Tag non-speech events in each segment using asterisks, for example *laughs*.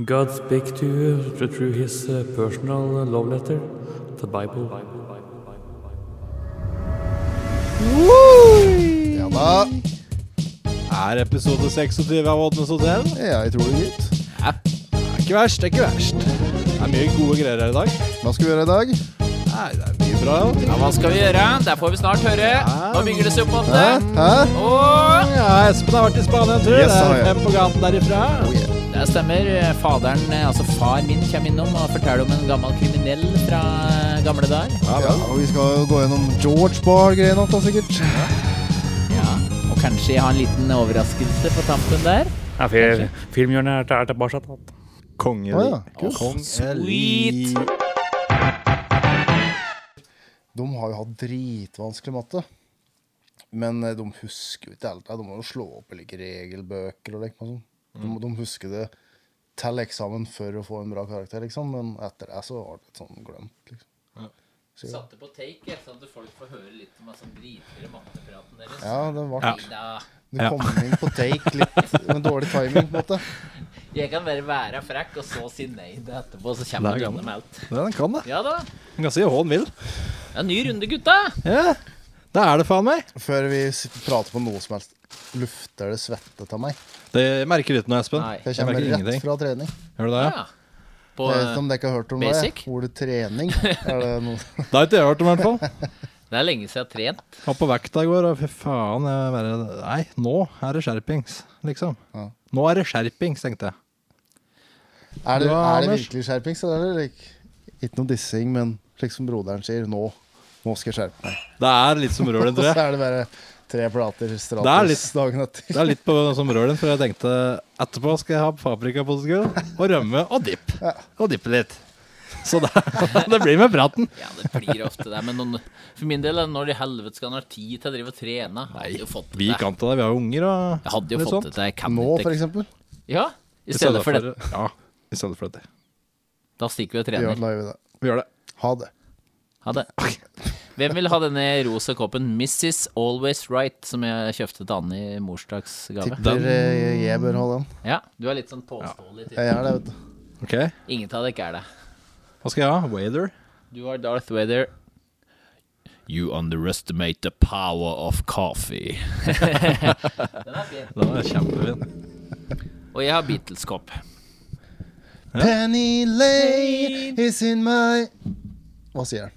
God speak to you through his uh, personal love letter, the Bible. Ja da. Er episode 26 av Oddnes hotell? Ja, jeg tror det, gitt. Det er ikke verst, det er ikke verst. Det er mye gode greier her i dag. Hva skal vi gjøre i dag? Nei, det er mye bra. Ja, hva skal vi gjøre? Der får vi snart høre. Nå bygger det seg opp Hæ? åtte. Hæ? Og Ja, Espen har vært i Spania en tur. Yes, det han har er jeg. fem på gaten derifra. det stemmer. Faderen, eh, altså far min, kommer innom og forteller om en gammel kriminell fra eh, gamle dager. Ja, og vi skal gå gjennom George Bar-greiene alt da, sikkert. Ja. Og kanskje jeg har en liten overraskelse på tampen der. Ja, fil, filmhjørnet er, til- er tilbake. Kongelig. Å ja. Kong sweet. De har jo hatt dritvanskelig matte. Men eh, de husker jo ikke alt. De må jo slå opp i like regelbøker og liksom. De, de husker det til eksamen for å få en bra karakter, liksom. Men etter det så har de litt sånn glemt, liksom. Så, Satte på take, sånn at folk får høre litt om sånn dritfyr mattepraten deres. ja, det ble Da- Det kom inn på take litt med dårlig timing, på en måte. Jeg kan bare være frekk og så si nei til etterpå, så kommer Det er jeg unna med alt. Den kan det. Ja da. Den kan si hva den vil. Ja, ny runde, gutta. Ja, det er det faen meg. Før vi s- prater på noe som helst, lufter det svette av meg. Det merker du ikke noe, Espen. Nei. Jeg Jeg kommer merker rett ingenting. fra trening. Gjør du det? Ja. På, Jeg vet ikke om dere har hørt om basic? det? Ordet trening. Er det noe? Det har ikke jeg hørt om, i hvert fall. det er lenge siden jeg har trent. Var på vekta i går, og fy faen. Jeg bare, nei, nå er det skjerpings, liksom. Ja. Nå er det skjerpings, tenkte jeg. Er det, Ja, er det Anders. virkelig skjerpings? Eller er det like, ikke noe dissing, men slik som broderen sier, nå, nå skal jeg skjerpe meg. Det er litt som rølen, *laughs* Og tror så jeg. er det bare tre plater Det er stratus litt- dagen etter. Det er litt på som rølen, for jeg tenkte etterpå skal jeg ha paprikapotetgull og rømme og dipp. Og dippe litt. Så det, *laughs* det blir med praten. Ja, det blir ofte det. Men noen, for min del, er det når i helvete skal han ha tid til å drive og trene? Jeg hadde jo fått Vi det til. kan til det, vi har jo unger og Jeg hadde jo fått det til. Jeg kan sånn, Nå, for ikke. eksempel. Ja, i stedet for det. Ja, i stedet for det. Da stikker vi og Ja, trener. da gjør vi det. Vi gjør det. Ha det. Ha det. Hvem vil ha denne rosa koppen Mrs. Always Right, som jeg kjøpte til Anne i morsdagsgave? Tipper eh, jeg bør ha den. Ja, du er litt sånn påståelig. typ. Jeg er det, vet du. Ok, Ingen av dere er det. hva skal jeg ha? Wader? Du har Darth Vader. You underestimate the power of coffee. Den er fin. Den er kjempefin. Og jeg har Beatles-kopp. Penny Lane is in my Hva sier han?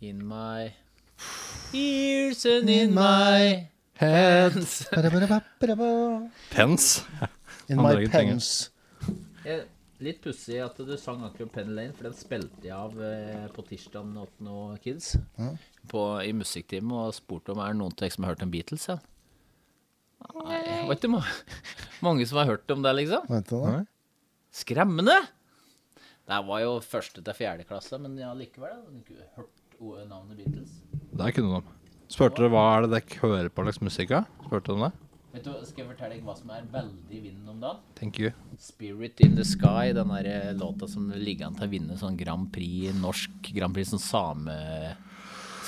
In my ears and in my hands. Pens. In Han drar my ingen penger. pens. Jeg, litt pussig at du sang akkurat Penny Lane, for den spilte jeg av eh, på tirsdag med noen kids på, i musikktimen og spurte om er det noen av dere som har hørt om Beatles. Ja? Nei, det var ikke ma *laughs* mange som har hørt om det, liksom. Vent da. Nei. Skremmende! Det var jo første til fjerde klasse, men ja, likevel. Jeg hadde ikke hørt o- navnet Beatles. Der kunne de. Spurte dere hva er det dere hører på slags musikk av? Spurte de det? Vet du, hva, Skal jeg fortelle deg hva som er veldig i vinden om dagen? Thank you. Spirit in the Sky, den der eh, låta som ligger an til å vinne sånn Grand Prix, norsk Grand Prix, sånn same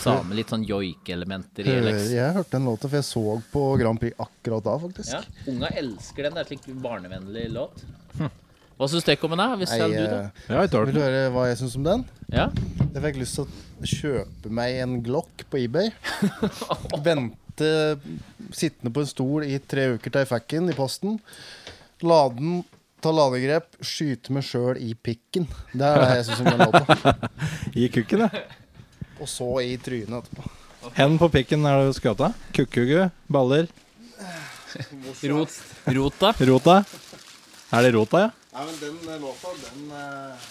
Same, litt sånn joikelementer i Hører, Alex. Eh, jeg hørte den låta, for jeg så på Grand Prix akkurat da, faktisk. Ja, unga elsker den, det er slik barnevennlig låt. Hm. Hva syns dere om den, da? Hvis det Jeg, er du, da? eh, Jeg har ikke vil hørt du den. høre hva jeg syns om den? Ja? Jeg fikk lyst til å kjøpe meg en Glock på *laughs* eBay. Vente sittende på en stol i tre uker til jeg fikk den i posten. Lade den, ta ladegrep, skyte meg sjøl i pikken. Det er det jeg syns om den *laughs* låta. I kukken, ja. Og så i trynet etterpå. Hen på pikken er det du skal ta. Kukkugu, baller, Rot, rota? rota. Er det rota, ja? Nei, men den eh, låta, den eh,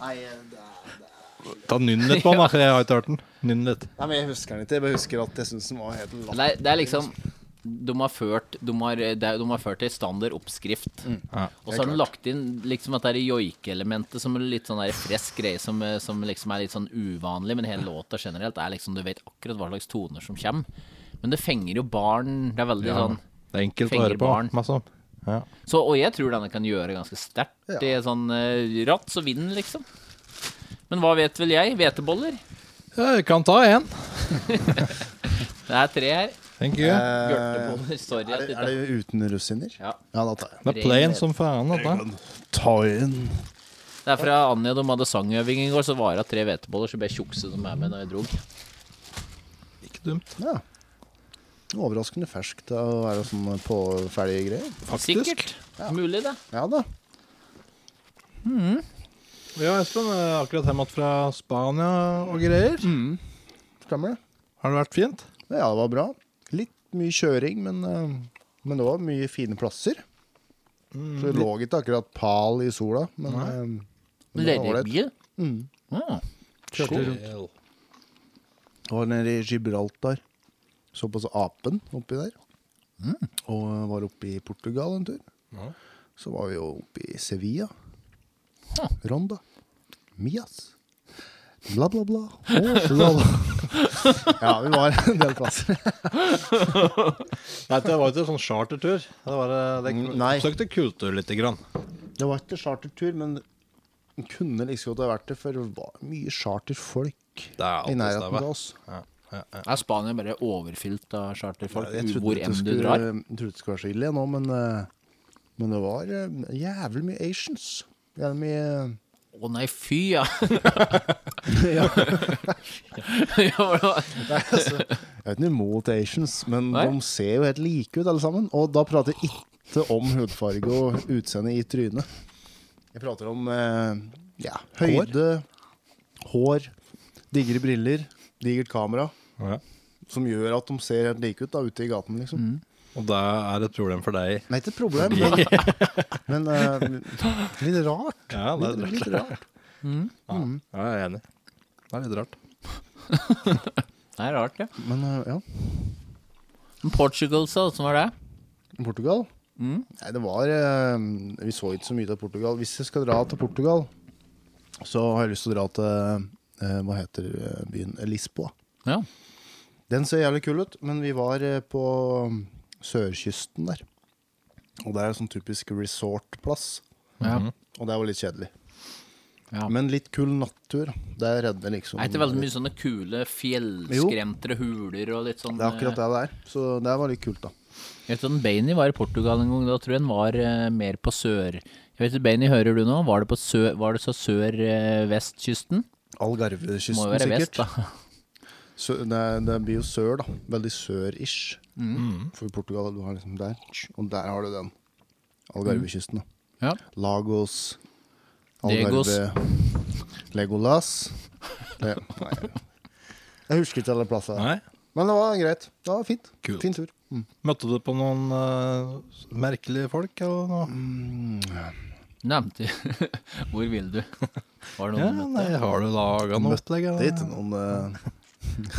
Nei, eh, det er Ta nynn litt *laughs* på den, da. for Jeg har ikke hørt den. Nynn litt. Nei, men Jeg husker den ikke. Jeg bare husker at jeg syns den var helt Det er, det er liksom de har ført De har, eh, det er- de har ført ei standard oppskrift. Mm. Ja. Og så har de lagt inn liksom at det er joikeelementet som er litt sånn der fresk greie som, eh, som liksom er litt sånn uvanlig, men hele låta generelt er liksom Du vet akkurat hva slags toner som kommer. Men det fenger jo barn. Det er veldig sånn Det er enkelt å Fenger høre på. barn. Masse om. Ja. så, Og jeg tror denne kan gjøre ganske sterkt. Det er sånn eh, ratt så vind, liksom. Men hva vet vel jeg? Hveteboller? Jeg kan ta en. Det er tre her. Thank you. Eh, Bjørtebonde, sorry Er at det, ikke er det uten russiner? ja. Ja, da tar jeg. Det er plain som faen, dette. Ta inn Det er fra Anja, de hadde sangøving i går, så var det tre hveteboller, så ble tjukse de er med når jeg drog. Ikke dumt. Ja. Overraskende ferskt å være sånn påferdige greier. Faktisk. Sikkert. Mulig, det. Ja da. Ja, Espen er akkurat hjemme fra Spania og greier. Mm. Stemmer det. Har det vært fint? Ja, det var bra. Litt mye kjøring, men, eh, men det var mye fine plasser. Så det lå ikke akkurat pal i sola, men eh, men det var Ledig ålreit. bil. Ah, Kjørte rundt. Jeg var nede i Gibraltar. Så på så apen oppi der. Og var oppe i Portugal en tur. Mm. Ja. Så var vi jo oppe i Sevilla. Ja. Ronda. Mias. Bla, bla, bla. Å, bla, *laughs* bla. ja, vi var en del plasser. Nei, det var ikke en sånn chartertur. Det var eh, det Mm, nei. Søkte kultur lite grann. Det var ikke chartertur, men den kunne like så godt ha vært det, for det var mye charterfolk Det er i alltid nærheten stevet. av oss. Ja, ja, ja. Er Spania bare overfylt av charterfolk Jeg trodde hvor ikke enn det du skulle- drar? Jeg trodde det skulle være så ille nå, men, eh, men det var eh, jævlig mye Asians. Jævlig mye *laughs* eh, Å nei, fy, ja. *laughs* ja. var det- Jeg vet ikke imot Asians, men Nei? de ser jo helt like ut alle sammen. Og da prater jeg ikke om hudfarge og utseende i trynet. Jeg prater om eh, ja, høyde, hår, digre briller, digert kamera. Ja. Som gjør at de ser helt like ut da, ute i gaten, liksom. Mm. Og det er et problem for deg. Det er ikke et problem, men, *laughs* men eh, litt rart. Ja, det er Litt, rart. litt rart. Mm. Ja, ja jeg er enig. Det er litt rart. det er rart, ja. Men eh, ja. Men Portugal, så, åssen var det? Portugal? Mm. Nei, det var eh, Vi så ikke så mye til Portugal. Hvis jeg skal dra til Portugal, så har jeg lyst til å dra til eh, Hva heter eh, byen? Lisboa. Ja. Den ser jævlig kul ut, men vi var eh, på sørkysten der. Og det er en sånn typisk resortplass. ja. Og det var litt kjedelig. Ja. Mhm. Men litt kul natur. Det redder liksom Er ikke veldig mye sånn, sånne kule fjellskremtere huler og litt sånn eh, Det er akkurat det det er. Så det var litt kult, da. Jeg vet at Bainey var i Portugal en gang, da tror jeg han var eh, mer på sør... Jeg vet ikke, Bainey, hører du nå? Var det, på sø, var det så eh, sør-vestkysten? Algarvekysten, Må jo være vest, sikkert. da. *laughs* Sø, det, det blir jo sør, da. Veldig sør-ish. For i Portugal du har liksom der, og der har du den. Algarvekysten. da. Ja. Lagos, Degos. Algarve, Legolas. Det, nei. Jeg husker ikke alle plassene. Nei. Men det var greit. Det var fint. Kult. Fin tur. Mm. Møtte du på noen eh, merkelige folk eller noe? Nevnte *laughs* Hvor vil du? Var det Ja, noen du nei, møtte? har du laga noe Møtte opplegg? Det er eller? ikke noen eh,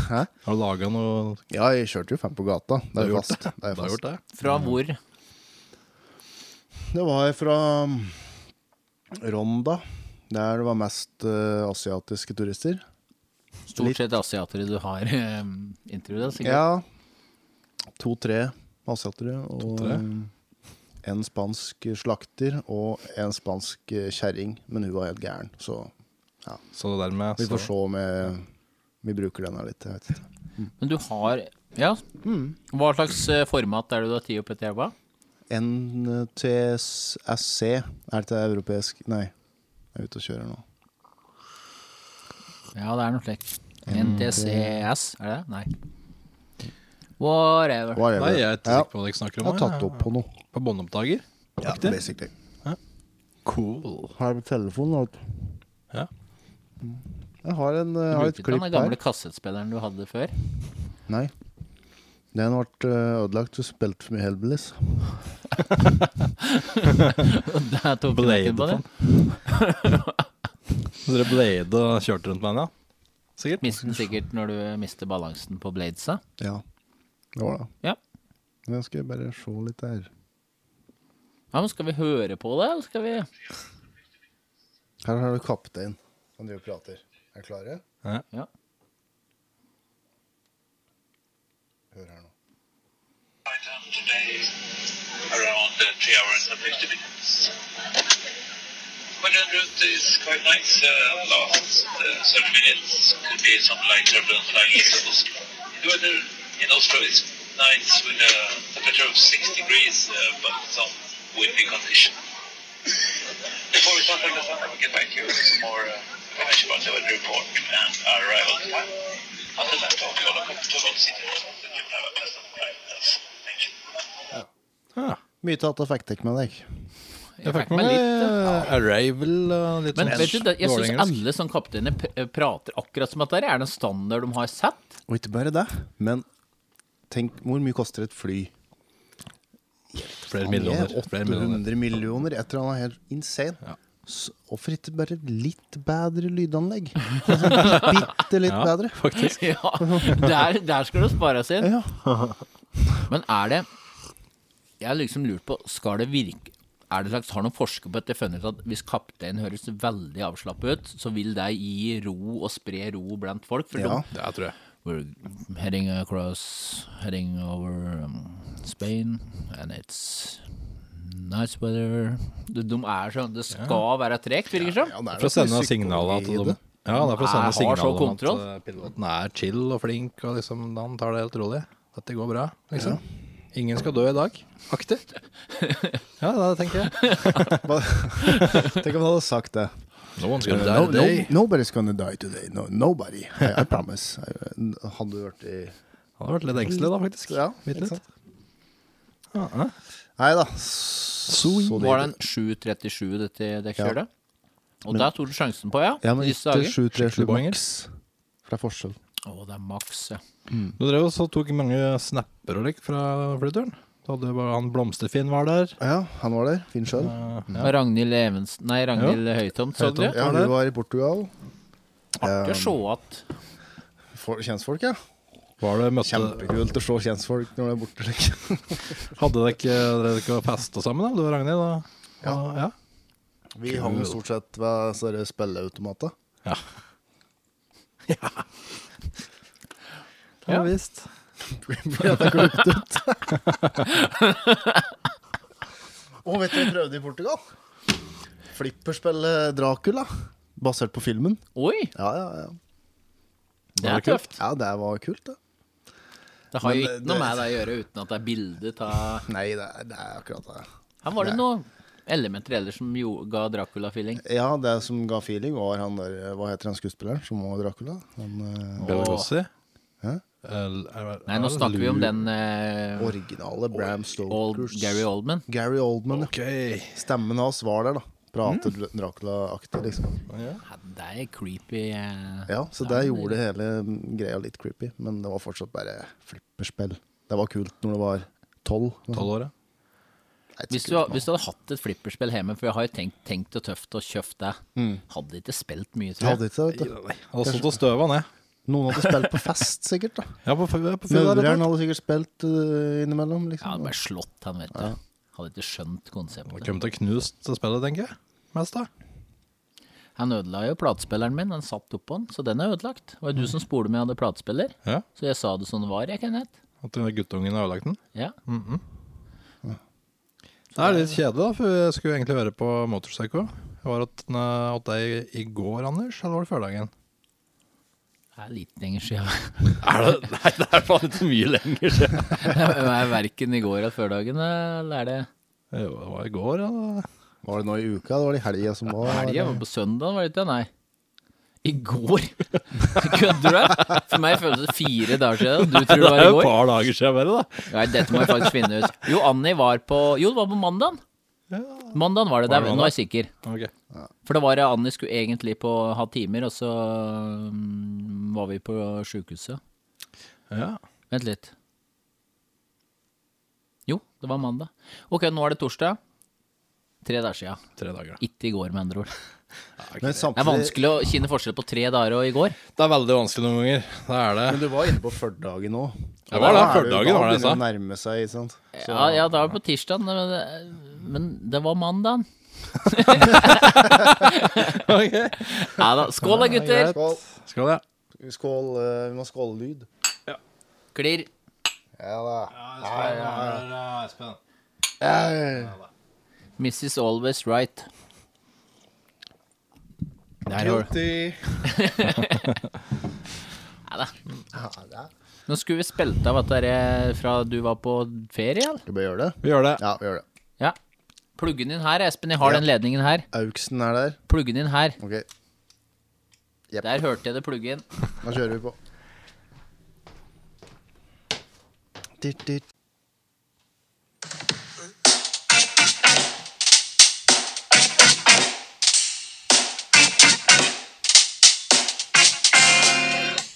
Hæ? Har du laga noe Ja, jeg kjørte jo fem på gata. Det har er jo gjort fast. Det, er Du har fast. gjort det? Fra hvor? det var fra Ronda, der det var mest eh, asiatiske turister. Litt- Stort sett asiatere du har *laughs* eh, intervjuet, sikkert. Ja. To-tre asiatere og To-tre? eh, en spansk slakter og en spansk eh, kjerring, men hun var helt gæren. Så Så dermed vi får så- se om jeg, vi bruker den her litt. Jeg vet ikke. Men du har Ja. Mm. Hva slags eh, format er det du har tatt opp etter elva? NTSC Er det europeisk Nei, jeg er ute og kjører nå. Ja, det er noe slikt. NTCS, er det det? Nei. Whatever. Whatever. Nei, jeg er ikke ja, sikker på hva dere snakker jeg om. har tatt opp på noe. På båndopptaker? Ja, Riktig. basically. Cool. Har jeg på telefonen alt? Mm. Ja. Jeg har, en, eh, jeg har et Bruker du klipp den her. gamle kassettspilleren du hadde før? *laughs* Nei. Den ble eh, ødelagt. Du spilte for mye Hellbillies. Der tok du Blade nøkken på den. Så dere blade og kjørte rundt med den, ja? Sikkert. Mister den sikkert når du mister balansen på bladesa. Ja. Det var det. Ja. Men Jeg skal bare se litt her. ja, men skal vi høre på det, eller skal vi Her har du kaptein. Han driver og prater. Er dere klare? Ja. Hør her nå. time today around uh, 3 hours and 50 minutes. When en route is quite nice, uh, last uh, 30 minutes could be some light turbulence like east of Oslo. The weather in Oslo is nights with a temperature of 6 degrees, uh, but some windy condition. Before we start on the sun, I will get back to you with some more uh, information about the weather report and our arrival time. Until then, hope you all are comfortable seated and you have a pleasant night. Thank you. Ah, Mye tatt av fikk med deg. Jeg fikk med litt eh, Arrival og litt Men sånn vet du, det- jeg dårlig syns engelsk. alle som kapteiner p- eh, prater akkurat som at det er en standard de har sett. Og ikke bare det, men tenk hvor mye koster et fly? Flere Han er millioner. Flere millioner. 800 millioner, et eller annet helt insane. Ja. S- Hvorfor ikke bare litt bedre *laughs* lydanlegg? Altså, Bitte litt Ja, bedre. faktisk. *laughs* Ja, der, der skal det spares inn. Ja. *laughs* Men er det Jeg har liksom lurt på, skal det virke er det slags, Har noen forsker på dette funnet ut at hvis kapteinen høres veldig avslappet ut, så vil det gi ro og spre ro blant folk? For Ja. de Det tror jeg. We're heading across, heading over um, Spain, and it's nice weather. De, de er sånn, det skal være tregt, virker det som. Ja, det er For å nok sende mye signaler psykologi at i de det. ja, det er for å sende Jeg har så signaler om at kontroll. eh, piloten er chill og flink, og liksom, han tar det helt rolig. Dette går bra, liksom. Ingen skal dø i dag. *laughs* Aktig. Ja, det tenker jeg. Tenk om han hadde sagt det. No one's gonna No, Oh, no, nobody's gonna die today. No, nobody. I, I promise. I, hadde du hørt i Han har vært litt engstelig da, faktisk. Ja, Bitte ikke litt. sant? Ja, Ah, ja. Nei da. Så Var det en 7.37 dette dekkkjøret? Og der tok du sjansen på, ja? Ja, men disse ikke dager. 737 Skikkelig poeng, maks. For det er forskjell. Å, det er maks, ja. Du drev også og tok mange snapper og lik fra flyturen. Da hadde bare han Blomsterfinn var der. Ja, han var der. Fin sjøl. Eh, ja. Og Ragnhild Evensen Nei, Ragnhild Høytomt, så du? Høytomt. Ja, var vi der. var i Portugal. Artig å se at For, kjentfolk, ja. Var det møtte, Kjempekult å se kjentfolk når de er borte. Liksom. Hadde dere ikke, dere ikke festa sammen, da, du og Ragnhild? Da? Ja. Og- ja. Vi hang stort sett ved sånne spilleautomater. Ja. Ja. visst. *laughs* Og vet du hva vi prøvde i Portugal? Flipperspille Dracula. Basert på filmen. Oi, Ja, ja, ja. det er tøft. Ja, det var kult, det. Det har jo Men, ikke det- noe med det å gjøre uten at det er bilde av Nei, det er, det er akkurat det. Her var det Nei. noen elementer ellers som jo, ga Dracula-feeling. Ja, det som ga feeling, var han der Hva heter han skuespilleren som var Dracula? Han eh, Bela Åh. Gossi? Hæ? Nei, nå snakker vi om den eh, originale Bram Old, Stokers. Gary Oldman. Gary Oldman. Ok. ja. Stemmen hans var der, da. Prater Dracula-aktig, liksom. Ja, Det er creepy. eh. Ja, så det gjorde hele greia litt creepy, men det var fortsatt bare flipperspill. Det var kult når det var tolv. Tolv år, ja. Nei, Hvis du, kult nå. hvis du hadde hatt et flipperspill hjemme, for jeg har jo tenkt, tenkt og tøft og kjøpt det, Mm. hadde ikke spilt mye, Jeg tror jeg. hadde ikke det, vet du. Han stått og støva ned. Noen hadde spilt på fest, sikkert. *laughs* da Ja, på, på, på fylla, rett og Mødrene slett. hadde sikkert spilt øh, innimellom. Jeg hadde liksom bare slått han, vet du. Hadde ikke skjønt Han konseptet. kom til å knuse spillet, tenker jeg. Mest, da. Han ødela jo platespilleren min, han satt oppå den, så den er ødelagt. Det var Mm. jo du som spolte med jeg hadde platespiller, Ja. så jeg sa det som det var, jeg, Kenneth. At den guttungen har ødelagt den. Ja. Det er litt kjedelig, da, for vi skulle egentlig være på Motorpsycho. Jeg var hos den, eh, hos deg i går, Anders, eller var det førdagen? Det er litt lenger siden. *laughs* Er det? Nei, det er faen ikke mye lenger siden. *laughs* Det er verken i går eller førdagen, eller er det Jo, det var i går, ja. Var det nå i uka? Det var det i helga som var? Helga var på søndag, var det ikke? Nei. I går? *laughs* Kødder du? For meg føles det fire dager siden. Du tror det var i går? par dager siden bare, da. Nei, dette må jeg faktisk finne ut. Jo, Anni var på Jo, det var på mandagen. Mandagen var Var det det. Der, nå mandag? er jeg sikker. Ok. For det var det Anni skulle egentlig på ha timer, og så mm, var vi på sjukehuset. Ja. Vent litt. Jo, det var mandag. Ok, nå er det torsdag. Tre dager siden. Tre dager, da. Ikke i går, med andre ord. Men Det er samtidig vanskelig å kjenne forskjell på tre dager og i går. Det er veldig vanskelig noen ganger. Det er det. Men du var inne på førdagen òg. Ja, det var det. Førdagen var det jeg sa. Da begynner det å nærme seg, ikke sant. Ja, ja, det var på tirsdag, men, det- men det var *laughs* mandagen. Ja da. Skål da, gutter! Skål. Skal det. Skål. øh, Vi må skåle lyd. Klirr. Ja da. Espen. Mrs. Always Right. Der har du. Guilty. *laughs* Ja da. Ja, da. Men Nå skulle vi spilt av at dere fra du var på ferie, eller? Skal vi gjøre det? Vi gjør det. Ja, vi gjør det. Ja. Pluggen din her, Espen. Jeg har Ja. den ledningen her. Auksen er der. Pluggen din her. Ok, Der hørte jeg det plugge inn. da kjører vi på. Dit, dit.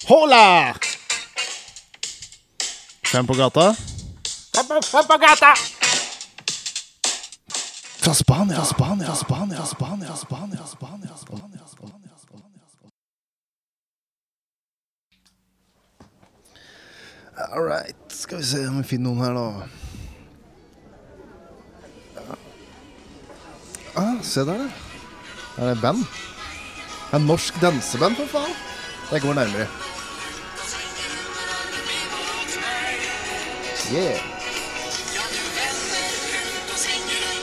Hola! Fem på gata. Fra Spania, Spania, Spania, Spania, Spania, Spania, Spania, Spania, Spania. All right. Skal vi se om vi finner noen her, da. Ah, se der, ja. Der er det band. Det er norsk danseband, for faen. Det går nærmere. Yeah.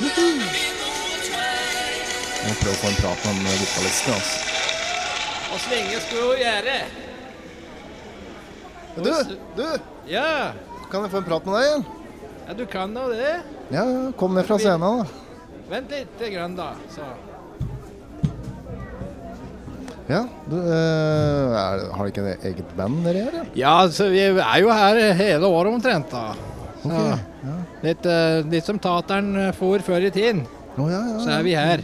Juhu. Jeg må prøve å få en prat med han, eh, vokalisten. Altså. Og svinge skulle jo gjøre. Du, du, Ja, kan jeg få en prat med deg igjen? ja, du kan da det. Ja, ja, kom ned fra scenen, da. Vent lite grann, da. Så. Ja, du, eh, er, har dere ikke et eget band dere gjør? eller? Ja, så vi er jo her hele året omtrent, da. Så, Ok, litt, eh, litt som tateren for før i tiden, Å ja, ja. så er vi her.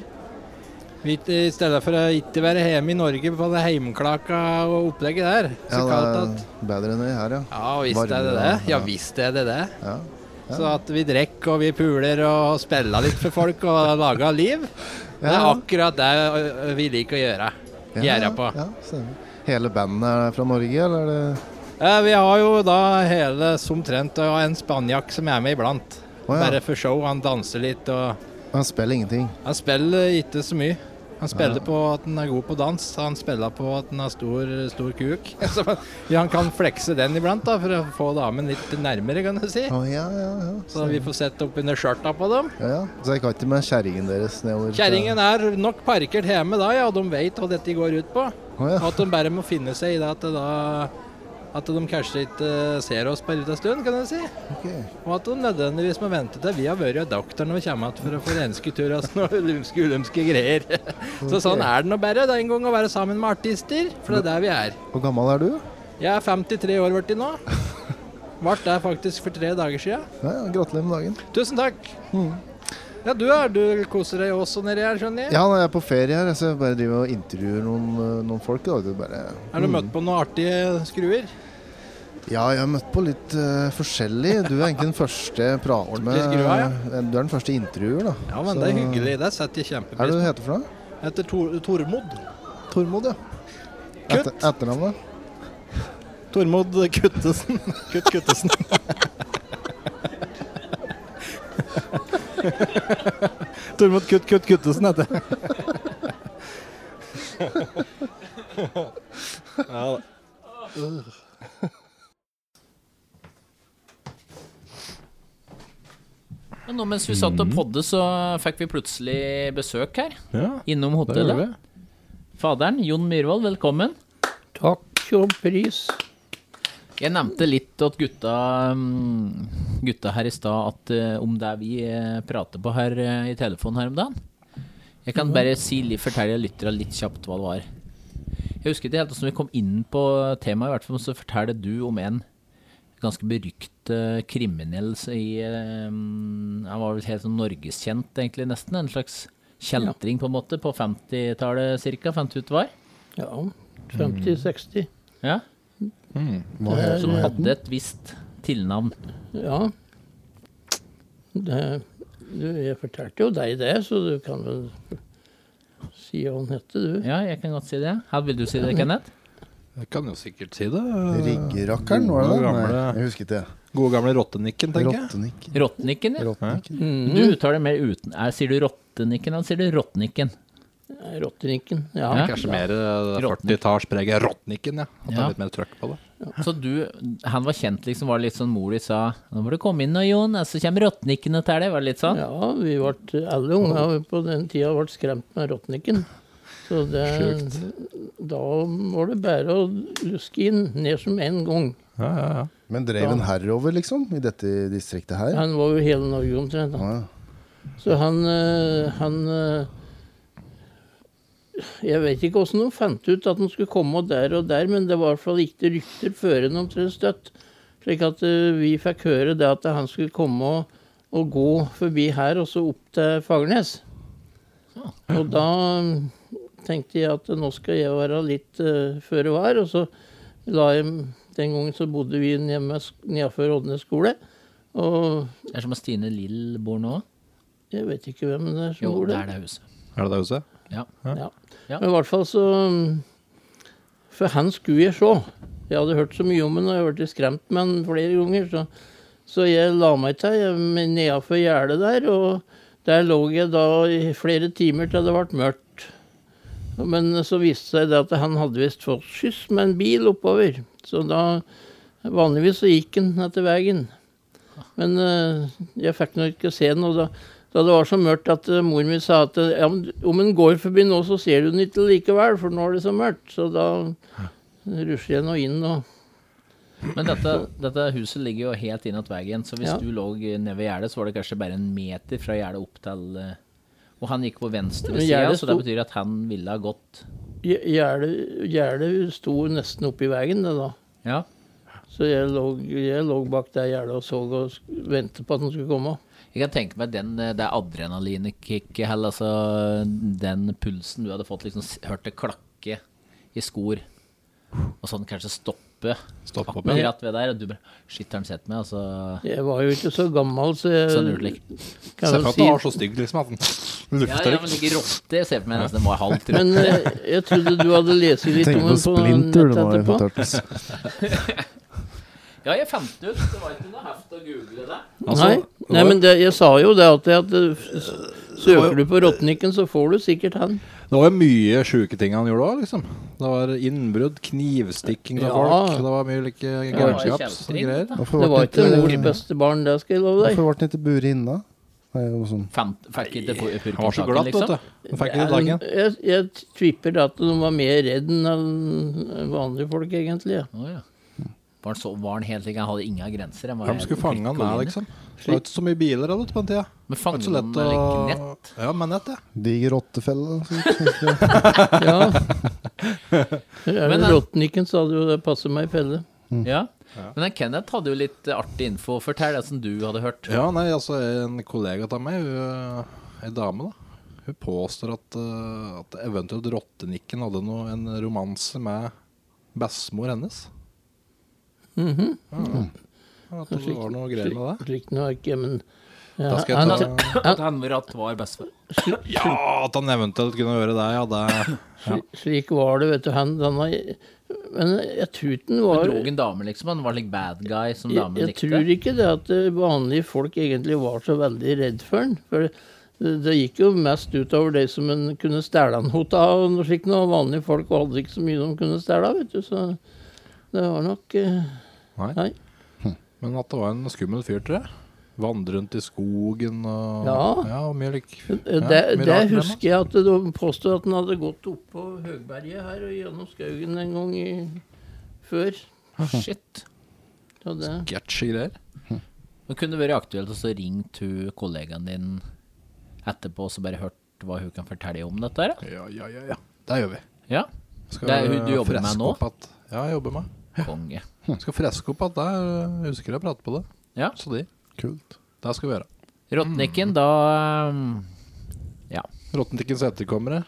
Vi, I stedet for å ikke være hjemme i Norge på det heimklaka og opplegget der. Så ja, kaldt det at er bedre enn vi her, ja. Ja visst er det Varme, det. ja. Ja visst er det det. Ja, Så at vi drikker og vi puler og spiller litt for folk og lager liv, det er akkurat det ø, vi liker å gjøre. ja, Gjøre på. Ja, stemmer. Hele bandet er fra Norge, eller er det Eh, Vi har jo da hele somtrent og en spanjakk som er med iblant. Å ja. Bare for show. Han danser litt og Han spiller ingenting. Han spiller ikke så mye. Han spiller på at han er god på dans. Han spiller på at han har stor, stor kuk. *laughs* Så ja, han kan flekse den iblant da, for å få damen litt nærmere, kan du si. Å ja, ja, ja. Så vi får sett opp under skjørta på dem. ja, ja. Så jeg kan ikke med kjerringen deres nedover? til- Kjerringen er nok parkert hjemme da, ja, og de vet hva dette går ut på. Å ja. Og at de bare må finne seg i det at, det da, at de kanskje ikke eh, ser oss på en liten stund, kan jeg si. ok. Og at de nødvendigvis må vente til vi har vært hos doktoren og kommer igjen for å få rensketur og sånne *laughs* lumske ulumske greier. *laughs* Så sånn er det nå bare. Det er en gang å være sammen med artister, for det er der vi er. Hvor gammel er du? Jeg er 53 år blitt *laughs* nå. Vart der faktisk for tre dager siden. Ja, ja, Gratulerer med dagen. Tusen takk. Mm. Ja, du er, du koser deg også nedi her, skjønner jeg. Ja, når jeg er på ferie her, så jeg bare driver og intervjuer noen, eh, noen folk. da, det er bare... Har du møtt på noen artige skruer? Ja, jeg har møtt på litt eh, forskjellig. Du er egentlig den første jeg prater med. Eh, Ordentlig skrua, ja. Du er den første intervjuer, da. Ja, men Så- det er hyggelig. Det setter jeg Hva er kjempepris det du på. heter for noe? Heter Tor Tormod. Tormod, ja. Kutt. Etter, etternavnet? Tormod Kuttesen. Kutt Kuttesen. Tormod Kutt Kutt Kuttesen heter jeg. ja da. Men nå mens vi satt og podde, så fikk vi plutselig besøk her. Ja, Innom hotellet. Faderen, Jon Myhrvold, velkommen. Takk som pris. Jeg nevnte litt at gutta, mm, gutta her i stad at eh, om det er vi eh, prater på her eh, i telefonen her om dagen. Jeg kan bare si, litt- fortelle lytterne litt kjapt hva det var. Jeg husker ikke helt hvordan vi kom inn på temaet, i hvert fall så forteller du om en ganske berykt eh, kriminell s- i eh, mm, Han var vel helt sånn norgeskjent, egentlig, nesten. En slags kjeltring, på en måte, på 50-tallet cirka. Fant du ut hva det var? Ja, 50-60. Ja. Som hadde et visst tilnavn. Ja. Det, du, jeg fortalte jo deg det, så du kan vel si hva han hette, du. Ja, jeg kan godt si det. Her vil du si det, Kenneth? Jeg kan jo sikkert si det. Riggerakkeren, Eh, var det Gode det? Nei, gamle- jeg husker ikke. Gode gamle rottenikken, tenker jeg. Rottenikken. *laughs* Rottnikken, ja. Rottenikken. Du uttaler mer uten er, Sier du rottenikken, eller sier du rottnikken? Nei, Rottenikken. Ja. Ja. Kanskje mer eh, Rottnik. 40-tallspreget rottenikken, ja. At det Ja. er litt mer trøkk på det. Så du, han var kjent liksom, var det litt sånn mor di sa Nå må du komme inn nå, Jon, ellers så kommer rottnikken og tar deg. Var det litt sånn? ja, vi vart, alle unger på den tida ble skremt med rottenikken. Så det, da var det bare å luske inn ned som en gang. Ja, ja, ja. Men drev han herover, liksom? I dette distriktet her? Han var jo hele Norge omtrent. Da. Ja, ja. Så han, eh, han eh, Jeg vet ikke åssen de fant ut at han skulle komme der og der, men det var i hvert fall ikke rykter førende omtrent støtt. Slik at eh, vi fikk høre det at han skulle komme og, og gå forbi her og så opp til Fagernes. Og da mm, tenkte jeg at nå skal jeg være litt eh, føre var, og så la jeg Den gangen så bodde vi nedenfor Odnes skole. Og Det er som at Stine Lill bor nå. jeg vet ikke hvem det er som Jo, bor det der. er det huset. Er det det huset? Ja. Ja. Ja. Men i hvert fall så um, For han skulle jeg se. Jeg hadde hørt så mye om han, og jeg ble skremt med han flere ganger. Så, så jeg la meg til jeg- men nedafor gjerdet der, og der lå jeg da i flere timer til det ble mørkt. Men så viste det seg det at han hadde visst fått skyss med en bil oppover. Så da Vanligvis så gikk han etter veien. Men eh, jeg fikk nå ikke se den. Og da, da det var så mørkt at eh, mor mi sa at eh, ja, men om en går forbi nå, så ser du den ikke likevel, for nå er det så mørkt. Så da rusler jeg nå inn og Men dette, dette huset ligger jo helt inn at veien, så hvis Ja. du lå nede ved gjerdet, så var det kanskje bare en meter fra gjerdet opp til eh, Og han gikk på venstre Men side, gjerdet så det sto- betyr at han ville ha gått Gje- Gjerdet gjerdet sto nesten oppi veien, det da. Ja. Så jeg lå, jeg lå bak det gjerdet og så og sk- ventet på at den skulle komme. Jeg kan tenke meg den, eh, det adrenalinkicket, hell, altså den pulsen du hadde fått, liksom s- hørt det klakke i skor, og sånn kanskje stoppe Stoppe opp, ja. akkurat ved der, og du bare Shit, har han sett meg? Altså Jeg var jo ikke så gammel, så jeg Sånn urlik. kan Se vel for at si det var så stygg liksom at den Ja, lufta ja, litt. men ikke rotte. Jeg ser for meg nesten det må ha halvt Men rotte. eh, jeg trodde du hadde lest litt om Tenker på den på Splinter nettet du nå, i etterpå. Turtles. Ja, jeg fant det ut. Det var ikke noe heft å google det. Altså, Nei, Nei men det, jeg sa jo det alltid at eh, s- søker du på Rottniken, så får du sikkert han. Det var jo mye sjuke ting han gjorde òg, liksom. Det var innbrudd, knivstikking av Ja. folk, det var mye like var jo galskaps og kjempestrid, greier. da. Hvorfor Det ble var ikke den mors ikke- beste barn, det skal jeg love deg. Hvorfor ble den ikke buret inne? Det er jo sånn Fant, fikk ikke på Han var så purketaket, glatt, vet liksom. du. Han fikk ikke Jeg, dagen. jeg, jeg tipper at de var mer redd enn enn vanlige folk, egentlig. Ja. Å, ja. Var han så var han helt lik? Han hadde ingen grenser. Han var De skulle fange han der, prikkeline. liksom. Det var ikke så mye biler da, vet du, på den tida. Det Men var fanget ikke så han lett med å like nett? Ja, med nett, ja. diger rottefelle. sånn. ja. Er Men, det eh, Rottniken, så hadde jo det passet meg i felle. Ja. Men den Kenneth hadde jo litt eh, artig info. Fortell det som du hadde hørt. Ja, nei, altså, en kollega av meg, hun, eh, ei dame, da, hun påstår at, eh, at eventuelt Rottenikken hadde noe, en romanse med bestemor hennes. Mhm. ja. At det var noe greier med det. Slik nå er ikke, men ja, Da skal han, jeg ta At han med ratt var bestefar. Ja, at han eventuelt kunne gjøre det, ja. Det sli- Slik var det, vet du. Han, han har, men eh, jeg tror ikke den var Lå en dame, liksom? Han var like bad guy som Jeg, damen jeg likte? tror ikke det at eh, vanlige folk egentlig var så veldig redd for den. For det, det gikk jo mest utover de som en kunne stjele den hot av. og noe slikt noe. Vanlige folk hadde ikke så mye de kunne stjele, vet du. Så det var nok eh, Nei. Hm. Nei. Men at det var en skummel fyr, tror jeg. Vandre rundt i skogen og Ja. og mye lik. Eh, Det, det husker jeg at de påstod at den hadde gått oppå høgberget her og gjennom skauen en gang i, før. Ah, Shit. Så det, Sketsjy greier. Det kunne det vært aktuelt å så ringt hun kollegaen din etterpå og så bare hørt hva hun kan fortelle om dette her? da? Ja, ja, ja, ja. Det gjør vi. Ja. Det er hun du jobber med freske nå? opp At, ja, jeg jobber med. Konge. Skal freske opp at det er Jeg husker jeg pratet på det. Ja. Så de. Kult. Det skal vi gjøre. Mm. Rottnikken, da um, Ja. Rottentikkens etterkommere.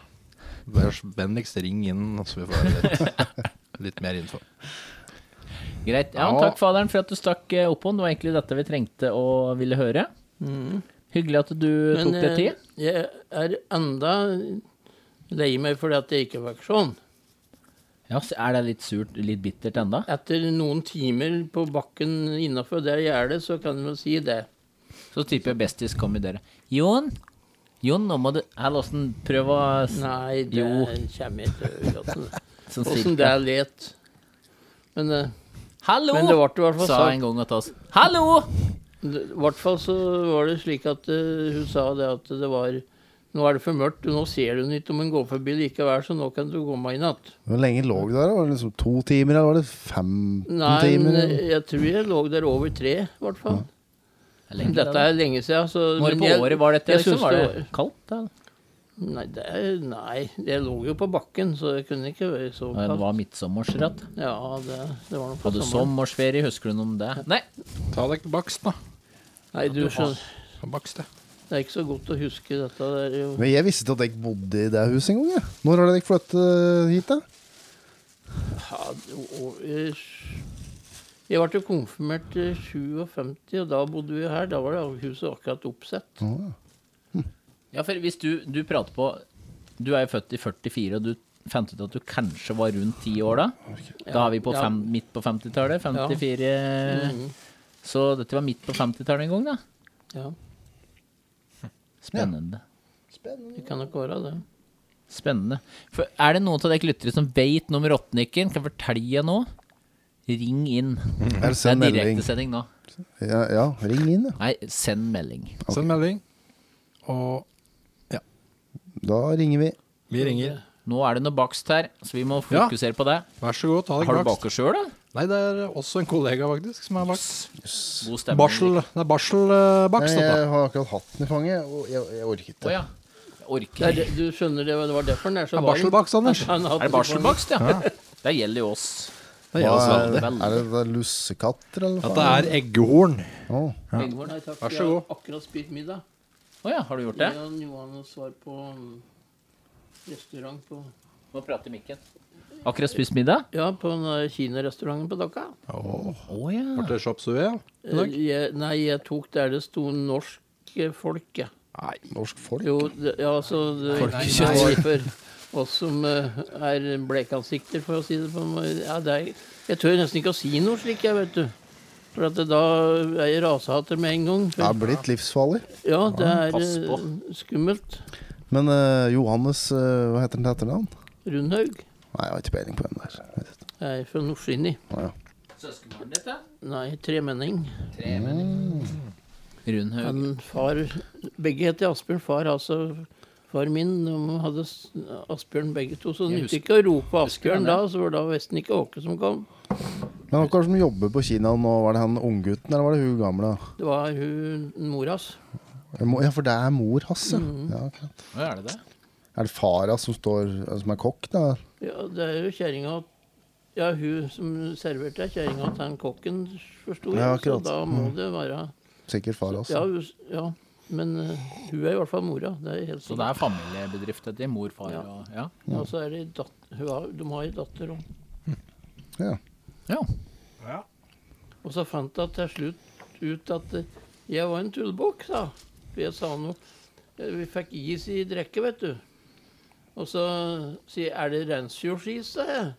Vær så vennligst ring inn, så vi får litt, *laughs* litt mer info. Greit. Ja, Ja. Takk, faderen, for at du stakk eh, opp hånd. Det var egentlig dette vi trengte og ville høre. Hyggelig at du tok deg Mm. eh, tid. jeg er enda lei meg fordi at jeg ikke fikk sånn. Ja, så Er det litt surt, litt bittert enda? Etter noen timer på bakken innafor der gjerdet, så kan du vel si det. Så tipper jeg Bestis kom i døra. Jon? Jon, nå må du Hell, åssen Prøv å s- Nei, det Jo. kommer jeg ikke *laughs* til. sånn Åssen altså. det cirka. er let. Men eh, Hallo! Men det ble i hvert fall sånn- sa sagt. en gang til oss. Hallo! det- i hvert fall så var det slik at eh, hun sa det at det var Nå er det for mørkt, og nå ser du den ikke om den går forbi likevel, så nå kan du komme inn igjen. Hvor lenge lå du der? da? Var det liksom to timer, eller var det 15 Nei, timer? men eh, eller? jeg tror jeg lå der over tre, i hvert fall. Det er lenge *laughs* Dette det, er lenge siden. Så, da. Når men på jeg- året var dette? jeg Liksom? synes Var det det kaldt? Da? Nei, det, er- nei, jeg lå jo på bakken, så jeg kunne ikke være så Nei, Det kaldt. var midtsommersratt. Ja, det, det var nok på Hadde sommeren. sommersferie, husker du noe om det? Nei. Ta deg bakst, da. Nei, du skjønner, Ta bakst, det. det er ikke så godt å huske dette. Det er jo Men jeg visste ikke at dere bodde i det huset engang. jeg. Når har dere flyttet eh, hit, da? ja, og, eh, Jeg ble jo konfirmert i 57, og da bodde vi her. Da var det huset akkurat oppsett. Ja, for hvis du, du prater på Du er jo født i 44, og du fant ut at du kanskje var rundt ti år da? Da er vi på Ja. Mhm. fem, midt på 50-tallet. 54 Så dette var midt på 50-tallet en gang, da? Ja, Spennende. det kan nok være det. Spennende. For er det noen av dere lyttere som veit noe om Rottnikken? Kan jeg fortelle nå? Ring inn. Er det Det er send melding? direktesending nå. Ja, ja, ring inn, ja. Nei, send melding. Send melding. Og Da ringer vi. vi ringer. Nå er det noe bakst her, så vi må Ja. fokusere på det. Vær så god, ta Har du deg bakst. baker sjøl, da? Nei, det er også en kollega, faktisk, som er bakst. God stemning. Barsel, det er barselbakst, Nei, dette. jeg har akkurat hatten i fanget, og jeg, jeg orker Å ikke. ja. Jeg Det Orker er, det- du skjønner det, det var derfor den er Det så er varm. barselbakst, *laughs* Anders. Han hadde Er det barselbakst, ja? Det gjelder jo oss. Det Hva gjør oss er, veldig. det, er det, det er lussekatter, eller hva Dette er eggehorn. Å, Ingvar, nei takk. Vær så jeg har god. Akkurat spist middag. Å ja, har du gjort det? Jeg og Johan var på mm, restaurant på Må prate i mikken. Akkurat spist middag? Ja, på den der kinarestauranten på Dokka. Eh, Å ja. Ble det chop suey? ja? I Eh, dag? Jeg, nei, jeg tok der det sto norske folk, ja. Nei. norsk folk? Jo, det, ja, altså det, Folkekjøtt. det var For oss som eh, er blekansikter, for å si det på en måte. Ja, det er, jeg tør nesten ikke å si noe slik, jeg, vet du. For at det, da er jeg rasehater med en gang. Det er For, blitt livsfarlig. ja, det er pass på. eh, skummelt. Men eh, Johannes, eh, hva heter han til etternavn? Rundhaug Nei, jeg har ikke peiling på hvem det er. Jeg vet ikke. jeg er fra Nordskinni. Å, ja. Søskenbarnet ditt, da? Nei, tremenning. Tre, mener jeg. Rundhaug. Men far Begge heter Asbjørn. Far altså far min de hadde s- Asbjørn begge to. Så det Jeg nytter husker- ikke å rope husker han Asbjørn da, så var det da nesten ikke Åke som kom. Men han som jobber på Kina nå, var det han unggutten, eller var det hun gamle? Det var hun moras. Jeg må- Ja, for det er mor hans, ja. ja akkurat. Å, er det det? er det fara som står eh, som er kokk, da? Ja, det er jo kjerringa Ja, hun som serverte, er kjerringa til han kokken, forsto jeg. Ja, så akkurat. Mm. da må det være Sikkert far hans. Ja, hun, ja. men eh, hun er i hvert fall mora. Det er helt Så det sikkert. er familiebedrift etter mor, far Ja. og Ja. Og så er det dat hun har, de har ei datter òg. Ja. ja. Og så fant jeg til slutt ut at eh, jeg var en tullebukk, da. For jeg sa noe. Eh, Vi fikk is i drikke, vet du. Og så sier jeg 'er det reinsdyrskis', sa jeg.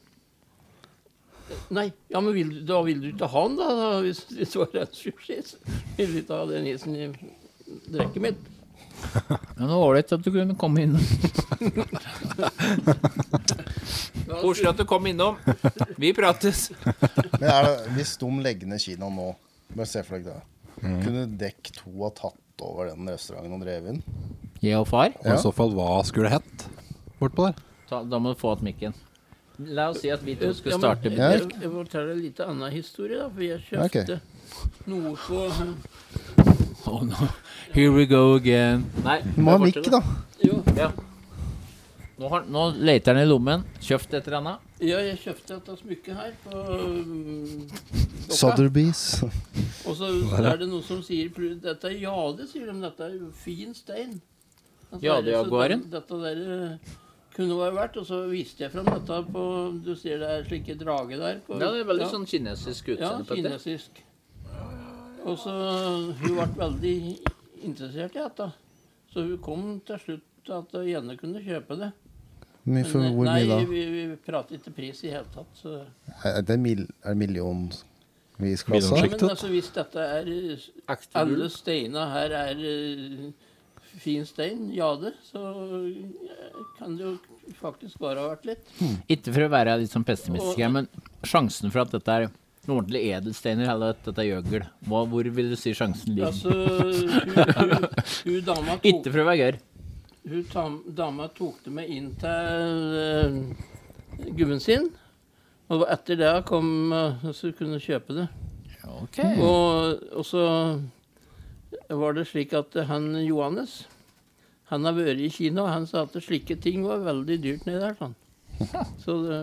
Nei, ja, men vil, du- da vil du ikke ha den, da, da hvis hvis det var reinsdyrskis? Vil du ikke ha den isen i drikket mitt? Men det var ålreit at du kunne komme innom. *laughs* Koselig at du kom innom. Vi prates. Men er det, hvis de legger ned Kina nå, bare se for deg det. Kunne dekk to ha tatt over den restauranten og drevet inn? Jeg og far? Og i så fall, hva skulle det hett bortpå der? Ta, da må du få att mikken. La oss si at vi to skulle Ja, men starte jeg- bedrift. Jeg, jeg vil fortelle en litt annen historie, da. For jeg Ja, ok. kjøpte noe på Oh no. Here we go again. Nei, Du må ha det er mikk, borte, da. Jo, Ja. Nå, har, nå leter han i lommen. Kjøpt et eller annet. ja, jeg kjøpte dette smykket her på um, Dokka. Sotheby's. *laughs* Og så er det noen som sier pl- Dette er jade, sier de. Dette er jo fin stein. Altså, Jadejaguaren? så den- Dette der eh, kunne være verdt. Og så viste jeg fram dette på Du ser det er slike drage der. På, Ja, det er veldig sånn kinesisk Ja, utseende på dette. kinesisk. Og så Hun ble veldig interessert i dette. Så hun kom til slutt til at hun gjerne kunne kjøpe det. Mye for Men, eh, hvor nei, mye da? vi, vi prater ikke pris i hele tatt. Så. Er det, mil, er det Nei, millionsvisklassa? Millionskikk. men altså, hvis dette er eh, Ekte Alle gull. steiner her er eh, fin stein, jade, så eh, kan det jo faktisk bare ha vært litt. Ikke for å være litt sånn pessimistisk, her, men sjansen for at dette er noen ordentlige edelsteiner, eller at dette er gjøgl, Hva- hvor vil du si sjansen ligger? Altså, hun, hun, hun dama tok Ikke for å være gørr. hun tam, dama tok det med inn til eh, gubben sin. Og etter det kom eh, Så kunne hun kjøpe det. Ok. Og, og så var det slik at han Johannes han har vært i Kina, og han sa at slike ting var veldig dyrt nedi der. Sånn. Så det,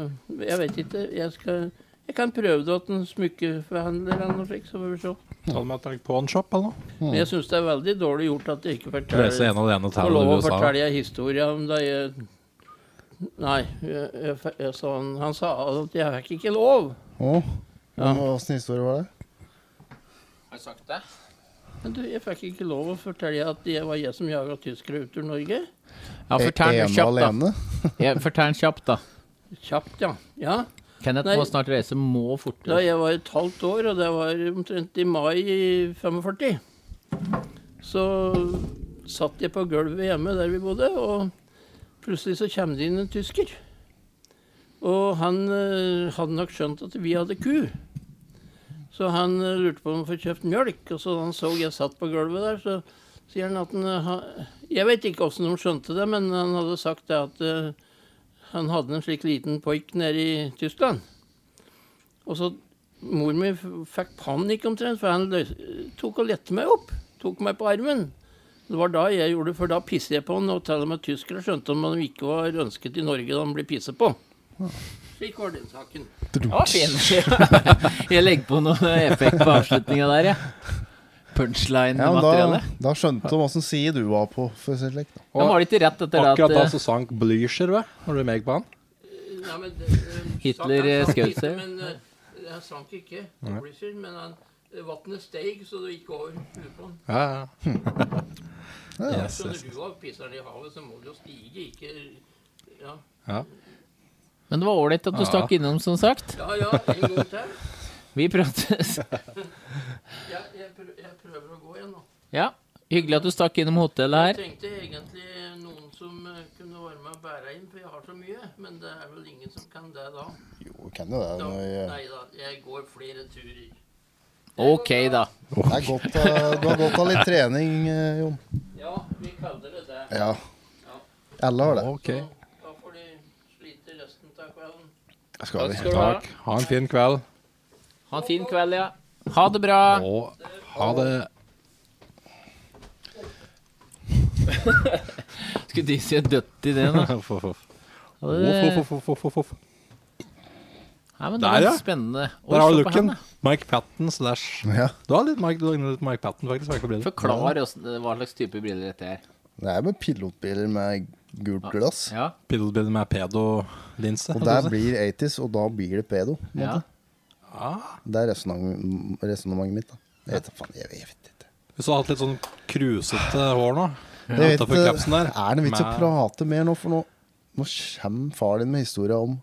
jeg vet ikke. Jeg, skal, jeg kan prøve det hos en smykkeforhandler eller noe slikt, så får vi se. Ta det med til Pawnshop eller noe. Men jeg syns det er veldig dårlig gjort at jeg ikke Lese forteller en og alene Få lov å til USA. fortelle en historie om da jeg Nei, jeg, jeg, jeg sa han, han sa at jeg fikk ikke lov. Åh, Ja. Åssen historie var det? Har jeg sagt det? Men du, jeg fikk ikke lov å fortelle at det var jeg som jaga tyskere ut av Norge. Ja, fortell den E- Ene og kjapt, da. alene? Ja, fortell den kjapt, da. Kjapt, ja. ja. Kenneth Nei. må snart reise, må Da fortere. jeg var et halvt år, og det var omtrent i mai i 45, så satt jeg på gulvet hjemme der vi bodde, og plutselig så kommer det inn en tysker. Og han eh, hadde nok skjønt at vi hadde ku. Så han eh, lurte på om han fikk kjøpt mjølk. Og så da han så jeg satt på gulvet der, så sier han at han eh, ha- Jeg vet ikke åssen de skjønte det, men han hadde sagt det at eh, han hadde en slik liten poik nede i Tyskland. Og så mor mi f- fikk panikk omtrent, for han løs, tok og lette meg opp. Tok meg på armen. Det var da jeg gjorde det, for da pisset jeg på han, og til og med tyskere skjønte om han ikke var ønsket i Norge da han ble pisset på. Slik var den saken. Det var fin. *laughs* jeg legger på E noe effekt på avslutninga der, jeg. Ja, men da, Punchline-materiale. da skjønte de åssen side du var på. For å si det slik, da. Da var det ikke rett etter det Akkurat da at eh, så sank Blücher, hva? Når du meg på han? Nei, men, eh, Hitler, han eh, sank skjøt ikke, seg. Men eh, han sank ikke, Blücher, men han eh, vannet steg, så det gikk over huet på han. Ja, ja. Så når du òg pisser i havet, så må du jo stige, ikke Ja, eh, Men det var ålreit at du stakk innom, som sagt. ja, ja en gang til. Vi prates. *laughs* Jeg, jeg, prø- jeg prøver å gå igjen nå. Ja. Hyggelig at du stakk innom Jeg hotellet her. trengte egentlig noen som eh, kunne være med og bære inn, for jeg har så mye. Men det er vel ingen som kan det da. Jo, vi kan jo det. eh, da Når jeg, nei da, jeg går flere turer. OK, da. det er godt, eh, du har godt av litt trening, eh, Jon. Ja, vi kaller det det. Ja. Alle har det. Ok. Da får de slite resten av kvelden. Skal vi. Skal du ha. Takk. Ha en fin kveld. Ha en fin kveld, ja. Ha det bra. Og ha det. Skulle de si dødt i det, da? Uff, uff, uff. Ja, Uff, det- uff, uff, uff, uff, uff. Nei, men det Der, var ja. spennende. Oi, Der har du se på han, looken. da. Mike Patten slash Ja. Du har litt Mike, du ligner litt Mike Patten, faktisk. Mike på briller. Forklar hvordan- hva slags type briller dette er. Det er med pilotbiler med gult glass. Ja, Piddlebill med pedolinse. Og *laughs* holdt jeg der på å si. blir 80s, og da blir det pedo. på en ja. måte. Det er resonnementet mitt. da. Jeg vet, da faen, jeg vet ikke. Hvis du hadde hatt litt sånn krusete hår nå Jeg vet, utenfor eh, kapsen der. er det vits å Med- prate mer nå, for nå, nå kommer far din med historia om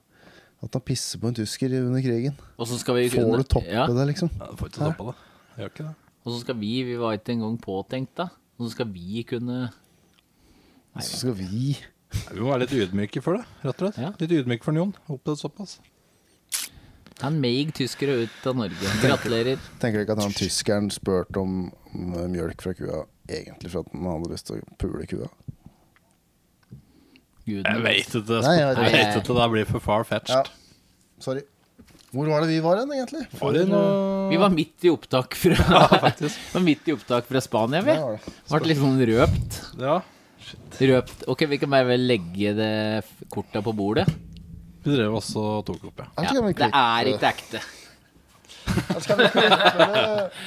at han pisser på en tysker under krigen. Og så skal vi Får du toppe ja. det, liksom? Ja, du får ikke stoppa det. Jeg Gjør ikke det. Og så skal vi, vi var ikke engang påtenkt da. Og så skal vi kunne Så skal vi Nei, Vi må være litt ydmyke for det, rett og slett. Ja. Litt ydmyke for den, Jon. Opplevd såpass. Han meig tyskere ut av Norge. Gratulerer. Tenker du ikke at han tyskeren spurte om, om eh, mjølk fra kua egentlig for at han hadde lyst til å pule kua? Guden. Jeg veit ikke. det. Nei, Jeg jeg vet ikke. vet ikke, det blir for Ja. far-fetched. Sorry. Hvor var det vi var hen, egentlig? Var det noe Vi var midt i *laughs* opptak fra, Faktisk. *laughs* var midt i opptak fra Spania, vi. Der var det. Ble litt sånn røpt. Ja. røpt. Ok, vi kan bare vel legge det f- korta på bordet. Vi drev også og tok opp, ja. Her Ja, skal vi det er ikke ekte. Her skal vi klippe det. *laughs*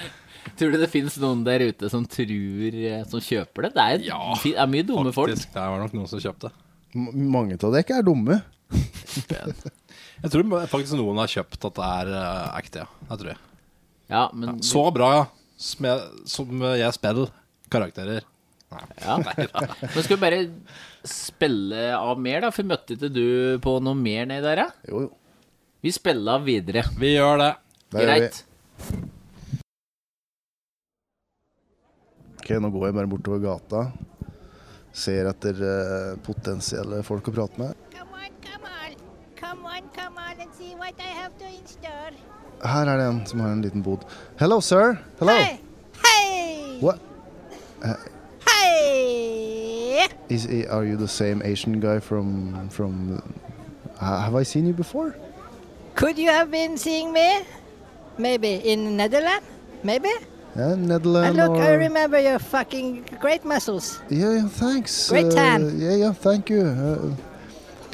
Tror du det fins noen der ute som tror eh, Som kjøper det? Det er, Ja, fi- det er mye dumme folk. Faktisk, det var nok noen som kjøpte. M- Mange av dere er dumme. Jeg tror faktisk noen har kjøpt at det er eh, ekte, ja. Det tror jeg. Ja, men Så bra som jeg, som eh, jeg spiller karakterer. Ja. Nå skal vi bare spille av mer, da. For møtte ikke du på noe mer nedi der, ja? Jo, jo. Vi spiller av videre. Vi gjør det. Der gjør vi. Greit. Ok, nå går jeg bare bortover gata. Ser etter eh, potensielle folk å prate med. Come on, come on. Come on, come on and see what I have to install. Her er det en som har en liten bod. Hello, sir. Hello. Hey! Hey! What? Hey! Is, eh, are you the same Asian guy from from? Ha- Have I seen you before? Could you have been seeing me? Maybe in Netherlands? Maybe? Yeah, And Netherlands look, or I remember your fucking great muscles. yeah, yeah, thanks. Great uh, tan. yeah, yeah, thank you. Uh,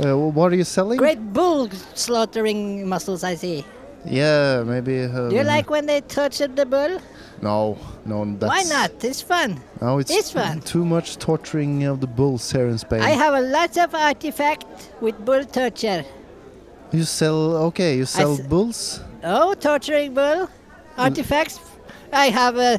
uh, what are you selling? Great bull slaughtering muscles, I see. Yeah, maybe. Um, Do you like when they tortured the bull? No, no. That's, Why not? It's fun. No, it's This one. too much torturing of the bulls here in Spain. I have a lot of artifact with bull torture. you sell? Okay, you sell s- bulls. Oh, torturing bull artifacts. I have a,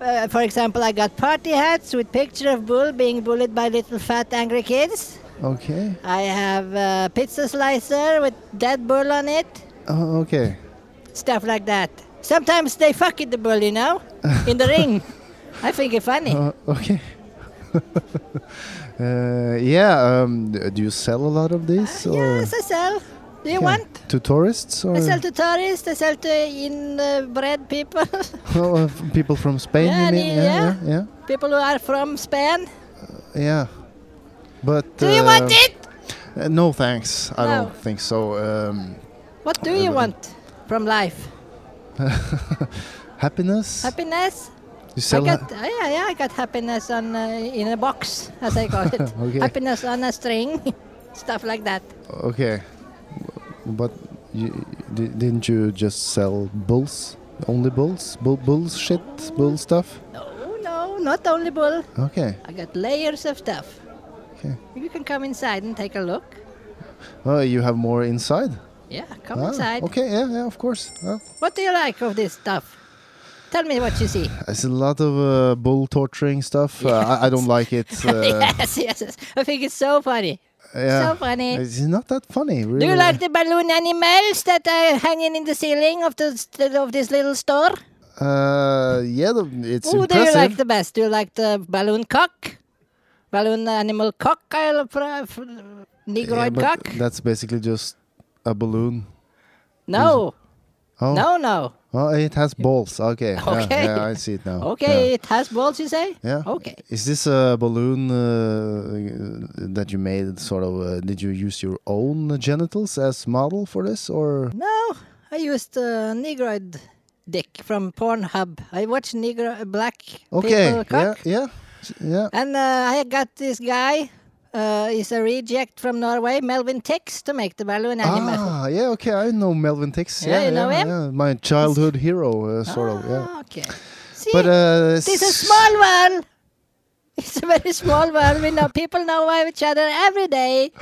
uh, for example, I got party hats with picture of bull being bullied by little fat angry kids. Okay. I have a pizza slicer with dead bull on it. Oh, okay. Stuff like that. Sometimes they fuck with the bull, you know, in the ring. I think it's *laughs* funny. Uh, okay. uh, yeah. Um, d- do you sell a lot of these? or- yes, Uh, I sell. Do you Yeah. Uh, want? to tourists or I sell to tourists. I sell to inbred people, *laughs* *laughs* Oh, uh, f- people from Spain? Yeah, you I mean? mean, yeah, yeah. yeah, people who are from Spain. yeah, yeah. But Do you want uh, it? uh, no, thanks. I No. don't think so. Um, What do you want from life? happiness? Happiness. you sell? I ha- got, oh, yeah, yeah, I got happiness on uh, in a box, as I call it. *laughs* Okay. Happiness on a string, *laughs* stuff like that. okay, but you, di- didn't you just sell bulls? Only bulls? Bull, bull shit? Bull stuff? No, no, not only bull. Okay. I got layers of stuff. Okay. You can come inside and take a look. Oh, you have more inside? Yeah, come Ah, inside. Okay, yeah, yeah, of course. Yeah. What do you like of this stuff? Tell me what you see. It's a lot of uh, bull torturing stuff. Uh, I, I don't like *laughs* it. *laughs* Uh, yes, yes, yes. I think it's so funny. yeah. So funny. It's not that funny, really. Do you like the balloon animals that are hanging in the ceiling of the of this little store? Uh, yeah, the, it's Who Oh, do you impressive. like the best? Do you like the balloon cock? Balloon animal cock? I love uh, fra- fr- Yeah, Negroid but cock? That's basically just a balloon. No, Oh, no, no. oh, it has balls. Okay. yeah, Okay. Yeah, I see it now. Okay, Oh, Yeah. it has balls, you say? Yeah. Okay. Is this a balloon uh, that you made? Sort of. Uh, did you use your own genitals as model for this, or? No, I used uh, Negroid dick from Pornhub. I watched Negro uh, black Okay. Yeah. people cock. Yeah. Yeah. And uh, I got this guy. Uh, he's a reject from Norway, Melvin Tix, to make the balloon animal. Ah, yeah, okay, I know Melvin Tix. Yeah, Yeah, you know yeah, him? yeah, my childhood hero, uh, sort of. Yeah, Ah, Okay. See, but uh, It's a s- small one. It's a very small one. We know people know why each other every day.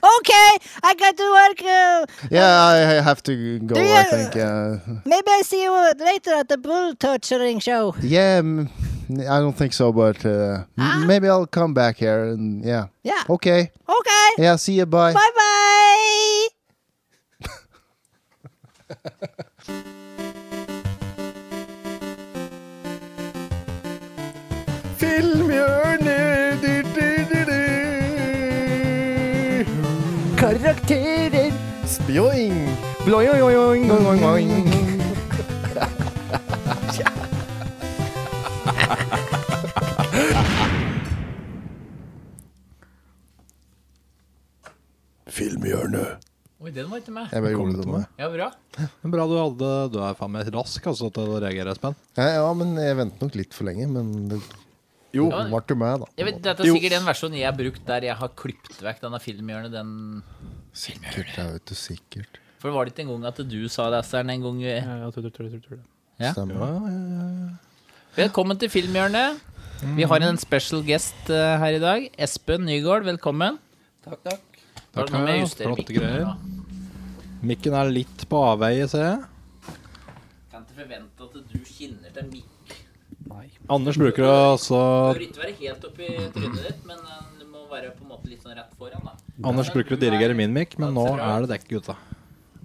Okay, I got to work. Uh, Yeah, I, I have to go. Do I you- think. Uh, maybe I see you later at the bull torturing show. Yeah, m- I don't think so, but uh, Ah. m maybe I'll come back here and yeah. Yeah. Okay. Okay. Yeah, see you. Bye. Bye bye. Karakterer. Spjoing. Bloing, boing, boing, boing. Filmhjørnet. Oi, den var ikke med. Jeg bare gjorde det med. Ja, bra. Men bra du hadde Du er faen meg rask altså, til å reagere, Espen. Ja, ja, men jeg ventet nok litt for lenge, men det jo, men- ble jo meg, da. Jeg vet, dette er sikkert den versjonen jeg har brukt der jeg har klippet vekk denne filmhjørnet. Den Sikkert, jeg vet du, sikkert. For var det ikke en gang at du sa det, Esteren, en gang eh, Ja, jeg tror- tror- tror- tror det. Ja. Stemmer. Velkommen til Filmhjørnet. Vi har en special guest eh, her i dag. Espen Nygaard, velkommen. Takk, takk. Takk, ja. Flotte greier. Mikken er litt på avveie, ser jeg. Kan ikke forvente at du kinner til mikk. Anders bruker å også Du bør ikke være helt oppi trynet ditt, men eh, du må være på en måte litt sånn rett foran, da. Anders bruker å dirigere min mikk, men nå er det dekk, gutta.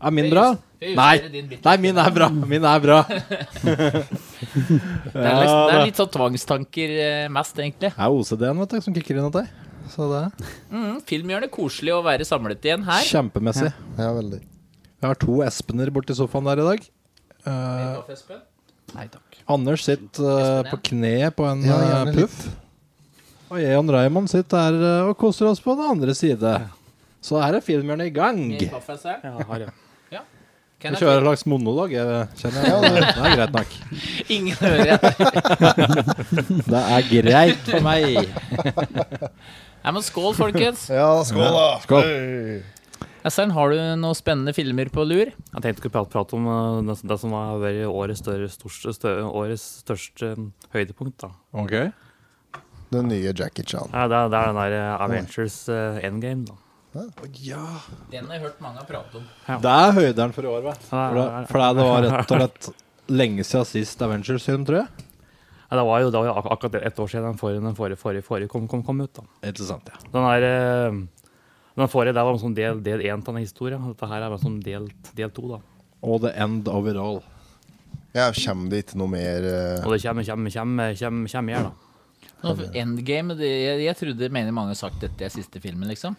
Er min Får bra? just- får justere Nei. din bit. Nei, min er bra. Min er bra. Det er, liksom, det da. er litt sånn tvangstanker eh, mest, egentlig. Det er OCD-en vet du, som kicker inn hos deg. Så det er Mm, Filmhjørnet, koselig å være samlet igjen her. kjempemessig. Ja, veldig. Vi har to Espener borti sofaen der i dag. Eh, Anders sitter eh, Espen, ja. på kne på en Ja, eh, gjerne puff. Og jeg og Raymond sitter her eh, og koser oss på den andre side. Så her er filmerne i gang. Min kaffe, sir. Ja, har jeg. Can Jeg I kjører en slags monolog, jeg kjenner jeg. Det er greit nok. take- Ingen hører etter. *laughs* Det er greit for meg. *laughs* Nei, men skål, folkens. Ja, skål, da. Skål. Hey. Esseln, har du noen spennende filmer på lur? Jeg tenkte vi kunne prate, prate om eh, det, det som har vært årets, større, største, større, årets største eh, høydepunkt. da. Ok. Den nye Jackie Chan. Nei, det, er- det er den der eh, Avengers eh, Endgame. da. Den har jeg hørt mange prate om. Det er høyderen for i år, vet du. Ja, For det, det er- for det var rett og slett lenge siden sist Avengers-film, tror jeg. Nei, det var jo, det var jo ak akkurat ett år siden den forrige, den forrige, forrige, forrige kom, kom, kom ut. da. Interessant, ja. Den, her, eh, den forrige der var liksom del, del én av den historien. Dette her er bare som del, del to. da. Og The End of It All. Ja, kommer det ikke noe mer eh, Og det kommer, kommer, kommer, kommer, kommer mer, da. Nå, Endgame, det, jeg, jeg trodde mener mange har sagt dette er siste filmen, liksom.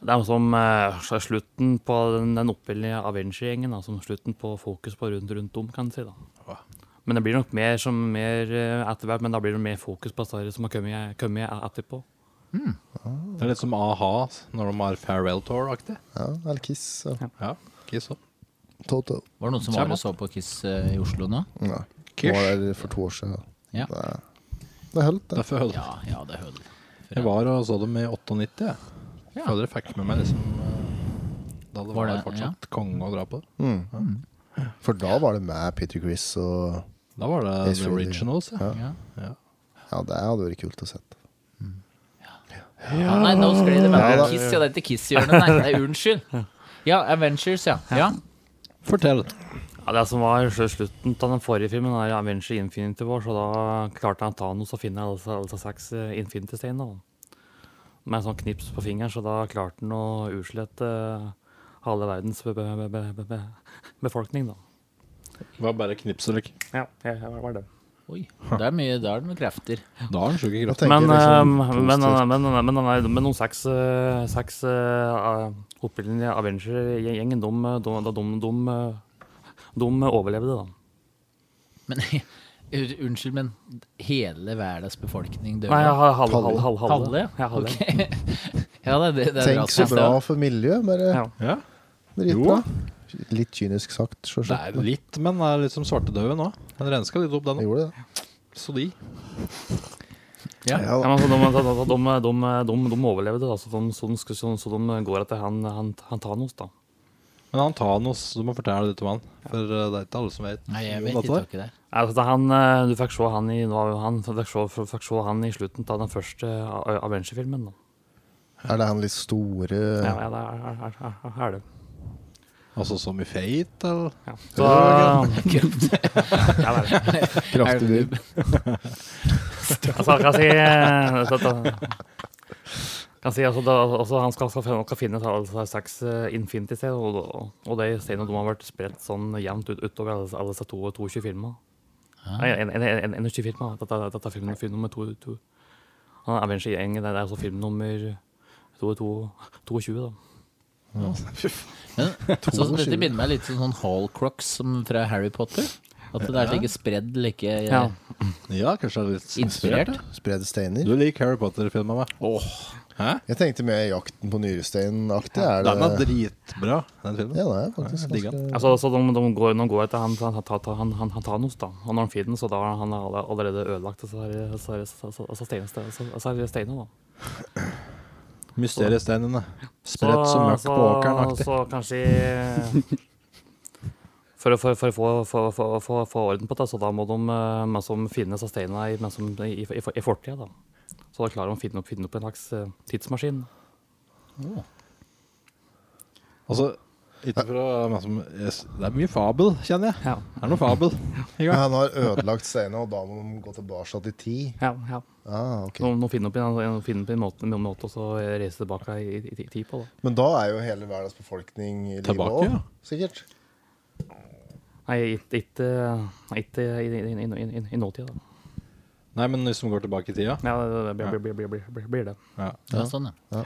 Det er som eh, sl- slutten på den, den opprinnelige Avenger-gjengen. da, Som slutten på fokus på rundt, rundt om, kan en si. da. Men det blir nok mer, som, mer eh, etter hvert, men da blir det mer fokus på det som har kommet, kommet etterpå. Det er litt som a-ha når de har farewell tour-aktig. Ja, eller Kiss. Ja. Ja. Kiss også. Toto. Var det noen som Kjem var og opp. så på Kiss eh, i Oslo nå? Nei. Kish. Det var der for to år siden. Ja. Det, det holdt, det. Derfor holdt Ja, ja, det hører du. Jeg var og så dem i 98, jeg. Ja. Føler jeg fikk med meg liksom eh, da det Var var, det- fortsatt konge å dra på. For da var det med Peter Chris og Da var det Ace The Frehley. Originals, ja. Ja. Ja, det hadde vært kult å se. Ja, nei, nå skled det Ja, bare da- Kiss, ja, det er ikke Kiss-hjørnet. Nei, nei, unnskyld. Ja, Avengers, ja. ja. Fortell. Ja, det som var sl- slutten av den forrige filmen, er Avenger Infinity War, så da klarte han Thanos å finne alle disse- alle disse seks eh, Infinity-steinene. da. Med en sånn knips på fingeren, så da klarte han å utslette eh, halve verdens be be be be be befolkning, da. Det var bare knips og lykke. Ja, det var det. Oi, det er mye, da er det noen krefter. Da har han sjuke Da kropp. tenker Men, jeg liksom eh, men, positivt. men, men, men, men, men de seks, eh, seks uh, oppildningene i Avenger-gjengen, de, eh, de, de, de, de, eh, de overlevde, da. Men *laughs* unnskyld, men hele verdens befolkning dør. Nei, ja. halve. Halve, halve, halve. Halve, ja? Ja, halve. Ok. *laughs* ja, det, det, det er Tenk så raskt, bra ja. for miljøet, bare Ja. Ja. dritbra. Litt kynisk sagt, Det sjølsagt. er litt, men det er litt som svartedauden òg. Den renska litt opp, den. Jeg gjorde det. Så de. Ja, Ja, da. men altså, de, de, de, de, de, de overlevde, da, så de, så, de, skulle- så, så de går etter han, han, han Thanos. da. Men han Thanos, du må fortelle litt om han. For eh, det er ikke alle som vet. Nei, jeg om vet dette ikke der. ikke det. Altså, han, eh, du fikk se han i, nå, han, fikk se, fikk se han i slutten av den første A- Avenger-filmen. da. Er det han litt store Ja, ja, det er, er, er, er, er det. Altså som i Fate, eller? Ja. Så, ja, det er det. kraftige dyr? Altså, kan si, eh, så at, eh, kan si altså, da, altså, Han skal, skal, finne- skal finne altså, seks eh, Infinity-steder, og, og, og de stedene de har vært spredt sånn jevnt ut, utover alle, alle disse to- 22 filmene. Nei, en- en- en- en- 21 filmer. da. Dette, dette er film, film nummer to. to. Han er Avenger-gjengen. Det er altså film nummer to- to- 22, da. Men, så, dette minner meg litt om sånn Hallcrocks som fra Harry Potter. At det er like spredd, like eh, Ja. Ja, kanskje det er litt inspirert. inspirert? Spredde steiner? Du liker Harry Potter-filmer, hva? Jeg tenkte mer 'Jakten på nyrestein'-aktig. Er det Den er dritbra, den filmen. Ja, det er Ja, faktisk digga. ganske Altså, så de, de, går, de går etter han, han, han, han, han, han Thanos, da. Og når han finner den, så da har han alle- allerede ødelagt disse her- disse her- disse- disse steinene, disse- disse her steinene, da. Mysteriesteinene. Spredt som møkk på åkeren-aktig. Så kanskje *laughs* For å for, for, for, for, for, for, for orden på det, så da må de eh, men som finne disse steinene i, men som, i, i, i fortida. Da. Så da klarer de å finne opp, finne opp en slags eh, tidsmaskin. Altså, ikke for å men som- yes, Det er mye fabel, kjenner jeg. Ja. Det er noe fabel. i gang. Han har ødelagt steinene, og da må de gå tilbake til tid. Ja, ja. Ah, ok. De, de finner opp en, en, finner opp en måte, en måte og så reise tilbake i, i, i tid på. Da. Men da er jo hele verdens befolkning i live Tilbake, òg, ja. sikkert. Nei, ikke- ikke eh, ikke i, i, i, i, i, i nåtida. da. Nei, men hvis vi går tilbake i tida Ja, det det blir, blir, blir, blir, blir, blir det. ja. Ja, sånn, ja.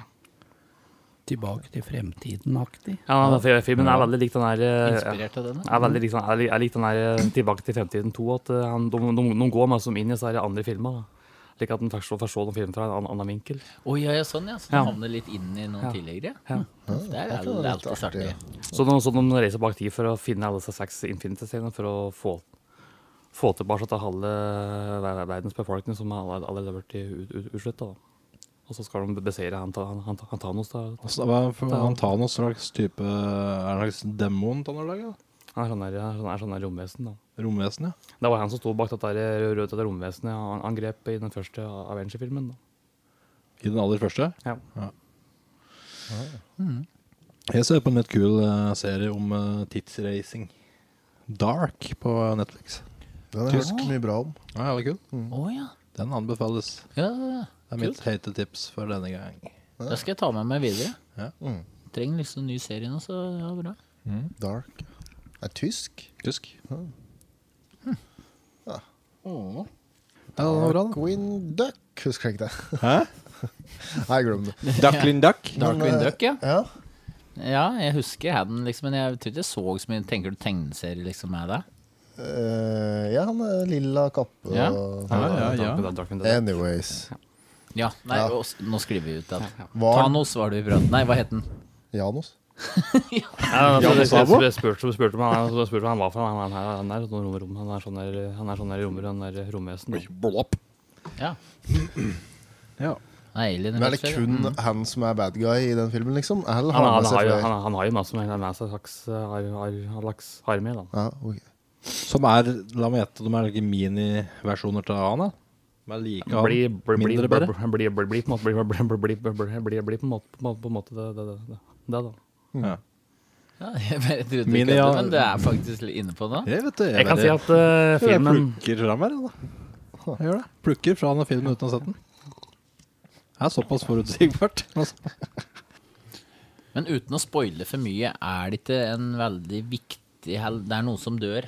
Tilbake til Fremtiden-aktig. Ja, den fil- filmen er veldig lik den der eh, Inspirert av den, da. Jeg, er veldig, liksom, jeg, lik- jeg likte den der eh, Tilbake til fremtiden 2, at eh, han, de, de, de går meg som inn i disse her andre filmer. da. slik at en først får se den filmen fra en annen- annen vinkel. Å ja, ja, sånn, ja. Så Ja. den havner litt inn i noen Ja. tidligere. Ja. Der er det er det litt alltid artig, artig. ja. Så de, så de reiser bak tid for å finne alle disse seks Infinity-scenene for å få, få tilbake til halve eh, ver- verdens befolkning som alle- allerede har blitt ut- ut- utslutta. da. Og så skal de beseire han, ta- han, han, han Thanos. Da. Altså, hva for han tar noen slags type Er det en slags demon av noe lag? da? Han er sånn der, han er sånn der romvesen. Da. Romvesen, ja. Det var han som sto bak dette her eh, røde dette romvesenet han angrep i den første Avenger-filmen. da. I den aller første. Ja. Jeg ser på en litt kul eh, serie om eh, tidsreising. Dark på Netflix. Den har jeg hørt mye bra om. Ja, jævlig kul. Å ja. Den anbefales. Ja, ja, ja. Det er mitt heite tips for denne gang. Det skal jeg ta med meg videre. Ja. Trenger liksom ny serie nå, så ja, bra. Dark. Det er tysk. Tysk. Åh. Ja, den var bra, da. Queen Duck, husker jeg ikke det. *laughs* Hæ? *laughs* Nei, glem det. Ducklin Duck. eh, Darkwing Duck, ja. Ja, Ja, jeg husker Hadden, liksom, men jeg tror ikke jeg så så mye. Tenker du tegneserie liksom med deg? Eh, ja han er lilla kappe Ja. og Ja, ja, ja. Dark- Dark- Dark Window. Eh, Anyways. Ja, nei, Ja. og s- nå skriver vi ut at Var Thanos var det vi pratet Nei, hva het den? Janos? Ja, altså, Jan jeg- jeg- Sabo? jeg spurte jeg spurte om han jeg spurte om han var fra. Han er her, han er sånn rom, rom, han er sånn der- han er sånn der rommer, han er romvesen. da. Ja. Ja. Nei, Alien. Men er det rett og slett. kun han som er bad guy i den filmen, liksom? Eller har Han, han, han med har seg jo, flere? han, han har jo masse med, med seg slags eh, har, har, har laks harme. Da. Ja, ok. Som er, la meg gjette, de er like miniversjoner til Ana. De er like han. Bli, bli, bli, mindre bli, bedre. bli, bli, bli, på en måte- bli, bli, bli, bli, bli, bli, bli på en måte- på en måte- på en måte det, det, det, det, det da. Ja. Ja, *laughs* jeg bare trodde Mini- ikke at ja. det, men det er faktisk litt inne på nå. Jeg vet det. Jeg kan si at eh, filmen Jeg plukker fram her, jeg, da. Jeg gjør det. Plukker fra den filmen uten å ha sett den. Det er såpass forutsigbart. Altså. Men uten å spoile for mye, er det ikke en veldig viktig hel... Det er noen som dør.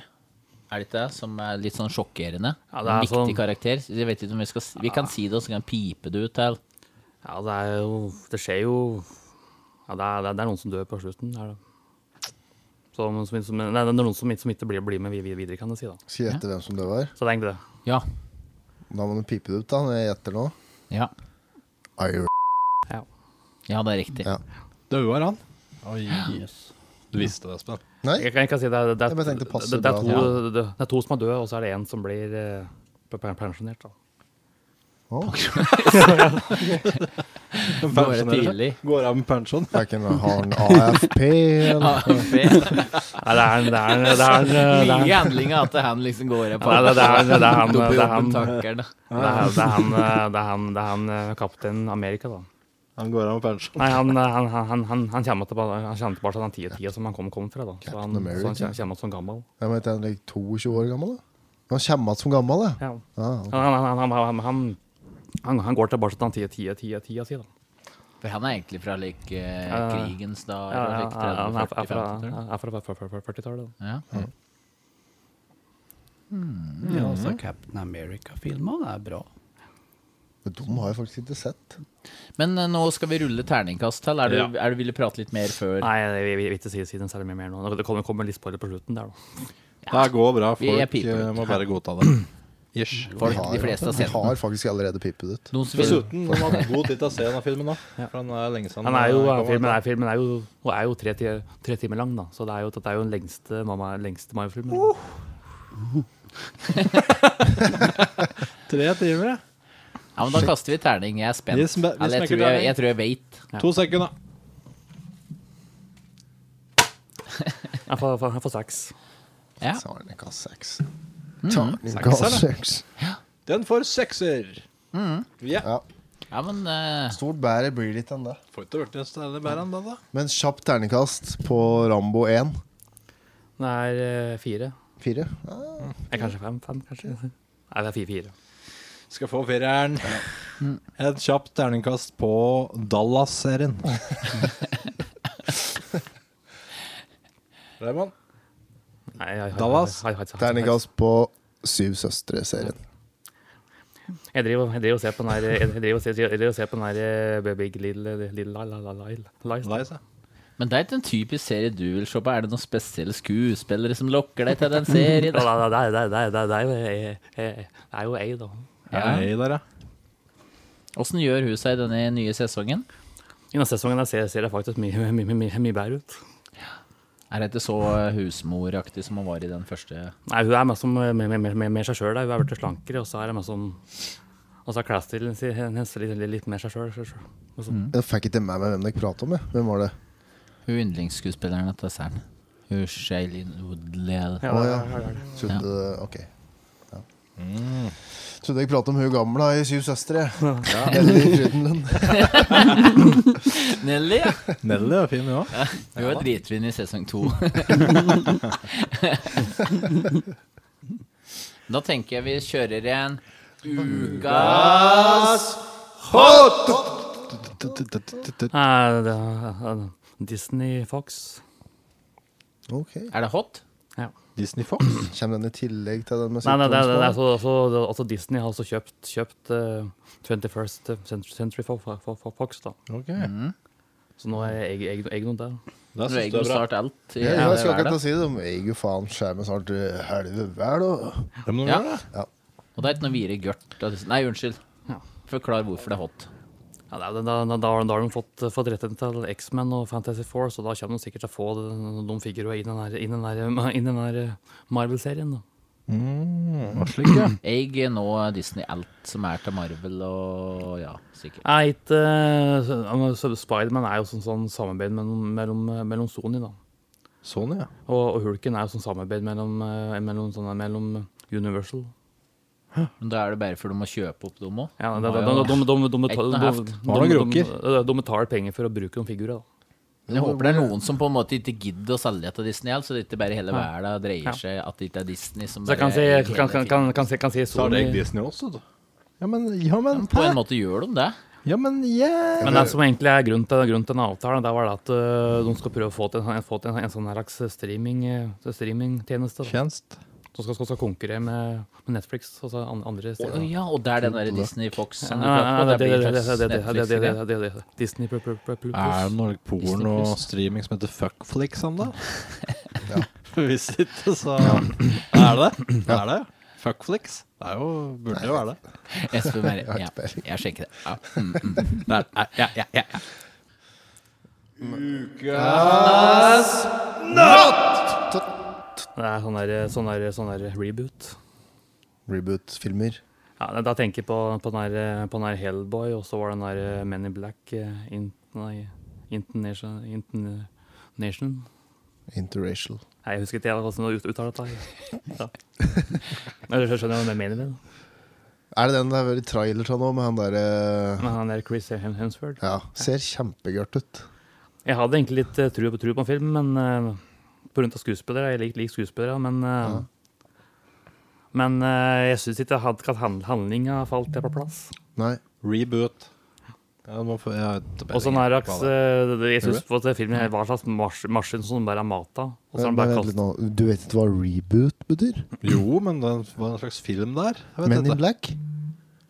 Er det ikke det? Som er litt sånn sjokkerende. Ja, det en er viktig sånn- karakter. Jeg vet ikke om Vi skal s- Vi kan si det, og så kan jeg pipe det ut til Ja, det er jo Det skjer jo Ja, det er, det er, det er noen som dør på slutten. Er det. Så, men som, som, nei, det er noen som, ikke- som ikke blir, blir med vid- vid- videre, kan jeg si. da Skal jeg gjette hvem som det var? Så det er egentlig det. Ja. Da må du pipe det ut, da. Når jeg gjetter nå. Ja, Iron. ja det er riktig. Ja. Daua han. Oi. Du visste det, Espen. Nei? Jeg kan, jeg kan si det, er- det, Jeg er- bare tenkte det, passer det, det, er bra to, til det, det er to som er døde, og så er det én som blir eh, pe- pe- pensjonert. da Oh, Nå er det tidlig. Går av med pensjon. jeg kan ha en AFP *laughs* eller Nei, det er en- det er en- det er en, eh, det er en- *laughs* Mye handling av at han liksom går opp Nei, det, det, er, det er han, det er han, Dobbeltjobben det er, takker da. det er han, eh, det er han, det er han eh, kaptein Amerika, da. Han går av med pensjon. Nei, han, eh, han, han, han, han, han kommer tilbake han kommer tilbake til den tida tida som han kom, kom fra, da. Så han, Captain så han America. kje- kommer tilbake som gammel. Jeg vet, er han like 22 år gammel, da? Han kommer igjen som gammel, da. Ja. Ah, Han, han, han, han, han, han, han, han går tilbake til den tida tida tida tida si, da. For han er egentlig fra like eh, Ja, ja. krigens Ja, dager. ja, Ja, ja, Han er fra- er fra 40-50-tallet. er fra- fra- fra- fra 40-tallet. da. Ja. Ja, altså Captain America-filmer, det er bra. men de har jeg faktisk ikke sett. Men eh, nå skal vi rulle terningkast til. Er du, er du ville prate litt mer før? Nei, jeg vil- jeg vil ikke si si den særlig mye mer nå. Det kommer, kommer litt spoiler på slutten der, da. Det går bra. Vi- jeg Folk piper eh, ut. må bare godta det. Ish. Folk, har, de fleste har jeg sett den. har faktisk allerede pipet ut. Noen som vil Dessuten, de hadde god tid til å se denne filmen nå. For den er lenge siden. Han er jo, den kom filmen, ut. er, filmen er jo, og er jo tre, ti- tre timer lang, da. Så det er jo, dette er jo den lengste, mamma- lengste Mario-filmen. Tre timer, ja. Ja, men Da kaster vi terning. Jeg er spent. Vi sm- vi Eller jeg smekker tror jeg, terning. jeg, tror jeg vet. To sekunder. Jeg får, får, jeg får seks. Ja. Tarnika 6. Tarnika Seks, 6. Den får sekser. Ja. Ja. Ja, men eh, Stort bære blir litt enn det. Får ikke vært en stille bedre enn den, da. Men kjapt terningkast på Rambo 1. Den er eh, fire. 4. Eh, kanskje fem, fem kanskje. Nei, det er fire, fire. Skal få fireren. Et kjapt terningkast på Dallas-serien. Raymond? Nei, jeg, jeg, Dallas? jeg- jeg- jeg- jeg- Terningkast på Syv søstre-serien. Jeg driver jeg driver og ser på den her jeg- Jeg driver og ser- jeg driver og ser på den her eh, Big- Big Little Little Lies, da. Lies, da. Nice, ja. men det er ikke en typisk serie du vil se på. Er det noen spesielle skuespillere som lokker deg til den *laughs* serien? Ja, da, da, da, da, da, da, da, da, da, da, da, da, da, Det er jo ei, da. Ja. Hei der, ja. Åssen gjør hun seg i denne nye sesongen? I neste sesongen der ser, ser jeg faktisk mye, mye, mye, mye, mye bedre ut. Er hun ikke så eh, husmoraktig som hun var i den første? Nei, hun er mest som eh, med, med, med, med seg sjøl. Hun er blitt slankere, og så er det mest som Og så er klesstilen sin hennes litt, litt, litt mer seg sjøl. Mm. Jeg fikk ikke med meg hvem dere prata om. jeg. Hvem var det? Hun yndlingsskuespilleren til Cern. Hun Shailene Woodley. Å ja. Trodde OK. Ja. Trodde jeg pratet om hun gamla i Syv søstre. Ja. Nelly, ja. Nelly er fin, hun òg. Hun er dritfin i sesong to. da tenker jeg vi kjører en Ukas *laughs* Nei, det er- eh, Disney, Fox OK. Er det hot? Disney Fox. Kommer den i tillegg til den med Nei, nei, det, det, det er sykdomsfaren? så, så, altså Disney har altså kjøpt, kjøpt eh, 21st Century Fo- Fo- Fo- Fo- Fox, da. Ok. Så nå er jeg jeg- jeg noe Da der. Du synes jeg det er eier bra. snart alt. i Ja, ja, jeg skal verden. akkurat til å si det. De eier jo faen skjermen snart til helvete hver, da. Ja, men nå Ja. gjør det. Og det er ikke noe videre gørt. Nei, unnskyld. Forklar hvorfor det er hot. Ja, det er- da, da, da, har- da har de fått, eh, fått retten til X-Men og Fantasy Four, så da kommer de sikkert til å få de, de figurene inn i den her- inn i den her- *laughs* inn i den her eh, Marvel-serien. da. Jeg nå Disney alt som er til Marvel og ja, sikkert. Nei, ikke eh, så- altså, Spiderman er jo sånn, sånn samarbeid mellom, mellom, eh, mellom Sony, da. Sånn, ja. Og, og Hulken er jo sånn samarbeid mellom, eh, mellom, sånn, mellom Universal. Men da er det bare for de må kjøpe opp dem òg. Ja, det, det, det, de, de, de, de, Ett og betal- et halvt. de, Barn og de, de, krukker. de, de betaler penger for å bruke noen figurer. Da. Men jeg håper det er noen som på en måte ikke gidder å selge til Disney, alt, så det ikke bare hele verden dreier Ja. seg at det ikke er Disney som Så jeg kan si, eier hele kan, kan, kan, kan, si- kan si Så har Sony jeg Disney også, da. Ja, men Ja, men filmen. På en måte gjør de det. Ja, men yeah. Men det som egentlig er grunnen til, grunnen til den avtalen, det var det at øh, de skal prøve å få til, en- få til en, en sånn her slags streaming, øh, streamingtjeneste. da. Tjenest. Som skal, skal, skal konkurrere med, med Netflix og så an, andre Å steder. da. ja, og det er den der Disney Fox Ja, som du ja, ja, prater om. det- Det det- blir det- det- det- det- det- det- det- Netflix-greie. det- det- det- det- Disney Plus. plus- plus- plus. Er det noe porn Disney og Plus. streaming som heter fuckflix ennå? *laughs* Hvis ikke, så Er det det? Er det? Fuckflix? Det er jo, burde jo være det. Espen Mer- Ja, jeg sjekker det. Ja. Mm, mm. Der, ja, ja, ja, ja. Det er sånn der, sånn der, sånn der reboot. Reboot-filmer. Ja, da- da tenker jeg på, på, den her, på den her Hellboy, og så var det den der eh, Men in Black eh, in, nei, Internation, Internation. Interracial. Nei, jeg husker ikke helt hvordan du ut- uttaler dette. *laughs* her. Ja. Men du skjønner hva jeg mener med det? Er det den det har vært trailer av nå, med han derre Men Han der Chris Hem- Hemsworth. Ja, ser kjempegørt ut. Jeg hadde egentlig litt eh, tro på, tro på film, men eh, på grunn av skuespillere. Jeg liker lik skuespillere, men eh, Men eh, jeg syns ikke had- at hand- handlinga falt på plass. Nei. Reboot. Ja, du må få, jeg vet ikke Og sånn hva er det det, eh, det- Jeg syns på at filmen her var en slags mars- maskin som bare er mata. Og så er den Men, men bare vent kastet litt nå. Du vet ikke hva reboot betyr? eh, Jo, men det var en slags film der. Jeg vet Men ikke. in black?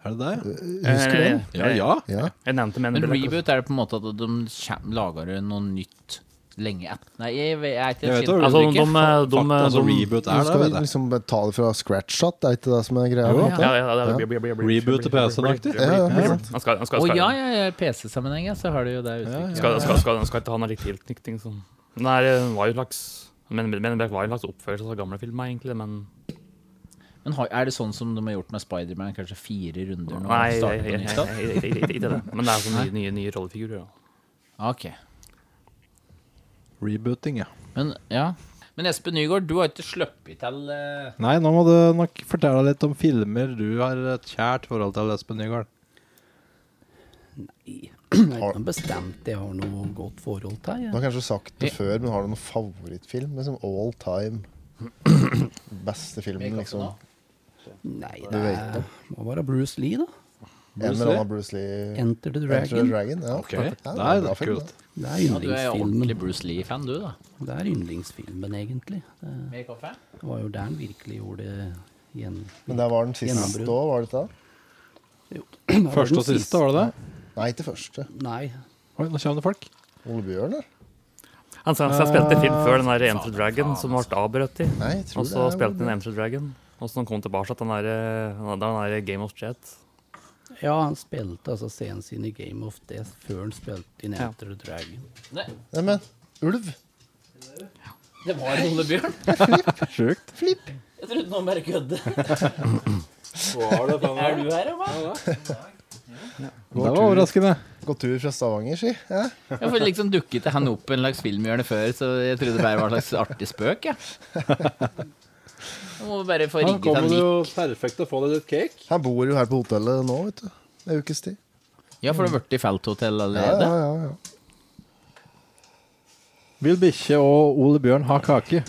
Er det det? Eh, Husker du den? Ja, ja. Ja. Jeg nevnte Men Men in Black. reboot er det på en måte at de kjem- lager noe nytt lenge etter Nei, jeg, jeg, er ikke Jeg vet helt hva Altså, de, sikker. de, de, Fuck, altså, reboot Du er det, skal vet jeg. liksom ta det fra scratch shot, det er ikke det som er greia? Jo. vet du? ja, ja, det er- blir- blir- blir- blir- Reboot til PC-en-aktig. blir- blir- Ja, ja, blir- ikke blir- Han skal, han skal, Å skal, ja, ja, ja, i PC-sammenheng, ja, så har du jo det uttrykket. skal, skal, skal, skal ikke ha noe litt tilknytning. Sånn. Den her eh, var jo en slags men, men, men det var jo en slags oppførelse av gamle filmer, egentlig. Men Men har, er det sånn som de har gjort med Spiderman, kanskje fire runder nå? nei, og jeg- starter på jeg- nytt, da? jeg- jeg- jeg- ikke det. Men det er sånne nye, nye, nye rollefigurer. Da. Ok. Rebooting, ja. Men ja. Men Espen Nygaard, du har ikke sluppet til eh, Nei, nå må du nok fortelle litt om filmer du har et kjært forhold til, Espen Nygaard. Nei, jeg har ikke noe bestemt jeg har noe godt forhold til. Du Jeg. har kanskje sagt det før, men har du noen favorittfilm? Liksom all time. Beste filmen, liksom. Nei, Du det vet det. må være Bruce Lee, da. En eller annen Bruce Lee. Enter the Enter the Dragon. Dragon. Ja. Ok. Ja, Det en er bra litt film, kult. det. Det er Ja, du er jo ordentlig yndlingsfilmen. Bruce Lee-fan, du, da. Det er yndlingsfilmen, egentlig. Det Mer kaffe? det var jo der han virkelig gjorde igjen. Men der var den siste Gjennombrudd. òg, var det ikke det? Første og siste, var det det? Nei, ikke første. Nei. Oi, nå kommer det folk. Ole Bjørn, eller? Han, sa- han spilte en film før den der Enter Dragon, som ble avbrøtt i. Nei, jeg tror Og så det er spilte han Enter Dragon. Og så når han kom tilbake til den der, eh, den der Game of Jet. Ja, han spilte altså scenen sin i Game of Death før han spilte in Enter the Dragon. Nei, Neimen, ulv! det var en Ole-bjørn. Sjukt. Jeg trodde noen bare kødde. Er du her, Emma? Det var overraskende. Gå tur fra Stavanger, si. Ja. Ja, for liksom dukket han opp en slags filmhjørne før, så jeg trodde det bare var en slags artig spøk, jeg. Nå må vi bare få Da rigget kommer han det dit. jo perfekt å få deg litt cake. Han bor jo her på hotellet nå, vet du. En ukes tid. Ja, for det har vært i Felt Hotel Ja, ja, allerede. ja, ja. Vil bikkje og Ole Bjørn ha kake?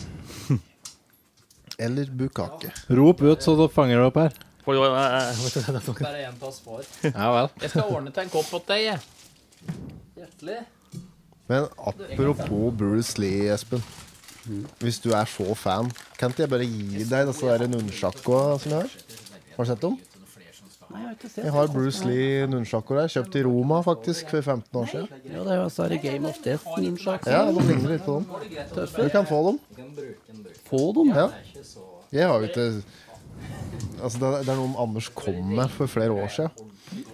Eller bukake. Rop ut, så du fanger det opp her. Får du- eh, eh, Bare gjenta svar. Ja vel. Jeg skal ordne til en kopp åt deg, jeg. Hjertelig. Men apropos Bruce Lee, Espen. Hvis du er så fan, kan ikke jeg bare gi deg disse der nunchakoa som jeg har? Har du sett dem? Jeg har Bruce Lee nunchakoer her. Kjøpt i Roma faktisk for 15 år siden. Ja, det er jo altså her i Game of Death, Nunchak. Ja, De ligner litt på dem. Du kan få dem. Få dem! Ja. Jeg har jo ikke Altså, det er- det er noe Anders kom med for flere år siden.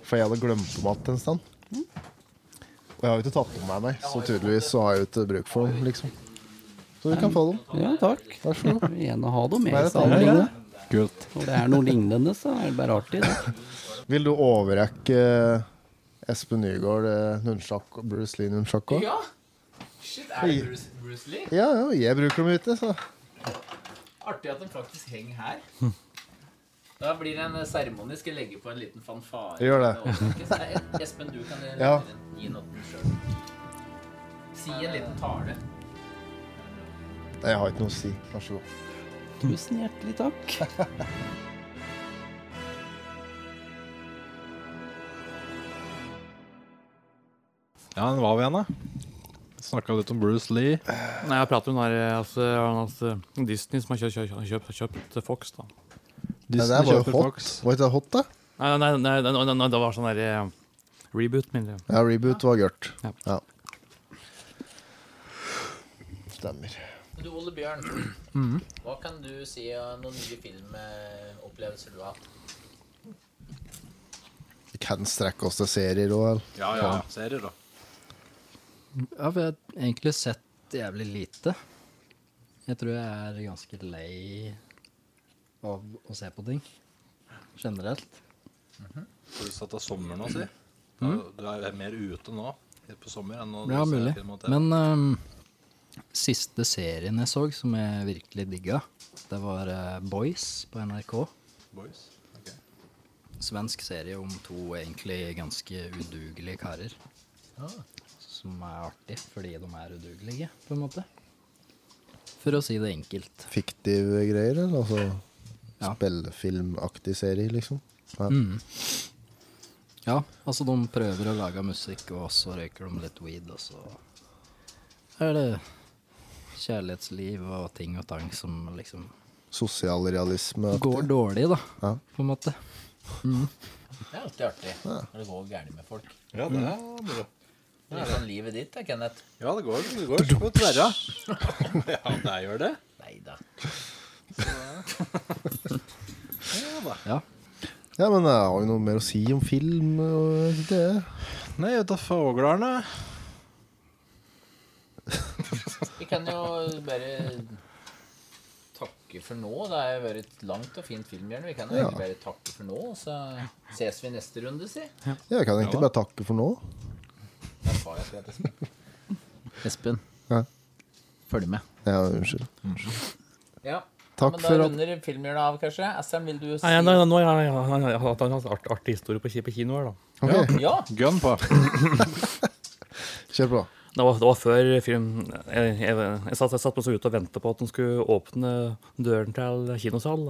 For jeg hadde glemt dem igjen en stund. Og jeg har jo ikke tatt dem med meg, så tydeligvis så har jeg jo ikke bruk for dem, liksom. Så du kan få dem. Ja, takk. Vær så Jeg god. vil gjerne ha dem med Bare i ta dem. samlingene. Kult. Når det er noe lignende, så er det bare artig. Det. Vil du overrekke eh, Espen Nygaard eh, nunchak og Bruce Lee nunchak òg? Ja. Shit, er det Bruce, Bruce Lee? Ja, ja, jeg bruker dem ute, så. Artig at den faktisk henger her. Da blir det en eh, seremoni. Skal legge på en liten fanfare. Gjør det. Nei, Espen, du kan eh, Ja. legge den- gi den opp sjøl. Si en liten tale. Nei, Jeg har ikke noe å si. Vær så god. Tusen hjertelig takk. Ja, den var vi igjen, da. Snakka litt om Bruce Lee. Nei, jeg prater om den her, altså, altså, Disney som har kjøpt, kjøpt, kjøpt, kjøpt Fox, da. Nei, det Disney der var kjøper jo hot. Fox. Var ikke det hot, da? Nei, nei, nei, nei, nei, nei det var sånn der eh, reboot, mener jeg. Ja, reboot var gørt. Ja. Ja. Stemmer. Men Du, Ole Bjørn, Mm. hva kan du si av noen nye filmopplevelser du har hatt? Vi kan strekke oss til serier òg, eller? Ja, ja. Serier, da. Ja, for jeg har egentlig sett jævlig lite. Jeg tror jeg er ganske lei av å se på ting. Generelt. Får du satt av sommeren også, si? Mm. Da- Du er mer ute nå på sommer enn når Ja, du ser mulig. film og TV. Men ehm, siste serien jeg så som jeg virkelig digga, det var eh, Boys på NRK. Boys. Ok. Svensk serie om to egentlig ganske udugelige karer. Ah. Som er artig fordi de er udugelige, på en måte. For å si det enkelt. Fiktive greier, eller? Altså Ja. spillefilmaktig serie, liksom? Ja. Ja, altså de prøver å lage musikk, og så røyker de litt weed, og så er det kjærlighetsliv og ting og tang som liksom Sosial realisme. går dårlig, da, Ja. på en måte. Mm. Det er alltid artig når det går gærent med folk. Ja, det er moro. Det er sånn livet ditt, da, Kenneth. Ja, det går, det går på tverra. *laughs* Ja, det gjør det. Nei da. Ja. Ja, men jeg har jo noe mer å si om film og det. Nei, ut av fuglene. Vi kan jo bare takke for nå. Det har jo vært et langt og fint filmhjørne. Vi kan jo egentlig bare takke for nå, og så ses vi neste runde, si. Jeg kan egentlig bare takke for nå. Da sa jeg akkurat Espen. Espen, Ja. følg med. Ja, unnskyld. Ja. Takk Men da for at runder filmhjørnet av, kanskje. Assern, vil du Nei, nei, nei, nå har jeg- jeg har hatt en art, artig historie på, ki- på kino her, da. Ok, Ja. Gun på. kjør på. Det var, det var før film Jeg, jeg, jeg, satt, jeg satt meg så ute og ventet på at de skulle åpne døren til kinosalen.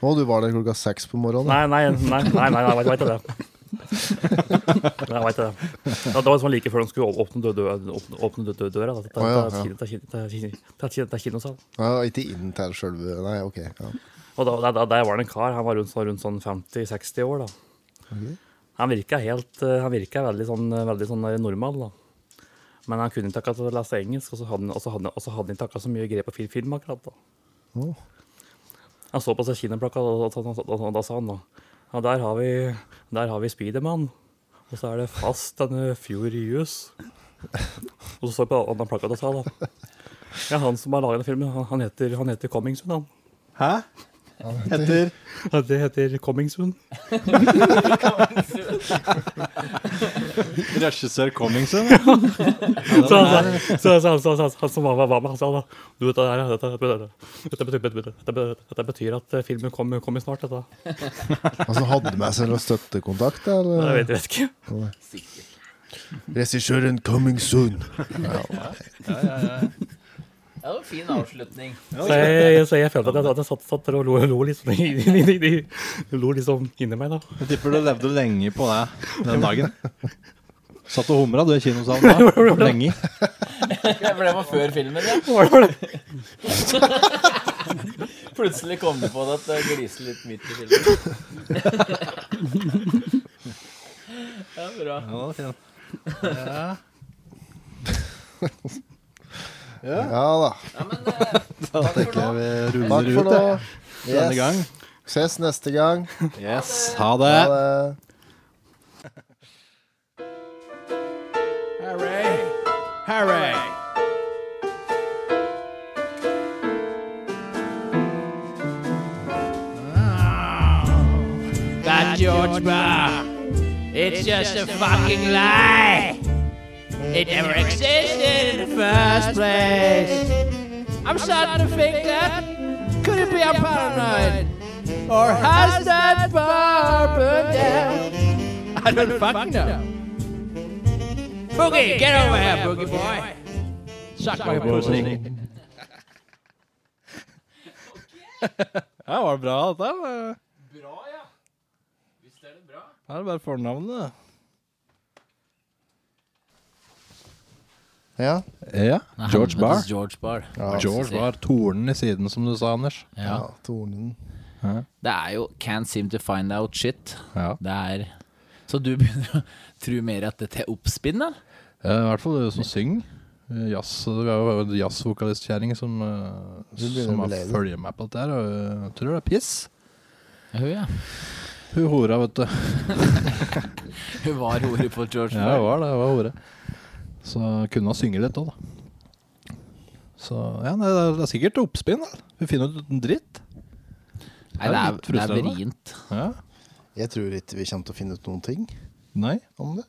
da. Å, du var der klokka seks på morgenen? Nei, nei, nei, nei, nei, nei jeg vet ikke det. Nei, jeg vet ikke det. Det var liksom like før de skulle å- åpne dø- dø- åpne- åpne dø- dø- døra da, til- Å, ja, til- til- til- til- til- til- til kinosalen. Ja, ikke inn til sjølve Nei, OK. Ja. Og da, da, der var det en kar, han var rundt, sånn- rundt sånn 50-60 år da. Han virka helt, eh, han virka veldig sånn, eh, veldig sånn eh, normal da. Men han kunne ikke akkurat lese engelsk, og så hadde han- og så hadde han og så hadde han ikke akkurat så mye grep på fil- film akkurat da. Å. Han så på seg kinoplakka, og, og, og, og, og, og da sa han da, Ja, der har vi, der har vi Spiderman. Og så er det fast denne Furious. Og så står det på andre plakat og sa da. Ja, han som har laget den filmen, han- han heter, han heter Comingsoon, han. Hæ? Heter Ja, Det heter Comingsoon. regissør Commingsen? Så han sa, så, så, så, så, han som var, var var med, han sa da. Du, dette, her, dette, dette, dette, betyr, dette, betyr- dette betyr at eh, filmen kommer kommer snart, dette. Altså, hadde med seg noe støttekontakt? Nei, Jeg Eller? vet, jeg vet ikke. Regissøren coming soon. Ja, det var en fin avslutning. Så jeg, så jeg følte at jeg, at jeg satt, satt der og lo, lo, liksom, i, i, i, i, lo liksom inni meg, da. Jeg tipper du levde lenge på det den dagen. Satt og humra, du, i *laughs* kinosalen da. Lenge. For det var før filmen, ja. Hva var det? Plutselig kom du på det at det gliser litt midt i filmen. Ja, bra. Ja, det var fint. Ja da. Ja, men *laughs* eh, takk for nå. Takk for nå. Denne gang. Yes. Ses neste gang. Yes. Ha Ha det. det. Harry! Harry! That George Bar. It's just a fucking lie. It never existed in the first place. I'm starting to think that could it be I'm paranoid? Or has that bar burned down? I don't fucking know. Boogie, get over here, Boogie boy. Suck my pussy. Ja, var det bra, dette? eller? Bra, ja. Hvis det er det bra. Her er det bare fornavnet. *laughs* Ja. Ja. George Barr. George Barr. George var tornen i siden, som du sa, Anders. Ja. ja tornen. Det er jo 'Can't Seem To Find Out Shit'. Ja. Det er Så du begynner å tro mer at dette er oppspinn, da? Eh, I hvert fall du som synger. Eh, Jazz, det er jo en jazzvokalistkjerring som, eh, Hun begynner som å har bli lei det. følger med på dette her. Og eh, jeg tror det er piss. Ja. Hun hora, *laughs* vet du. Hun var ordet på George Ja, Barr. hun var det. Hun var hore. Så kunne hun synge litt òg, da. Så ja, nei, det er- det er sikkert oppspinn. da. Hun finner ut en dritt. Nei, det er, det er frustrerende. vrient. Ja. Jeg tror ikke vi kommer til å finne ut noen ting Nei. om det.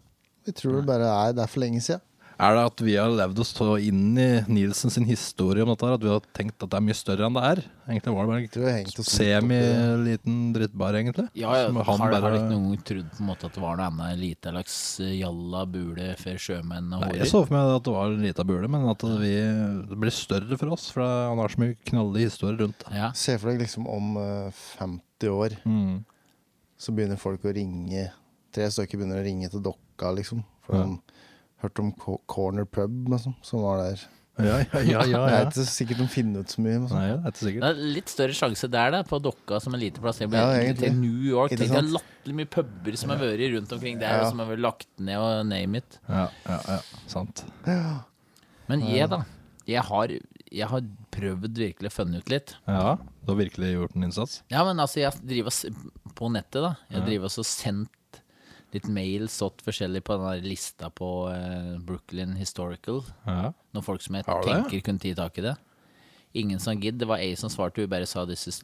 Vi tror det bare er det er for lenge siden. Er det at vi har levd oss så inn i Nielsen sin historie om dette her, at vi har tenkt at det er mye større enn det er? Egentlig var det bare en Jeg tror jeg hengte oss litt opp i- Semi-liten drittbar, egentlig. Ja, ja, Som har, han har du bare- ikke noen gang trodd på en måte at det var noe annet lite laks jalla bule for sjømenn Nei, og jeg horer? altså, så for meg at det var en liten bule, men at det, vi, det blir større for oss. For det- han har så mye knallige historier rundt det. Ja. Se for deg liksom om eh, 50 år, så begynner folk å ringe Tre stykker begynner å ringe til dokka, liksom. For de hørte om Co- Corner Pub, liksom, som var der. Ja, ja, ja. ja, Det *laughs* ja. er ikke sikkert de finner ut så mye. Men sånn. Nei, det er ikke Det sikkert. er litt større sjanse der, da, på Dokka som en liten plass. Jeg ble Ja, egentlig egentlig. til New York. Ikke Tenk sant? deg latterlig mye puber som har vært rundt omkring der, Ja. og som har vært lagt ned og name it. Ja, ja, ja, sant. Men jeg, da. Jeg har, jeg har prøvd virkelig å funne ut litt. Ja, du har virkelig gjort en innsats. Ja, men altså, jeg driver og s- på nettet, da. Jeg driver også og sendt litt mail, sått forskjellig på den der lista på eh, Brooklyn Historical. Ja. Noen folk som jeg Har du det? tenker kunne ti tak i det. Ingen som gidd. Det var ei som svarte, hun bare sa 'this is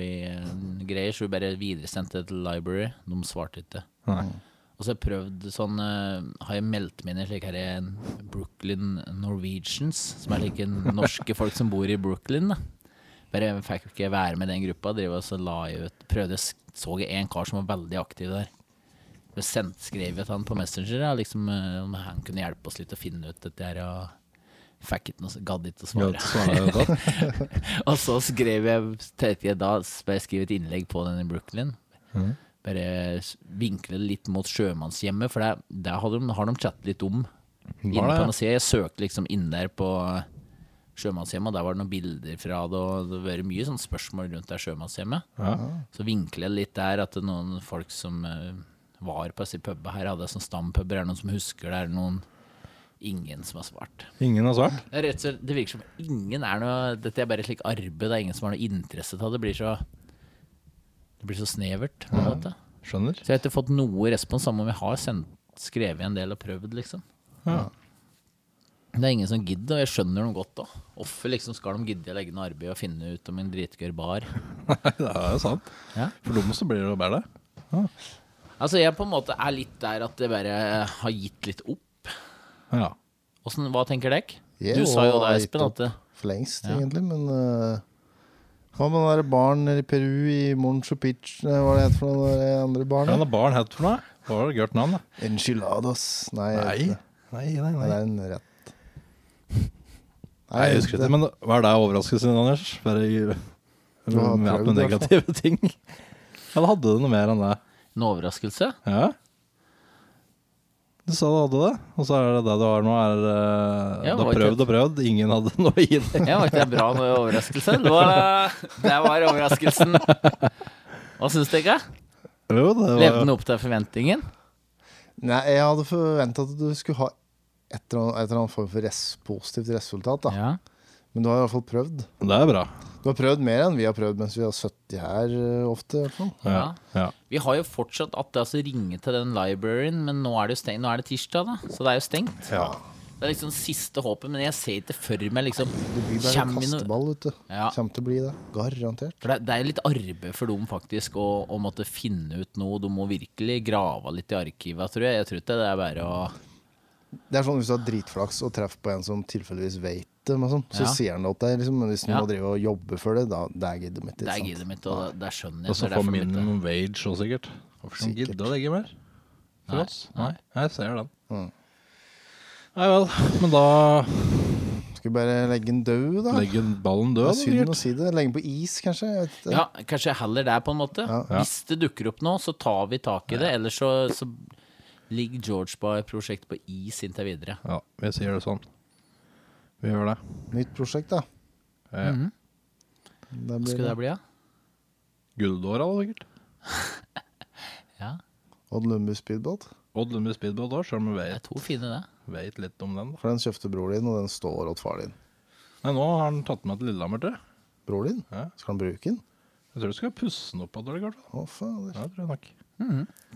library'-greier, så hun bare videresendte det til library. De svarte ikke. Nei. Og så har jeg prøvd sånn eh, Har jeg meldt meg inn i slike her eh, Brooklyn Norwegians, som er like norske folk som bor i Brooklyn, da. Bare jeg fikk ikke være med i den gruppa. Driver og så la jeg ut Prøvde, så jeg en kar som var veldig aktiv der. Jeg sendt, skrev jeg til han på Messenger ja, liksom, eh, om han kunne hjelpe oss litt å finne ut dette her. Og fikk ikke noe, gadd ikke å Ja, svare. det svarer jeg godt. Og så skrev jeg, tenkte jeg da skal jeg skrive et innlegg på den i Brooklyn. Bare s- vinkle det litt mot sjømannshjemmet, for der, der har, de, har de chattet litt om. Inne det, på ja. den siden. Jeg søkte liksom inn der på sjømannshjemmet, og der var det noen bilder fra det, og det har vært mye sånn spørsmål rundt det sjømannshjemmet. Så vinkle jeg litt der at det er noen folk som eh, var på disse pubene her, hadde sånn stampuber, er det noen som husker det, er det noen Ingen som har svart. Ingen har svart? Det, er rett og slett, det virker som ingen er noe Dette er bare et slikt arbeid, det er ingen som har noe interesse av det. Det blir så Det Det blir så snevert. på en måte. *laughs* Skjønner. Så jeg har ikke fått noe respons, samme om jeg har sendt, skrevet en del og prøvd, liksom. Det er ingen som gidder, og jeg skjønner dem godt da. Hvorfor liksom skal de gidde å legge ned arbeid og finne ut om en dritgøy bar? det er jo sant. Ja. For dem så blir det jo bare det. Altså, jeg på en måte er litt der at jeg bare har gitt litt opp. Ja. Åssen- hva tenker dere? Jeg Du sa jo har det, gitt Espen, at det, For lengst, Ja. egentlig, men eh, Hva med den der barn nede i Peru, i Moncho Pitch, eh, hva er det het for noe der Hva andre er barnet? det barn het for noe? Hva var det gørt navn, da? Enchiladas. Nei, jeg vet ikke. Nei, nei, Nei, nei. det er en rett. Nei, jeg husker ikke, men hva er det overraskelsen din, Anders? Bare i, med har noen prøvd, i hvert negative ting? *laughs* Eller hadde du noe mer enn det? en overraskelse? Ja? Du sa du hadde det, og så er det det du har nå. Er, eh, Ja, du har var ikke prøvd og prøvd, ingen hadde *laughs* noe i det. Ja, var ikke det bra noe overraskelse? Det var, det var overraskelsen. Hva syns dere? Jo, det Levde var, den opp til forventningen? Nei, jeg hadde forventa at du skulle ha et eller annet, et eller annet form for res positivt resultat, da. Ja. Men du har i hvert fall prøvd. det er bra. Du har prøvd mer enn vi har prøvd mens vi har 70 her eh, ofte. i hvert fall. Ja. Ja. Vi har jo fortsatt at det altså ringe til den libraryen, men nå er det jo stengt. Nå er det tirsdag, da, så det er jo stengt. Det er liksom siste håpet, men jeg ser ikke for meg liksom Det blir bare en Kjem vi nå- kasteball, vet du. Ja. Kjem til å bli det. Garantert. For det, det er jo litt arbeid for dem faktisk å, å måtte finne ut noe. De må virkelig grave litt i arkivet, tror jeg. Jeg tror ikke det er bare å Det er sånn hvis du har dritflaks og treffer på en som tilfeldigvis veit det, men sånn, så Ja. sier han det til deg. Liksom, men hvis du Ja. må drive og jobbe for det, da det er giddet mitt. Det er giddet mitt, og det, det skjønner jeg. Og så det får er derfor de ikke- minimum wage òg, sikkert. Hvorfor Sikkert. gidde å legge mer? For Nei, oss? Nei, jeg ser den. Mm. Nei vel, men da Skal vi bare legge den død, da? legger ballen det død. er synd altså. sikkert. å si det. Legge den på is, kanskje? Jeg vet, ikke. Ja, kanskje heller det, på en måte. Hvis det dukker opp nå, så tar vi tak i det. Ellers så, så ligger George By-prosjektet på is inntil videre. Ja, vi sier det sånn. Vi gjør det. Nytt prosjekt, da. Eh, Mhm. Det Hva blir skulle det. det bli, da? Guldåra, da, sikkert. Odd Lumbu Speedbåt. Odd Lundby Speedbåt òg, selv om vi Det er vet, to fine, det. vet litt om den. da. For den kjøpte bror din, og den står åt far din. Nei, nå har han tatt den med til Lillehammer, tror jeg. Bror din? Ja. Skal han bruke den? Jeg tror du skal pusse den opp. Adolf, i hvert fall. Å, fader. Ja, det tror jeg nok.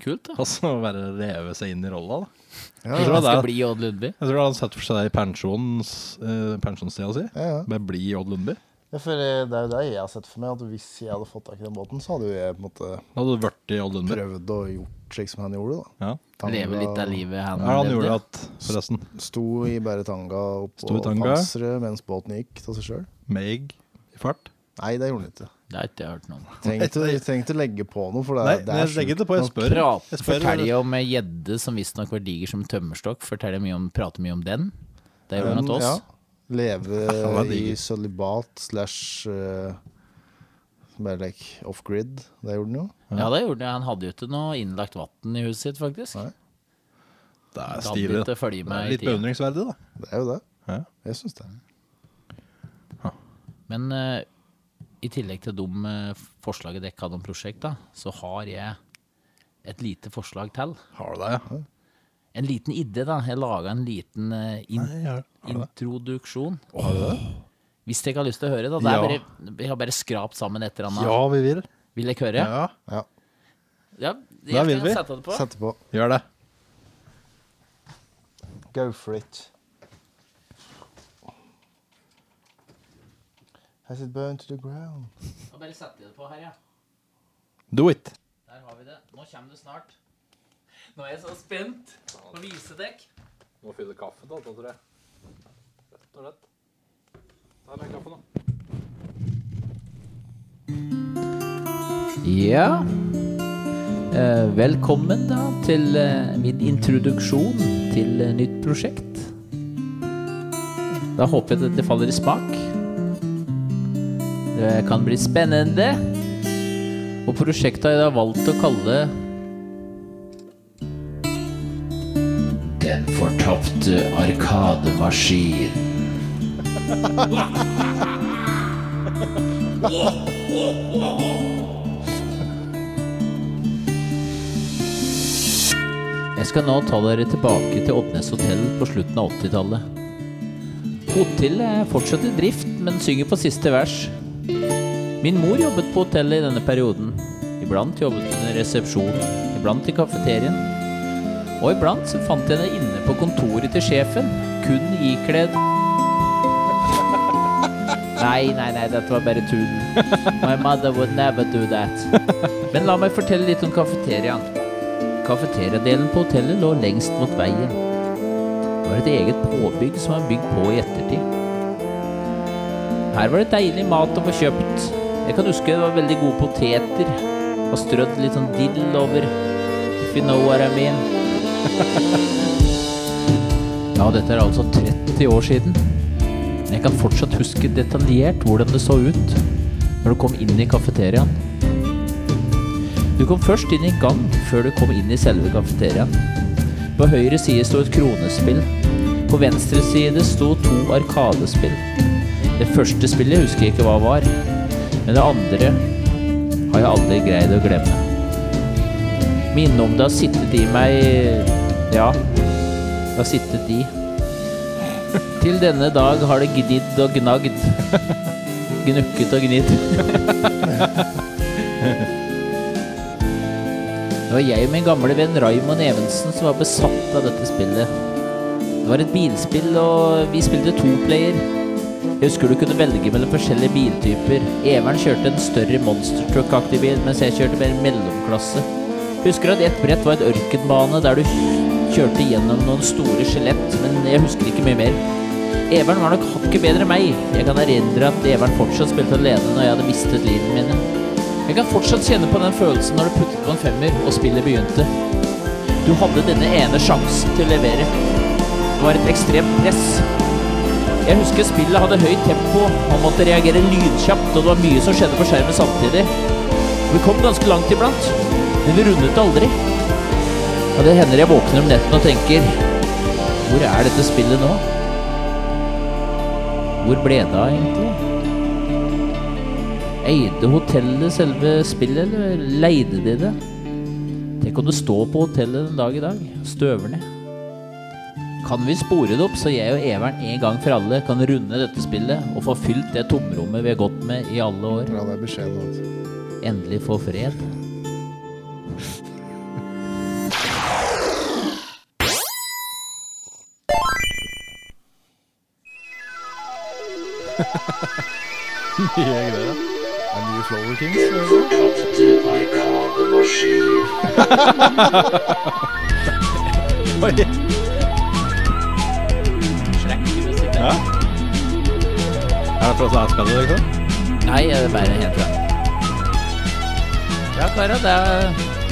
Kult, da. Og så bare reve seg inn i rolla, da. Ja, Jeg tror tror det skal er- bli Odd Lundby. Jeg tror han setter for seg pensjons, eh, pensjonstida si. Ja, ja. Bare bli Odd Lundby. Ja, for eh, det er jo det jeg har sett for meg, at hvis jeg hadde fått tak i den båten, så hadde jo jeg på en måte Da hadde du vært i Odd Lundby. prøvd og gjort slik som han gjorde, da. Ja. Leve litt av livet han Ja, han levde. gjorde det, forresten. Sto i bare tanga Sto i oppå tanga. panseret mens båten gikk av seg sjøl. Meg i fart. Nei, det gjorde han ikke. Det har ikke jeg hørt noe om. Trengte, trengte legge på noe, for det, Nei, er- det nei, er legg sjukt. det på. Jeg spør. Prat, Jeg spør forteller om ei gjedde som visstnok var diger som tømmerstokk. Forteller mye om, prater mye om den. Det Men, gjorde han til oss. ja, *laughs* var Leve i digg. sølibat slash eh, bare like off-grid. Det gjorde han jo. Ja, det gjorde han. Han hadde jo ikke noe innlagt vann i huset sitt, faktisk. Nei. Det er Gadd stilig. ikke følge Det med er i litt tida. beundringsverdig, da. Det er jo det. Ja. Jeg syns det. Men eh, i tillegg til de eh, forslaget dere hadde om prosjekt, da, så har jeg et lite forslag til. Har du det, ja? En liten idé, da. Jeg laga en liten eh, in Nei, har, har du det? introduksjon. Har du det? Hvis dere har lyst til å høre, da. Det er Ja. bare, jeg har bare skrapt sammen et eller annet. Ja, vi vil. Vil dere høre? Ja, Ja, Ja, Da jeg vil kan vi. sette det på. Sette på. gjør det. Go for it. Has it burned to the ground? Da Bare setter jeg det på her, ja. Do it. Der har vi det. Nå kommer det snart. Nå er jeg så spent på å vise dere. Må fylle kaffe, da, sånn tror jeg. Rett og slett. Ta med kaffe, da. Ja. Eh, velkommen da til eh, min introduksjon til eh, nytt prosjekt. Da håper jeg at det faller i smak. Det kan bli spennende. Og prosjektet har jeg da valgt å kalle Den fortapte arkademaskin. Jeg skal nå ta dere tilbake til Oddnes hotell på slutten av 80-tallet. Hotellet er fortsatt i drift, men synger på siste vers. Min mor jobbet på hotellet i denne perioden. Vi Iblant jobbet hun i resepsjonen, iblant i kafeterien. Og iblant så fant jeg henne inne på kontoret til sjefen, kun ikledd Nei, nei, nei, dette var bare tull. My mother would never do that. Men la meg fortelle litt om kafeteriaen. Kafeteriadelen på hotellet lå lengst mot veien. Det var et eget påbygg som var bygd på i ettertid. Her var det deilig mat å få kjøpt. Jeg kan huske det var veldig gode poteter. Og strødd litt sånn dill over. If you know what I mean. *laughs* ja, dette er altså 30 år siden. Men jeg kan fortsatt huske detaljert hvordan det så ut når du kom inn i kafeteriaen. Du kom først inn i en gang før du kom inn i selve kafeteriaen. På høyre side sto et kronespill. På venstre side sto to arkadespill. Det første spillet husker jeg ikke hva var, men det andre har jeg aldri greid å glemme. Minnet om det har sittet i meg Ja, det har sittet i. Til denne dag har det gnidd og gnagd. Gnukket og gnidd. Det var jeg og min gamle venn Raymond Evensen som var besatt av dette spillet. Det var et bilspill, og vi spilte toplayer. Jeg husker du kunne velge mellom forskjellige biltyper. Everen kjørte en større monstertruck-aktig bil, mens jeg kjørte mer mellomklasse. Husker at ett brett var et ørkenbane der du kjørte gjennom noen store skjelett, men jeg husker ikke mye mer. Everen var nok hakket bedre enn meg. Jeg kan erindre at Everen fortsatt spilte alene når jeg hadde mistet livene mine. Jeg kan fortsatt kjenne på den følelsen når du puttet på en femmer og spillet begynte. Du hadde denne ene sjansen til å levere. Det var et ekstremt press. Jeg husker spillet hadde høyt tempo og måtte reagere lynkjapt, og det var mye som skjedde på skjermen samtidig. Vi kom ganske langt iblant, men vi rundet det aldri. Og det hender jeg våkner om netten og tenker Hvor er dette spillet nå? Hvor ble det av, egentlig? Eide hotellet selve spillet, eller leide de det? Tenk om det står på hotellet den dag i dag. Støver ned. Kan vi spore det opp, så jeg og Everen en gang for alle kan runde dette spillet og få fylt det tomrommet vi har gått med i alle år? Ja, det er beskjeden. Altså. Endelig få fred. Er det nye Flower Kings? eller? Er det fra Sverige, liksom? Nei, jeg er bare helt bra. Ja, Kara, det er,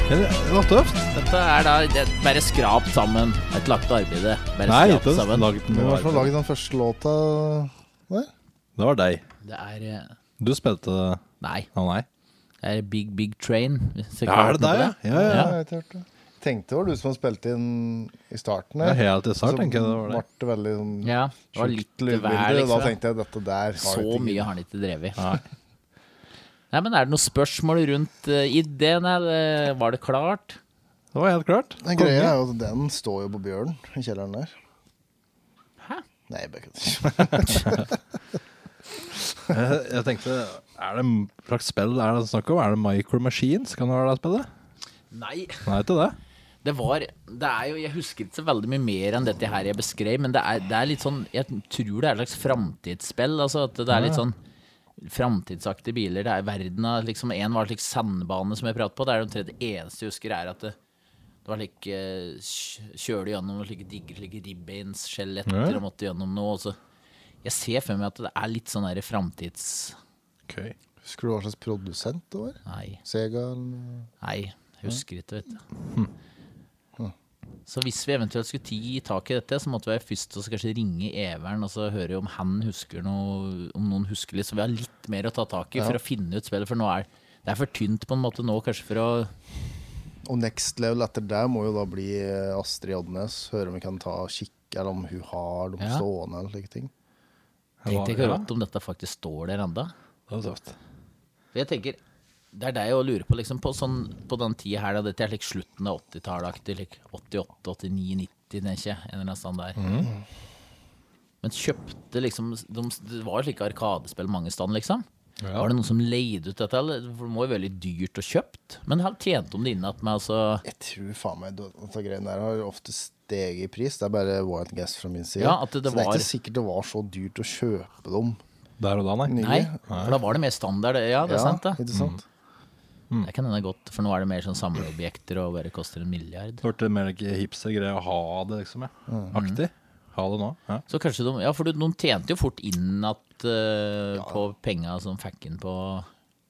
Det var tøft. dette er da det er bare skrapt sammen. Et lagt arbeid. Bare Nei, skrapt ikke sammen. lagd Hvem noe. var det som laget den første låta der? Det var deg. Det er eh, Du spilte det. Nei, Å nei. det er Big Big Train. hvis jeg Ja, kan er det deg, høre ja? på Ja, ja. Ja. Jeg har ikke hørt det. Tenkte det var du som hadde spilt inn i starten. Det her. er helt i Altså, Så start, tenker jeg det var det. ble det veldig sånn det? Ja, det var litt sjukt vær, lydbilde. og Da liksom. tenkte jeg dette der har Så jeg ikke mye har han ikke drevet i. Nei. men er det noen spørsmål rundt eh, ideen, eller eh, var det klart? Det var helt klart. Den greia er jo at den står jo på Bjørn i kjelleren der. Hæ? Nei, jeg bare *laughs* kødder. Jeg, jeg tenkte, er det en slags spill er det snakk om? Er det Micro Machines? Kan det være det spillet? Nei. Nei, ikke det. Det var det er jo, Jeg husker ikke så veldig mye mer enn dette her jeg beskrev, men det er, det er litt sånn Jeg tror det er et slags framtidsspill. Altså at det er litt sånn framtidsaktige biler. Det er verden av liksom En var slik sandbane som jeg pratet på. Det er omtrent det eneste jeg husker, er at det, det var like eh, kj- Kjører gjennom slike digre slike ribbeinsskjeletter og måtte gjennom noe. Og så jeg ser for meg at det er litt sånn der framtids... Okay. Husker du hva slags produsent det var? Nei. Sega eh. eller Nei, jeg husker ikke, vet du. Så hvis vi eventuelt skulle ti tak i dette, så måtte vi være først og så kanskje ringe Everen og så høre om han husker noe, om noen husker litt, så vi har litt mer å ta tak i for å finne ut spillet, for nå er det er for tynt på en måte nå, kanskje for å Og next level etter det må jo da bli eh, Astrid Odnes. Høre om vi kan ta kikk, eller om hun har dem Ja. stående eller slike ting. Tenkte ikke rått om dette faktisk står der enda. Det var tøft. For jeg tenker, det er deg å lure på, liksom, på, sånn, på den tida her, da, dette er like slutten av 80-tallet, like 88, 89, 90, tenker jeg, en eller annen stand der. Men kjøpte liksom, de, det var slike arkadespill mange stand, liksom. Var det noen som leide ut dette? Eller? For det må jo være veldig dyrt og kjøpt. Men han tjente om det innat med altså Jeg tror faen meg det- dette greiene der har ofte steget i pris. Det er bare wild guess fra min side. Ja, at det- det så det er var- ikke sikkert det var så dyrt å kjøpe dem. Der og da, nei. Nei, for da var det mer standard. Ja, det er sant, det. Mm. Ikke sant? Det kan hende godt, for nå er det mer sånn samleobjekter og bare koster en milliard. Det ble mer ikke hipster-greie å ha det, liksom. Ja. Mhm. Aktig. Ha det nå. Ja. Så kanskje de Ja, for de de tjente jo fort inn at eh, på penga som fikk inn på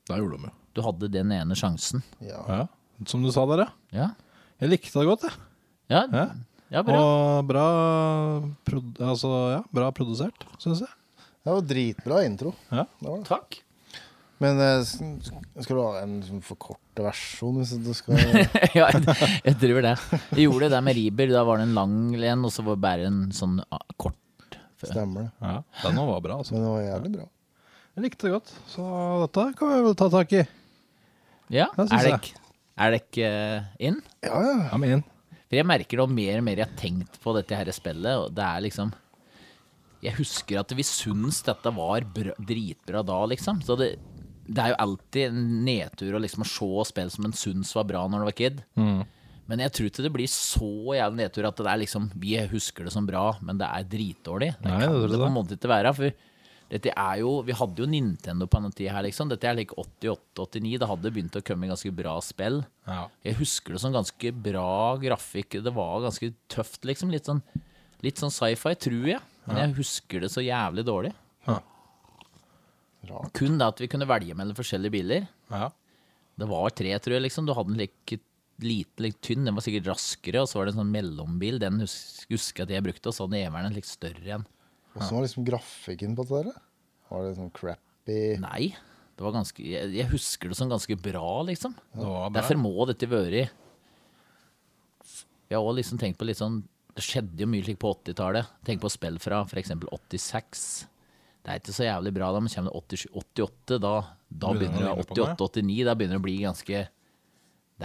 Da gjorde de jo. Du hadde den ene sjansen. Ja. Ja. Som du sa der, ja. Ja. Jeg likte det godt, jeg. Ja, Ja. ja bra. Og bra, prod altså, ja, bra produsert, syns jeg. Det var dritbra intro. Ja. Det var det. Takk. Men eh, s- skal du ha en sånn forkortet versjon? Hvis du skal *laughs* *laughs* ja, jeg, jeg driver det. Jeg gjorde det der med Riber. Da var det en lang en, og så var det bare en sånn ah, kort. stemme det. Ja. Den var bra, altså. Men det var jævlig bra. Jeg likte det godt. Så dette kan vi vel ta tak i. Ja, Ja, synes er det jeg. ikke er det ikke eh, inn? Ja, ja. Ja, men inn. For jeg merker det jo mer og mer jeg har tenkt på dette her spillet, og det er liksom Jeg husker at vi syns dette var bra, dritbra da, liksom. Så det, det er jo alltid en nedtur å liksom se spill som en syns var bra når du var kid. Mm. Men jeg tror ikke det blir så jævlig nedtur at det er liksom Vi husker det som bra, men det er dritdårlig. Det Nei, kan det tror det, jeg på det. en måte ikke være. For dette er jo Vi hadde jo Nintendo på denne tida her, liksom. Dette er like 88-89. Det hadde begynt å komme ganske bra spill. Ja. Jeg husker det som ganske bra grafikk. Det var ganske tøft, liksom. Litt sånn, litt sånn sci-fi, tror jeg. Men jeg husker det så jævlig dårlig. Ja. Kun det at vi kunne velge mellom forskjellige biler. ja. Det var tre, tror jeg. liksom. Du hadde en like liten, litt tynn, den var sikkert raskere. Og så var det en sånn mellombil, den hus- husker jeg at jeg brukte. Og så hadde neveren en litt større en. Åssen var liksom grafikken på det der? da? Var det sånn crappy Nei, det var ganske, jeg, jeg husker det som ganske bra, liksom. Det var bra. Derfor må dette være Jeg har også liksom tenkt på litt sånn Det skjedde jo mye slik på 80-tallet. Tenk på spill fra f.eks. 86. Det er ikke så jævlig bra da, men kommer det 87, 88, da, Begynner da begynner å ligne det på det. 88-89. Da begynner det å bli ganske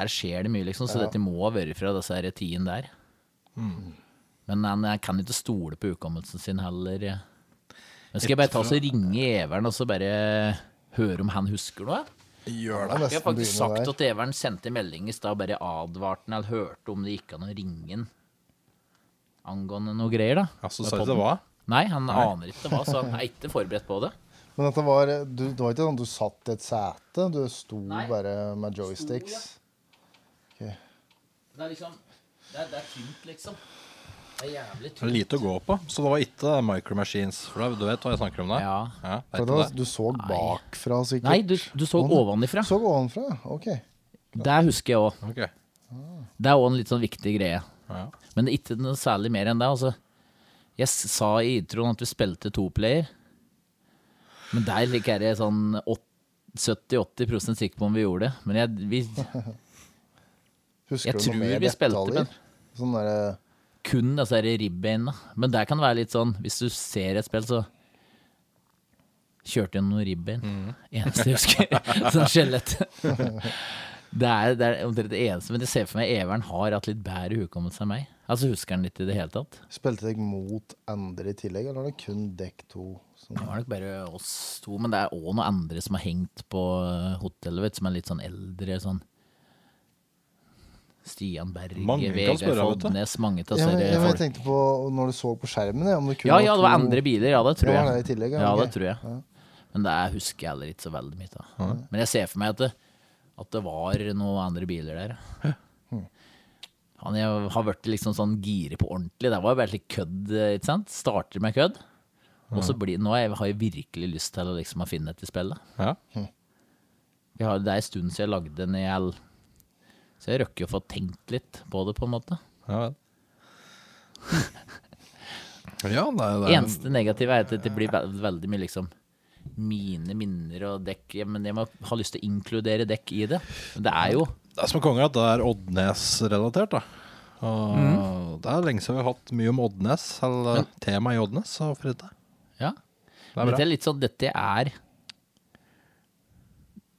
Der skjer det mye, liksom. Så dette må ha vært fra disse her tiden der. Mm. Men han jeg kan ikke stole på hukommelsen sin heller. Men skal jeg bare ta og så ringe Everen og så bare høre om han husker noe? Gjør det Jeg har faktisk sagt at Everen sendte melding i stad, bare advarte han eller hørte om det gikk an å ringe han angående noe greier, da. Ja, så Med sa jeg podden. det var. Nei, han aner ikke hva, så han er ikke forberedt på det. Men dette var, du, det var ikke sånn at du satt i et sete, du sto Nei. bare med joysticks. Det er liksom Det er, det er tynt, liksom. Det er jævlig Det er tynt. lite å gå på. Så det var ikke Micro Machines. For da- du vet hva jeg snakker om da? Ja. ja For vet du da- det? Du så bakfra, sikkert. Nei, du, du så ovenifra. Så ovenfra, ja. ok. Der husker jeg òg. Ok. Det er òg en litt sånn viktig greie. Ja. Men det er ikke noe særlig mer enn det. Altså. Jeg s- sa i introen at vi spilte toplayer, men der ikke er jeg sånn åt- 70-80 sikker på om vi gjorde det. Men jeg, vi, Husker Jeg du noe tror mer vi spilte, detaljer? men- Sånn derre kun altså, disse her ribbeinene. Men der kan det være litt sånn, hvis du ser et spill, så kjørte jeg noen ribbein. Eneste jeg husker. *laughs* sånn skjelett. Det er, det er omtrent det eneste, men jeg ser for meg Everen har hatt litt bedre hukommelse enn meg. Altså husker han litt i det hele tatt. Spilte dere mot andre i tillegg, eller var det kun dekk to? Sånn. Det var nok bare oss to, men det er òg noen andre som har hengt på eh, hotellet, vet, du, som er litt sånn eldre. sånn Stian Berge, Mange kan Vegard spørre, vet du. Fodnes, mange av Ja, men, ja, disse men jeg folk. tenkte på når du så på skjermen, ja, om det kun Ja, ja, det var to- andre biler, ja, det tror Det jeg. var det i tillegg, ja, ja, ok. det tror jeg. Men det er- husker jeg heller ikke så veldig mye av. Men jeg ser for meg at det, at det var noen andre biler der. Hmm. Han jeg har vært liksom sånn gire på ordentlig. Det var jo bare litt kødd, ikke sant? Starter med kødd. Og så blir, nå er jeg- har jeg virkelig lyst til å liksom å finne et i spillet. Ja. Vi har, det er en stund siden jeg lagde en IL, så jeg røkker jo å få tenkt litt på det, på en måte. Ja *laughs* vel. ja, det er det. er- Eneste negative er at det blir ve veldig mye liksom mine minner og dekk ja, Men jeg må ha lyst til å inkludere dekk i det. Men det er jo Det er som konge at det er Oddnes-relatert, da. Og Mm. Det er lenge siden vi har hatt mye om Oddnes, eller temaet i Oddnes. Så hvorfor ikke? Ja. Det er Dette bra. er litt sånn Dette er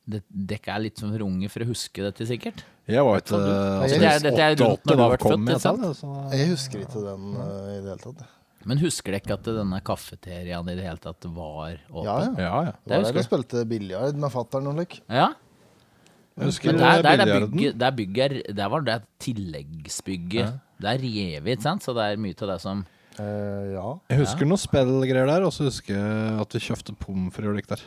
det, Dekk er litt som for unge for å huske dette, sikkert. Jeg var ikke du- altså, Dette er- hvis dette er rundt når 88 du da ble kom født, jeg ikke sant? til det, så- Jeg husker ikke den eh, i det hele tatt. jeg. Men husker dere ikke at denne kafeteriaen i det hele tatt var åpen? Ja, ja. Ja, ja. Det Det var der husker jeg spilte biljard med fatter'n og slik. Ja, Jeg husker men der, der, der, biljarden. bygget, der, bygget, er- der var det tilleggsbygget. Det er revet, ikke sant? Så det er mye av det som Eh, ja. Jeg husker noen spillgreier der, og så husker jeg at vi kjøpte pommes frites og likt der.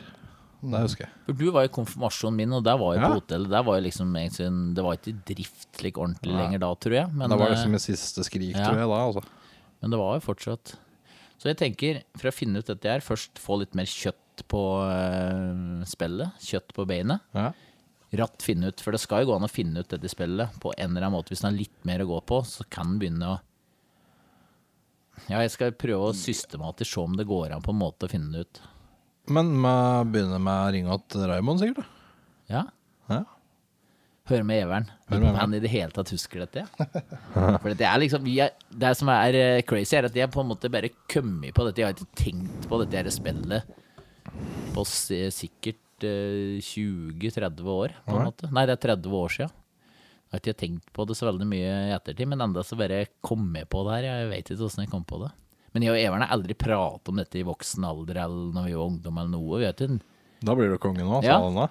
Det husker jeg. For du var jo i konfirmasjonen min, og der var jo Ja. på hotellet. Der var jo liksom egentlig en- Det var ikke i drift slik ordentlig lenger da, tror jeg. Men, det var eh, liksom mitt siste skrik, ja. tror jeg, da. Altså. men det var jo fortsatt Så jeg tenker, for å finne ut dette her, først få litt mer kjøtt på eh, spillet. Kjøtt på beinet. Ja. Ratt finne ut, for det skal jo gå an å finne ut dette spillet på en eller annen måte. Hvis en har litt mer å gå på, så kan en begynne å Ja, jeg skal prøve å systematisk se om det går an på en måte å finne det ut. Men med, begynne med å ringe til Raymond, sikkert. da. Ja? Ja. Høre med Everen. Hør med Om han i det hele tatt husker dette. *laughs* For det er liksom vi er, Det som er eh, crazy, er at jeg på en måte bare kommet på dette. Jeg har ikke tenkt på dette her spillet på s- sikkert eh, 20-30 år, på en måte. Nei, det er 30 år siden. Jeg har ikke tenkt på det så veldig mye i ettertid, men enda så bare kom jeg på det her. Jeg vet ikke åssen jeg kom på det. Men jeg og Everen har aldri pratet om dette i voksen alder eller når vi var ungdom eller noe. Vi har ikke Da blir du konge nå, sa Ja. han da.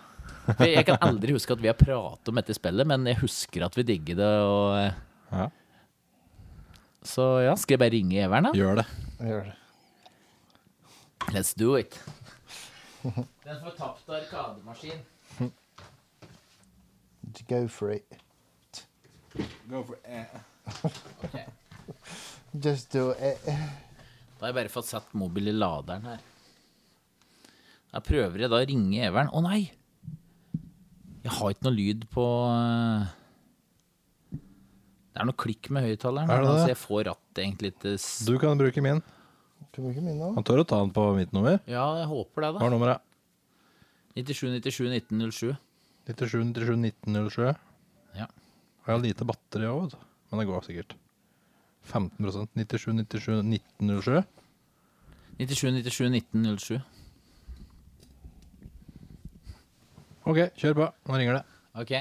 for Jeg kan aldri huske at vi har pratet om dette spillet, men jeg husker at vi digger det. Og... eh, Ja. Så ja, skal jeg bare ringe Everen, da? Gjør det. Jeg gjør det. Let's do it. Den fortapte arkademaskin. Go for it. *laughs* Just do it. Da har jeg bare fått satt mobil i laderen her. Da prøver jeg da å ringe Everen. Å nei! Jeg har ikke noe lyd på eh, Det er noe klikk med høyttaleren. Er det Altså, det? jeg får rattet egentlig til s- Du kan bruke min. Kan bruke min nå. Han tør å ta den på mitt nummer. Ja, jeg håper det, Hva da. er nummeret? 97 97 1907. 97 97 1907. Ja. Jeg har lite batteri òg, vet du. Men det går sikkert. 15 97 97 1907. 97 97 1907. OK, kjør på. Nå ringer det. Ok.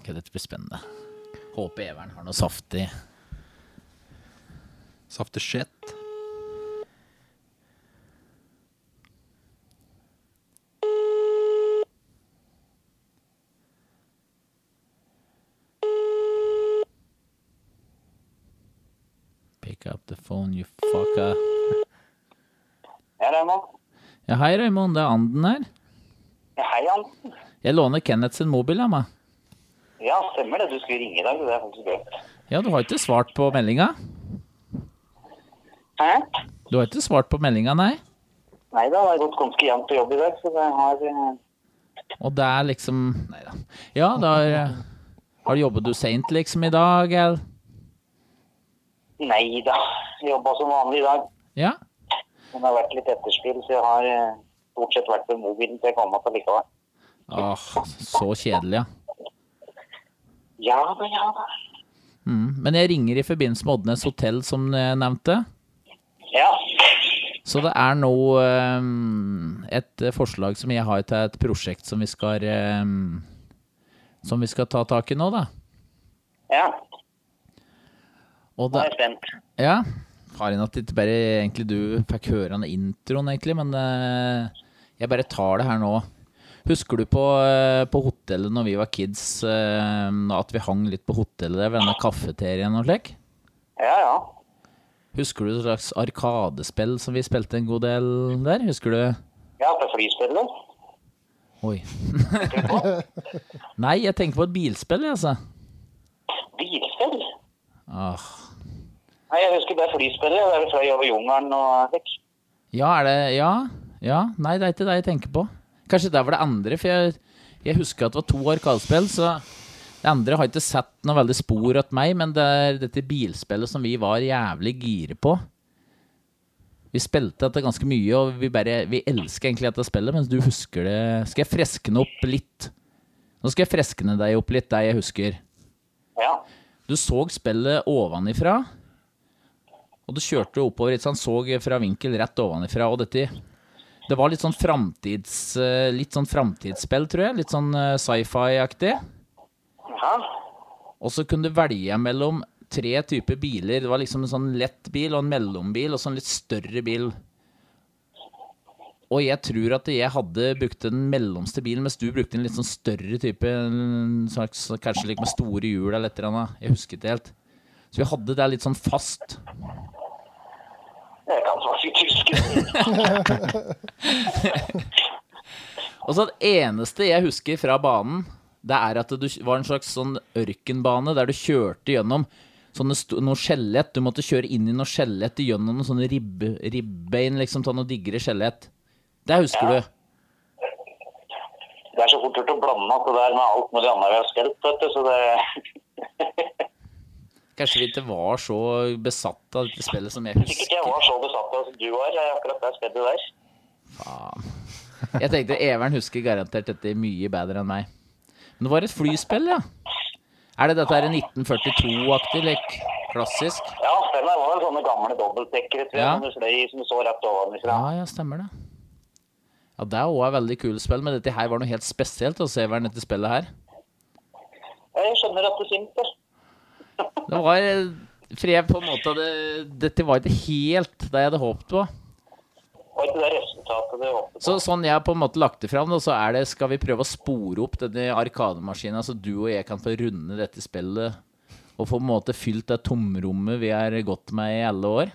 Ok, dette blir spennende. Håper Everen har noe saftig. Saftig shit. Pick up the phone, you fucker. Ja, Raymond. Ja, hei Raymond, det er Anden her. Ja, Hei, Anton. Jeg låner Kenneth sin mobil av meg. Ja, stemmer det. Du skulle ringe i dag. Det er faktisk gøy. Ja, du har ikke svart på meldinga? Hæ? Du har ikke svart på meldinga, nei? Nei da, det har gått ganske jevnt på jobb i dag, så det har eh, Og det er liksom Nei da. Ja, da har, eh, har du jobbet du seint liksom i dag, eller? Nei da. Jobba som vanlig i dag. Ja? Men det har vært litt etterspill, så jeg har eh, stort sett vært ved mobilen til jeg kom opp allikevel. Åh, så kjedelig, ja. Ja da, ja da. Mm. Men jeg ringer i forbindelse med Oddnes hotell, som jeg nevnte. Ja. Så det er nå ehm, et forslag som jeg har til et prosjekt som vi skal ehm, Som vi skal ta tak i nå, da. Ja, Og nå det, er jeg spent. ja. Faren at ikke bare egentlig du fikk høre den introen, egentlig, men eh, jeg bare tar det her nå. Husker du på, eh, på hotellet når vi var kids, eh, at vi hang litt på hotellet der ved denne kafeteriaen og slik? Ja, ja. Husker du et slags arkadespill som vi spilte en god del der? Husker du? Ja, på flyspillet. Oi. Nei, jeg tenker på et bilspill, jeg, altså. Bilspill? Ah. Nei, jeg husker det flyspillet. Det er fløy over jungelen og slik. Ja, er det Ja? ja. Nei, det er ikke det jeg tenker på. Kanskje der var det andre, for jeg, jeg husker at det var to arkadespill, så det andre har ikke sett noe veldig spor at meg, men det er dette bilspillet som vi var jævlig gire på. Vi spilte dette ganske mye, og vi, bare, vi elsker egentlig dette spillet, mens du husker det Skal jeg freskne opp litt? Nå skal jeg freskne deg opp litt, deg jeg husker. Ja. Du så spillet ovenifra, og du kjørte oppover. Ikke sant? Så fra vinkel rett ovenifra. Og dette Det var litt sånn framtids... eh, Litt sånn framtidsspill, tror jeg. Litt sånn eh, sci-fi-aktig. Ja. Og så kunne du velge mellom tre typer biler. Det var liksom en sånn lett bil og en mellombil og sånn litt større bil. Og jeg tror at jeg hadde brukt den mellomste bilen, mens du brukte en litt sånn større type. En slags, kanskje like med store hjul eller et eller annet. Jeg husker ikke helt. Så vi hadde det litt sånn fast. Jeg kan så si tysk. Og så det eneste jeg husker fra banen, det er at det var en slags sånn ørkenbane der du kjørte gjennom sånne sto- noe skjelett. Du måtte kjøre inn i noe skjelett gjennom noen sånne ribbe, ribbein, liksom, ta noe diggere skjelett. Det husker du. Det er så fort gjort å blande alt det der med alt mulig annet vi har skelt, vet du, så det *laughs* Kanskje vi ikke var så besatt av dette spillet som jeg Sikkert husker. jeg var så besatt av som du var, eh, akkurat det spillet der. Faen. Jeg tenkte Evern husker garantert dette mye bedre enn meg. Men det var et flyspill, ja. Er det dette her 1942-aktig lek? Klassisk? Ja, stemmer. Det var vel sånne gamle dobbeltdekkere, tror jeg, Ja. som du sløy, som du så rett ovenfra. Ja, ja, stemmer det. Ja, Det er òg et veldig kult spill, men dette her var noe helt spesielt. å se hva dette spillet her. Ja, Jeg skjønner at du syntes. Det var eh, For jeg på en måte hadde, Dette var ikke helt det jeg hadde håpet på. Var ikke det resultatet du håpet på? Så sånn jeg har på en måte lagt det fram, da, så er det skal vi prøve å spore opp denne arkademaskinen, så du og jeg kan få runde dette spillet og få på en måte fylt det tomrommet vi har gått med i alle år.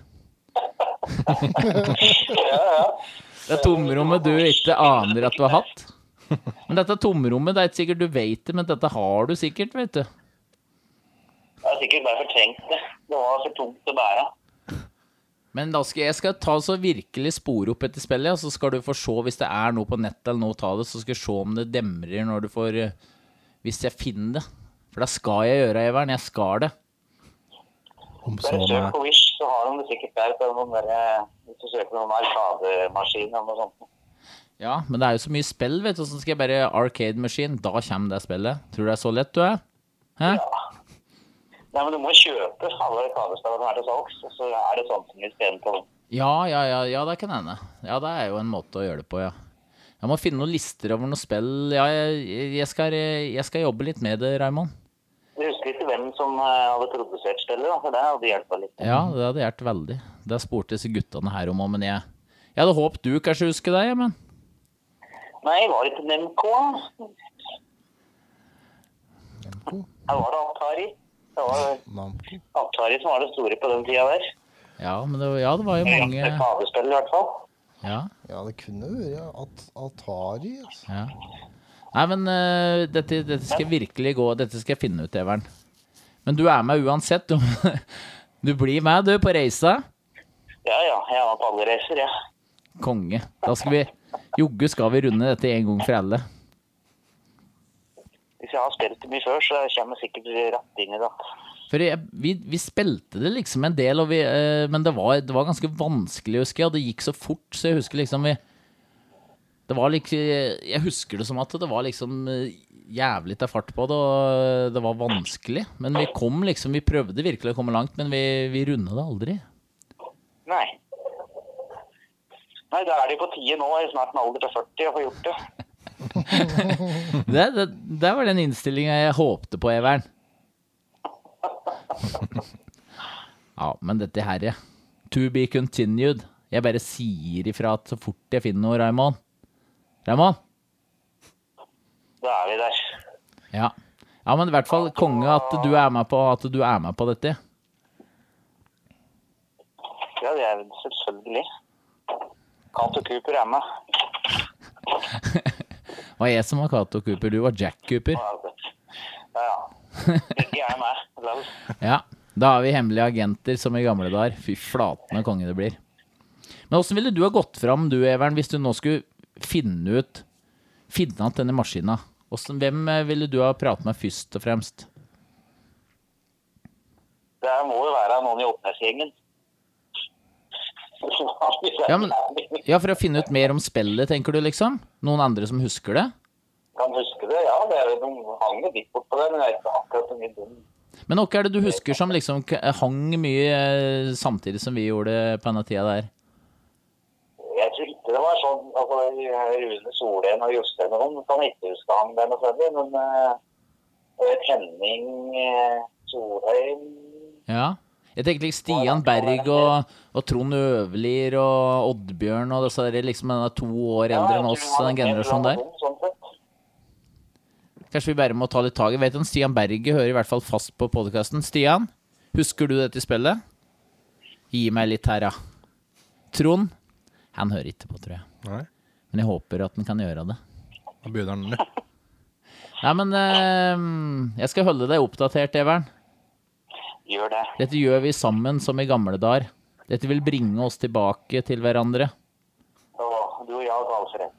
Det er tomrommet du ikke aner at du har hatt. Men dette tomrommet, det er ikke sikkert du vet det, men dette har du sikkert, vet du. Jeg har sikkert bare fortrengt det. Det var for tungt å bære. Men da skal jeg skal ta så virkelig spore opp etter spillet, og så skal du få se hvis det er noe på nettet eller noe, ta det, så skal jeg se om det demrer når du får eh, Hvis jeg finner det. For da skal jeg gjøre det, Evern. Jeg skal det. Om så Sånn, Bare søk med på Wish, så har de det sikkert der på noen der, eh, hvis du søker på noen arkademaskin eller noe sånt. Ja, men det er jo så mye spill, vet du. Så skal jeg bare Arcade Machine. Da kommer det spillet. Tror du det er så lett, du er? Hæ? Nei, men du må kjøpe alle arkadespillene som er til salgs, og så er det sånn som vi spiller på. Ja, ja, ja, ja, det kan hende. Ja, det er jo en måte å gjøre det på, ja. Jeg må finne noen lister over noen spill. Ja, jeg, jeg, skal, eh, jeg skal jobbe litt med det, Raymond. Du husker ikke hvem som eh, hadde produsert spillet, da, for det hadde hjulpet litt. Ja, det hadde hjulpet veldig. Det spurte disse guttene her om òg, men jeg Jeg hadde håpet du kanskje husker det, men Nei, var det ikke Nemco? da? Her var det Atari. Det var Namco. Atari som var det store på den tida der. Ja, men det, ja, det var jo mange Ja, Arkadespill i hvert fall. Ja, det kunne vært ja. At Atari. Altså. ja. Nei, men eh, dette, dette skal virkelig gå. Dette skal jeg finne ut, Evern. Men du er med uansett. Du, *laughs* du blir med, du, på reisa. Ja, ja. Jeg var på alle reiser, jeg. Ja. Konge. Da skal vi Jogge skal vi runde dette en gang for alle. Hvis jeg har spilt det mye før, så kommer jeg sikkert rett inn i det. For jeg, vi, vi spilte det liksom en del, og vi, eh, men det var, det var ganske vanskelig, husker jeg. Og det gikk så fort, så jeg husker liksom vi Det var liksom Jeg husker det som at det var liksom eh, jævlig til fart på det, og det var vanskelig. Men vi kom liksom Vi prøvde virkelig å komme langt, men vi, vi runda det aldri. Nei. Nei, da er det jo på tide nå, i snart en alder til 40, å få gjort det. Det, det, det var den innstillinga jeg håpte på, Evern. *laughs* Ja, men dette her, ja. To be continued. Jeg bare sier ifra at så fort jeg finner noe, Raymond. Raymond? Da er vi der. Ja. ja, men i hvert fall konge at du er med på, at du er med på dette. Ja, det er det selvfølgelig. Cato Cooper er med. Det var jeg som var Cato Cooper, du var Jack Cooper. Ja, ja. Ikke jeg med. Lell. Ja, da har vi hemmelige agenter som i gamle dager. Fy flatende konge det blir. Men åssen ville du ha gått fram, du Evern, hvis du nå skulle finne ut Finne igjen denne maskina? Hvordan- Hvem eh, ville du ha pratet med først og fremst? Det må jo være noen i Oppnes-gjengen. Ja, *laughs* men- Ja, for å finne ut mer om spillet, tenker du liksom? Noen andre som husker det? Kan huske det, ja. Det er, jo- de hang jo litt bort på det, men jeg er ikke akkurat så mye dum. Men hva er det du husker som liksom k- hang mye eh, samtidig som vi gjorde på denne tida der? Jeg tror ikke det var sånn altså, Rune Solén og Jostein og sånn, kan jeg ikke huske han der noe særlig, men eh, jeg vet Henning eh, Solheim Ja. Jeg tenkte liksom Stian Berg og, og Trond Øverlier og Oddbjørn og så er det liksom den er to år eldre enn oss, den generasjonen der. sånn Kanskje vi bare må ta litt tak i Vet du om Stian Berge hører i hvert fall fast på podkasten? Stian, husker du dette spillet? Gi meg litt her, ja. Trond, han hører ikke på, tror jeg. Nei. Men jeg håper at han kan gjøre det. Da begynner den nå. Nei, men eh, jeg skal holde deg oppdatert, Evern. Gjør det. Dette gjør vi sammen som i gamle dager. Dette vil bringe oss tilbake til hverandre. Og du og jeg og Alfred.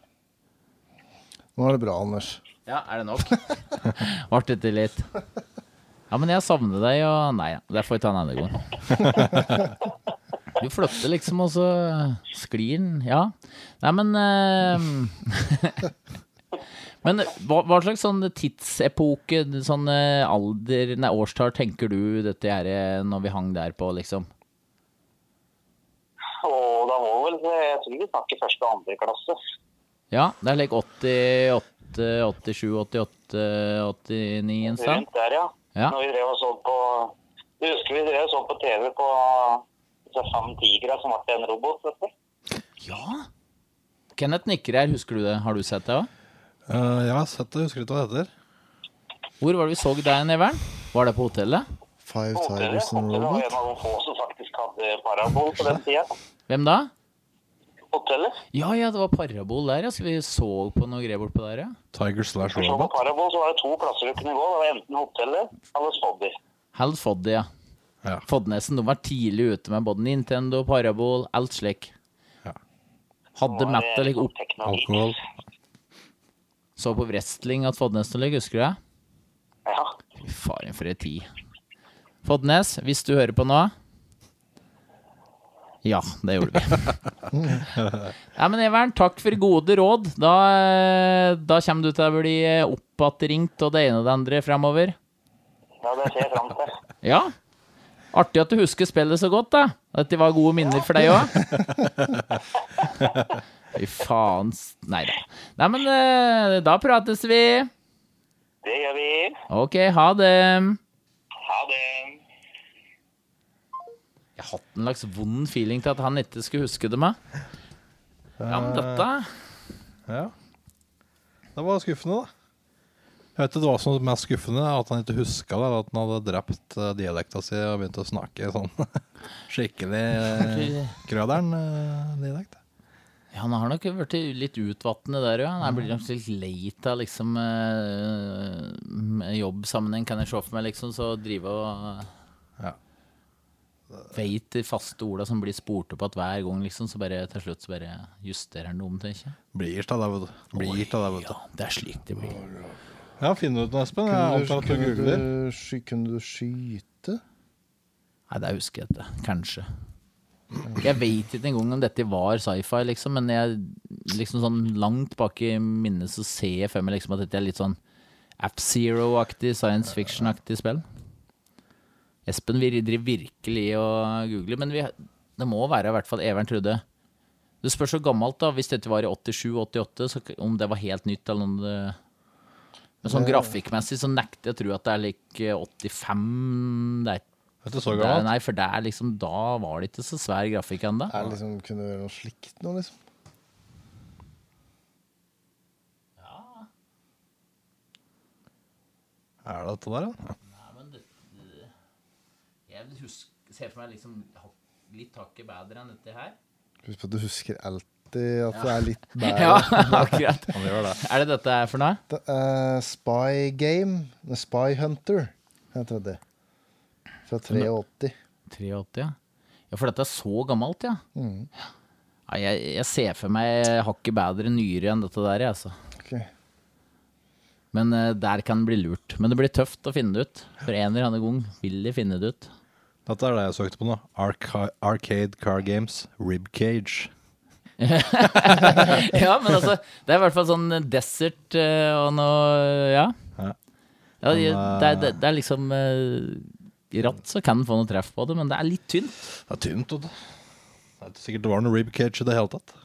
Nå er det bra, Anders. Ja, er det nok? *laughs* Vart dette litt? Ja, men jeg savner deg, og Nei, ja, det får vi ta en annen *laughs* gang. Du flytter liksom, og så sklir den. Ja. Nei, men eh, *laughs* Men hva, hva slags sånn tidsepoke, sånn eh, alder, nei, årstall, tenker du dette her eh, når vi hang der på, liksom? Og da må vel Jeg tror vi snakker første og andre klasse. Ja, det er like 88, 87, 88, 89 en stund. Rundt der, ja. Sånn. Ja. Når vi drev og så på Du husker vi drev og så på TV på disse fem tigre som ble en robot, vet du. Ja! Kenneth nikker her, husker du det? Har du sett det òg? Eh, jeg har sett det, husker ikke hva det heter. Hvor var det vi så deg, Nevern? Var det på hotellet? Five Hotellet Tigers and a Hotellet var Robot. en av de få som faktisk hadde parabol på den tida. Hvem da? Hotellet. Ja, ja, det var parabol der, ja. Så vi så på noe greier bortpå der, ja. Tiger slash Så på Robot. parabol så var det to plasser du kunne gå. Det var enten hotellet eller Spobby. Hal Foddy, ja. Ja. Fodnesen de var tidlig ute med både Nintendo, parabol, alt slik. Ja. Hadde Matta like opp Teknologi. Alkohol. så på wrestling at Fodnesen ligger, husker du det? Ja. Fy Faren for ei tid. Fodnes, hvis du hører på nå Ja, det gjorde vi. Nei, men Evern, takk for gode råd. Da, eh, da kommer du til å bli eh, oppatringt og det ene og det andre framover. ja, det ser jeg fram til. Ja. Artig at du husker spillet så godt, da. Dette var gode minner for deg òg. Fy faen. s- Nei da. Nei, men eh, da prates vi. Det gjør vi. OK, ha det. Ha det. Jeg har hatt en slags vond feeling til at han ikke skulle huske det meg. Ja, men dette Ja. Det var skuffende, da. Jeg vet ikke hva som var mest skuffende, at han ikke huska det, eller at han hadde drept eh, dialekta si og begynt å snakke sånn *laughs* skikkelig eh, krøderen-dialekt. ja, Han har nok blitt litt utvattende der, ja. Han blir nok litt lei av liksom eh, eh, jobbsammenheng, kan jeg se for meg, liksom. Så drive og Ja. Veit de faste orda som blir spurt opp at hver gang, liksom. Så bare til slutt så bare justerer han det om til ikke. Blir da, det, vet du. Blir da, det, vet du. Ja, det er slik det blir. Ja, finn ut noe, Espen. Jeg Kunne du, antar at du kunne, googler. du, sky- kunne du skyte? Nei, det husker jeg ikke. Kanskje. Jeg veit ikke engang om dette var sci-fi, liksom, men jeg, liksom sånn langt bak i minnet så ser jeg for meg liksom at dette er litt sånn AppZero-aktig, science fiction-aktig spill. Espen vi driver virkelig og googler, men vi, det må være i hvert fall Evern Trude. Du spør så gammelt, da. Hvis dette var i 87-88, så k- om det var helt nytt eller om det Men sånn grafikkmessig så nekter jeg å tro at det er like 85 Det er ikke Vet du så det er- gammelt? nei, for det er liksom, da var det ikke så svær grafikk ennå. Er det liksom, kunne du gjøre noe slikt nå, liksom? Er det dette der, ja? Jeg ser for meg liksom litt hakket bedre enn dette her. Husk på at du husker alltid at det er litt *laughs* bedre. Ja, akkurat. Han gjør det. Er det dette her for noe? Det er Eh, Spy Game. The Spy Hunter heter det. Fra 83. 83, ja. Ja, for dette er så gammelt, ja. ja jeg, jeg ser for meg hakket bedre nyere enn dette der, jeg, altså. Ok. Men eh, der kan det bli lurt. Men det blir tøft å finne det ut. For en eller annen gang vil de finne det ut. Dette er det jeg søkte på nå. Arca Arcade Car Games Ribcage. *laughs* Ja, men altså, det er i hvert fall sånn desert eh, og noe Ja. Ja. ja det, det, er- det, det er liksom eh, Ratt så kan en få noe treff på det, men det er litt tynt. Det er tynt, vet du. Det er ikke sikkert det var noe ribcage i det hele tatt.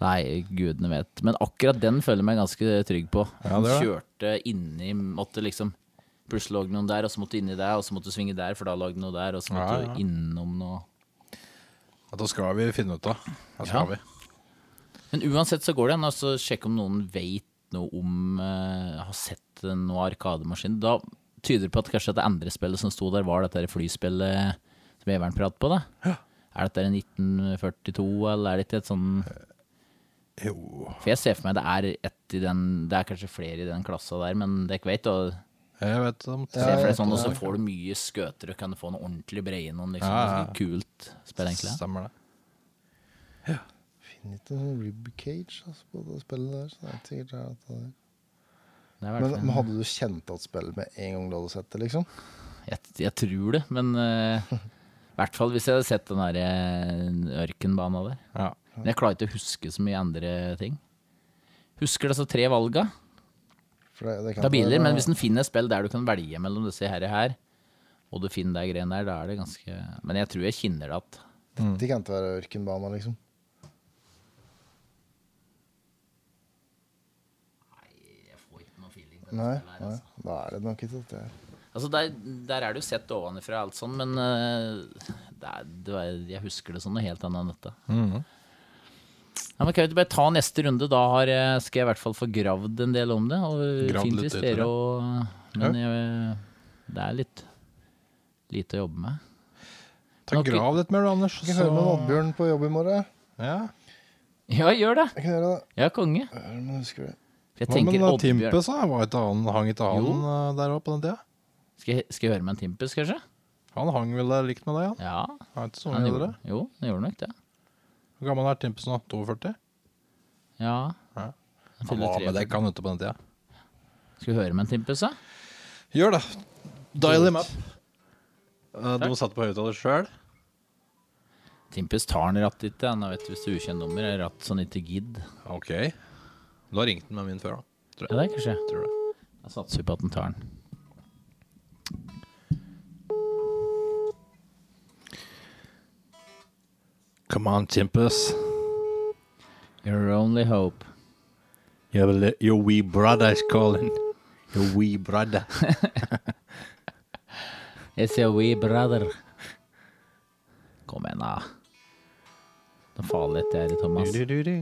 Nei, gudene vet. Men akkurat den føler jeg meg ganske trygg på. Ja, det Den er det. Kjørte inni Måtte liksom Plutselig lå det noen der, og så måtte du inni der, og så måtte du svinge der, for da lå det noe der, og så måtte Ja, ja. du innom noe Dette skal vi finne ut av. Det Ja. skal vi. Men uansett så går det an å altså, sjekke om noen vet noe om eh, Har sett noe arkademaskin. Da tyder det på at kanskje det andre spillet som sto der, var dette her flyspillet som Evern pratet på, da. Er dette her 1942, eller er det ikke et sånn Eh, Jo For jeg ser for meg det er ett i den Det er kanskje flere i den klassa der, men det er ikke veit. Og Jeg vet om ser for deg sånn, og så får du mye skøter og kan få noe ordentlig breie noen, liksom. Ja, ja, ja. Ganske Kult spill, egentlig. Stemmer det. Finner ikke noen rib cage altså, på det spillet der. Så det er ikke sikkert det er at det er. Det er i hvert Men, fall- men hadde du kjent at spillet med en gang du hadde sett det, liksom? Jeg, jeg tror det, men eh, i hvert fall hvis jeg hadde sett den der eh, ørkenbana der. Ja. Men jeg klarer ikke å huske så mye andre ting. Husker altså tre valga For det, det kan ikke av være- biler, men hvis en finner et spill der du kan velge mellom disse her, og her og du finner de greiene der, da er det ganske Men jeg tror jeg kjenner det at Det kan ikke være ørkenbana, liksom. Nei, nei, da er det nok ikke det. Altså, der, der er det jo sett ovenfra alt sånn, men eh, det er, det er, jeg husker det sånn noe helt annet enn dette. Mhm. Ja, men kan vi ikke bare ta neste runde? Da har, eh, skal jeg i hvert fall få gravd en del om det. Og Gravd fint litt hvis ut i det. dere og Men jeg, det er litt lite å jobbe med. *laughs* Ta Nok- Grav litt mer, du, Anders. Jeg kan høre med Så, Oddbjørn på jobb i morgen. ja. Ja, gjør det! Jeg kan gjøre det. Jeg er konge. Ja, Men husker du For Hva jeg med tenker den Oddbjørn Timpes? da? Var ikke han, hang ikke han eh, der oppe på den tida? skal jeg, skal jeg høre med en Timpus, kanskje? Han hang vel der likt med deg, han? Ja, Har ikke så han mye dere? gjorde, jo, han gjorde nok det. Hvor gammel er Timpes nå? 42? Ja. Ja. Han Han fyller var med 43. deg, han ute på den tida. Skal vi høre med en Timpus, da? Gjør det. Dial him up. Eh, De satt på høyttaler sjøl. Timpus tar den rattet ditt, han vet hvis det er ukjent nummer, er ratt sånn ikke gidd. OK. Du har ringt den med min før, da. Ja, det er kanskje. Tror du det? Jeg satser på at den tar den. Come on, Timpus. Your only hope. Your, li- your wee brother is calling. Your wee brother. It's a wee brother. Kom igjen, da. Det er farlig det her, Thomas. Du-du-du-du.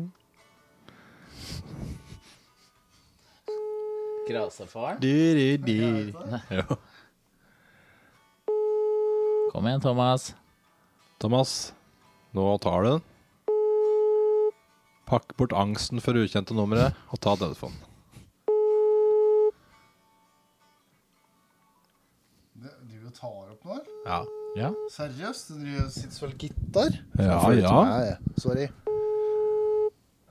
Krasefaren. Du-du-du. Jo. Kom igjen, Thomas. Thomas, nå tar du den. Pakk bort angsten for ukjente numre og ta telefonen. Du tar opp noe? Ja. Seriøst? Du sitter vel gitar? Ja, Føler ja. ikke meg, jeg. Sorry.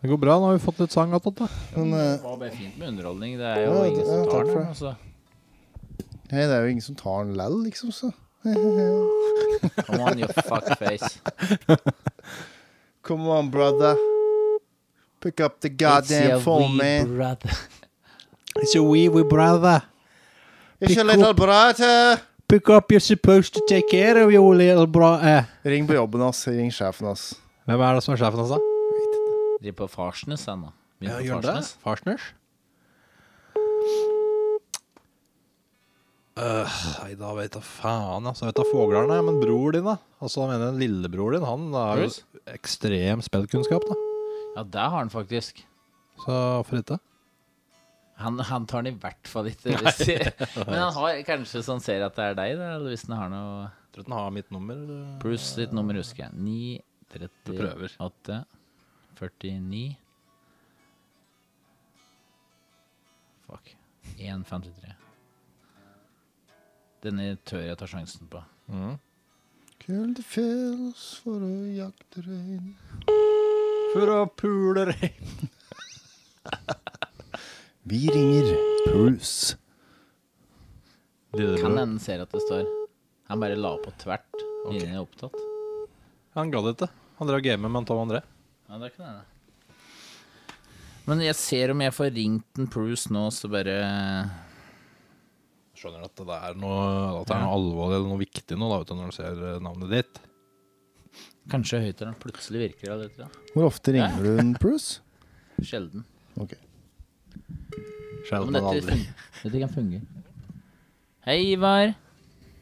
Det går bra. Nå har vi fått litt sang attåt. da. Men eh, Det var bare fint med underholdning. Det er jo Ja, ingen ja, som takk tar for den. det. Altså. hei, det er jo ingen som tar den lell, liksom, så. *laughs* Come on, you *laughs* fuckface. Come on, brother. Pick up the goddamn phone, man. brother. It's your wee wee brother. It's your little brother. Pick up, you're supposed to take care of your little eh. brother. Ring på jobben hans. Ring sjefen hans. Hvem er det som er sjefen altså? hans, da? Driver på Farsnes, han nå. Begynner på gjør det. Farsnes. Farsners? Øh, nei, da vet jeg faen, altså. Jeg vet da foglarne, men bror din, da. Altså, jeg mener lillebror din, han da har Truls? jo ekstrem spillkunnskap, da. Ja, der har han faktisk. Så hvorfor ikke? Han, han tar den i hvert *laughs* fall ikke. Hvis men han har kanskje sånn ser at det er deg, da, eller hvis han har noe Tror du den har mitt nummer? eller? Pluss ditt nummer, husker jeg. 9, Du prøver. 38, 49 Fuck. 1,53. Denne tør jeg ta sjansen på. Kull til fjells for å jakte rein. For å pule rein. Vi ringer Puls. Kan Lillebror. hende ser at det står Han bare la på tvert. Linjen er opptatt. Han gadd ikke. Han drev gamet med Tom André. Ja, det kan hende. Men jeg ser om jeg får ringt en Bruce nå, så bare Skjønner at det er noe, at det er noe alvorlig eller noe viktig nå, da, vet du, når du ser eh, navnet ditt. Kanskje høyttaleren plutselig virker. Eller, et eller annet. Hvor ofte ringer du en Puls? Sjelden. Ok. Ja, Sjelden Men men dette, aldri. fun- dette kan fungere. Hei, Ivar.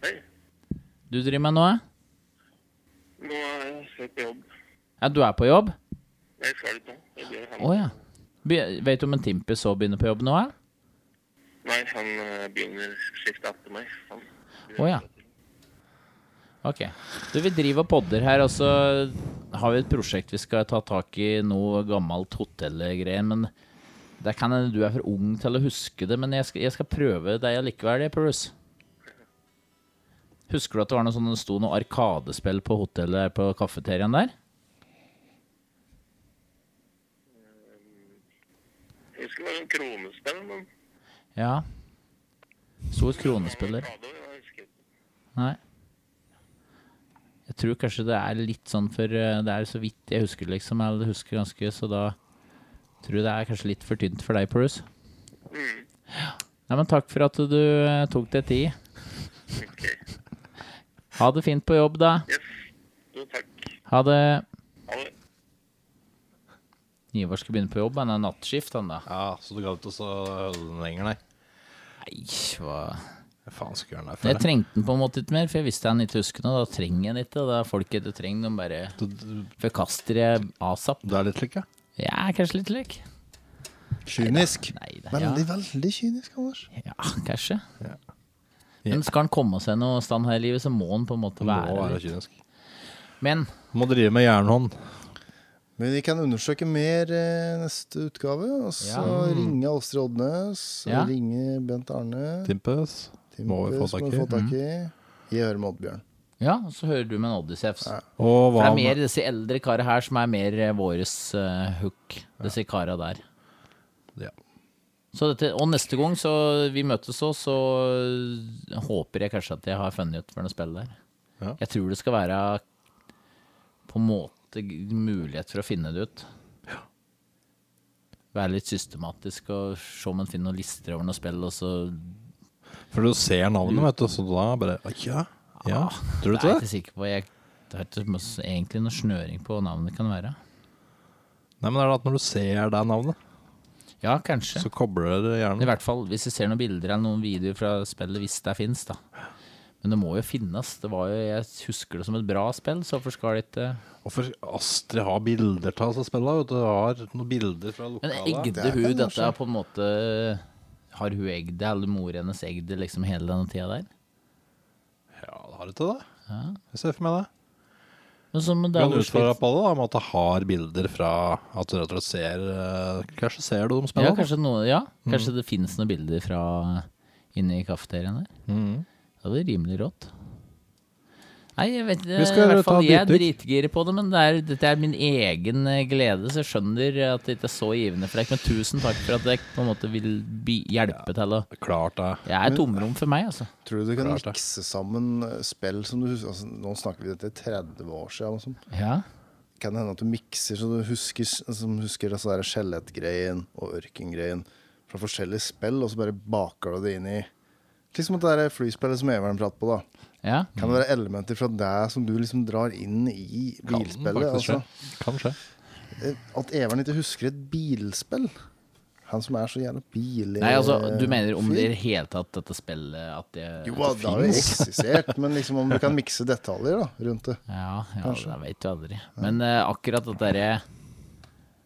Hei. Du driver med noe? Nå er jeg helt på jobb. Ja, du er på jobb? Jeg er ferdig nå. Jeg blir Å han. ja. Be vet du om en Timpis så begynner på jobb nå? ja? Nei, han eh, begynner skiftet etter meg. Han. Å ja. Ok. Du, vi driver og podder her, og så har vi et prosjekt vi skal ta tak i noe gammelt hotellgreier, men det kan hende du er for ung til å huske det, men jeg skal, jeg skal prøve deg allikevel, jeg, Purus. Husker du at det var noe sånn, det sto noe arkadespill på hotellet her på kafeteriaen der? Jeg husker det var en kronespill, men Ja. Sto et kronespiller. ja, det var jeg husker. Nei. Jeg tror kanskje det er litt sånn for eh, Det er så vidt jeg husker, liksom. Jeg husker ganske, så da tror jeg det er kanskje litt for tynt for deg, Purus. Nei, men takk for at du eh, tok deg tid. Ok. Ha det fint på jobb, da. Yes. Jo, takk. Ha det. Ha det. Ivar skal begynne på jobb, han er nattskift, han da. Ja, så du gadd ikke å holde den lenger, nei? Nei, hva Hva faen skulle jeg gjøre den der Jeg for? trengte den på en måte ikke mer, for jeg visste han ikke husker noe. Da trenger jeg den ikke. og Da er folk ikke trenger, de bare Du- forkaster jeg asap. Du er litt slik, ja? Jeg er kanskje litt lik. Kynisk. Nei, det, ja. Veldig, veldig kynisk, Anders. Ja, kanskje. Ja. Men skal han komme seg noe stand her i livet, så må han på en måte Du må være være litt. kynisk. Men Må drive med jernhånd. Men vi kan undersøke mer eh, neste utgave. Og så ringe Astrid Odnes, Ja. og ringe Bent Arne. Timpes. Må vi få Timpus tak må i. få tak i. Mm. Jeg hører med Oddbjørn. ja, så hører du med en Oddysefs. Og For hva det er med mer disse eldre karene her som er mer eh, våres eh, hook. Disse karene der. Ja. Så dette, og neste gang så vi møtes så, så eh, håper jeg kanskje at jeg har funnet ut for noe spill der. Ja. Jeg tror det skal være på en måte g- mulighet for å finne det ut. Være litt systematisk og se om en finner noen lister over noe spill, og så For du ser navnet, vet du, så da bare «Å, Ja. ja. Tror du Det er ikke jeg det? ikke sikker på. Jeg, det er ikke så- egentlig noe snøring på hva navnet kan være. Nei, men er det at når du ser det navnet, Ja, kanskje. så kobler det I hjernen? hvert fall hvis jeg ser noen bilder eller noen videoer fra spillet, hvis det finnes, da. Men det må jo finnes. Det var jo, jeg husker det som et bra spill, så hvorfor skal det ikke Hvorfor Astrid har bilder av seg spilla, vet du. Har noen bilder fra Men lokalet. egde hun dette er på en måte Har hun egd det, eller mor hennes egd det liksom hele denne tida der? Ja, har du ikke det? Jeg ser for meg det. Men så må Du det kan jo utfordre slitt- på det da, med at det har bilder fra at du rett og slett ser eh, Kanskje ser du dem spille? ja, kanskje, noe, ja, kanskje Mm. det finnes noen bilder fra inne i kafeteriaen der. Mm. Det hadde vært rimelig rått. Nei, jeg vet Vi skal i hvert fall ta et Jeg er dypdykk. dritgiret på det, men det er, dette er min egen eh, glede, så jeg skjønner at det ikke er så givende for deg. Men tusen takk for at jeg på en måte vil bi hjelpe til å Klart det. Jeg er tomrom for meg, altså. Tror du du kan Klart det. mikse sammen eh, spill som du husker altså, Nå snakker vi dette er 30 år siden. Liksom. Ja. Kan det hende at du mikser så du husker, som husker altså, der skjelettgreien og ørkengreien fra forskjellige spill, og så bare baker du det inn i Liksom at det er flyspillet som Evern prater på, da. ja. Mm. Kan det være elementer fra deg som du liksom drar inn i Kan bilspillet? faktisk Altså, skje. Kan skje. Eh, at Evern ikke husker et bilspill? Han som er så jævla eh, bil... Nei, altså, Eh, du mener om det i det hele tatt dette spillet at det Jo, da, det har jo eksistert, men liksom om du kan mikse detaljer da, rundt det. Ja, ja det vet du aldri. Men eh, akkurat at dere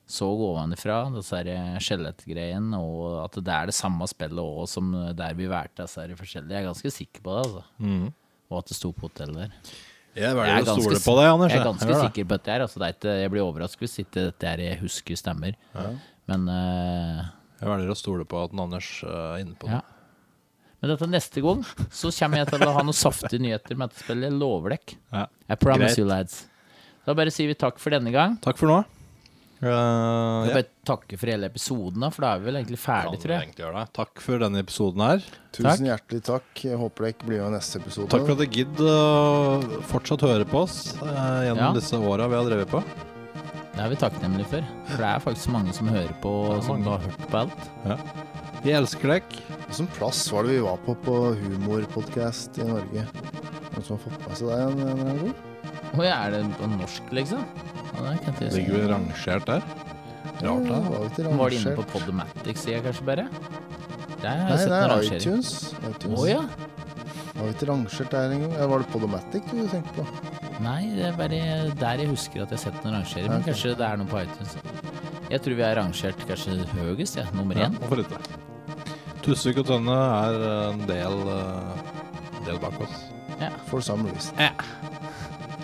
så ovenfra, disse her skjelettgreien, og at det er det samme spillet òg som der vi valgte disse her forskjellige, jeg er ganske sikker på det, altså. Mm. Og at det sto på hotellet der. Jeg Jeg er velger å ganske stole s- på deg, Anders. Jeg er ganske gjør det. sikker på dette her. Altså, det er ikke, jeg blir overrasket hvis ikke dette her jeg husker stemmer. Men eh, Jeg velger å stole på at den Anders eh, er inne på det. ja. Men dette neste gang så kommer jeg til å ha noen saftige nyheter med dette spillet. Jeg lover dere. Ja. I promise Greit. you, lads. Da bare sier vi takk for denne gang. Takk for nå. Eh, Jeg ja. vil bare takke for hele episoden, da, for da er vi vel egentlig Kan ferdig, tror jeg. egentlig gjøre det. Takk for denne episoden her. Tusen hjertelig takk. Jeg håper dere blir med i neste episode. Takk for at du gidder å fortsatt høre på oss eh, gjennom Ja. disse åra vi har drevet på. Det er vi takknemlige for. For det er faktisk mange som hører på, og som har hørt på alt. Vi elsker deg. Hvilken plass var det vi var på på humorpodkast i Norge? Noen som har fått med seg deg en, en, en gang? Oi, er det på norsk, liksom? Ja, det kan jeg ikke Ligger vi rangert der? Rart, Ja, da. var vi ikke Var det inne på rangert? Podomatic-sida, kanskje, bare? Der har Nei, jeg sett det noen er rangering. iTunes. iTunes. Å ja. Jeg har ikke rangert der engang. Eh, Var det Podomatic du tenkte på? Nei, det er bare der jeg husker at jeg har sett den rangere. Men Ok. kanskje det er noe på iTunes. Jeg tror vi er rangert kanskje høyest, ja. nummer én. Hvorfor ikke? Tusvik og Tønne er en del, eh, del bak oss. For some reason. Ja.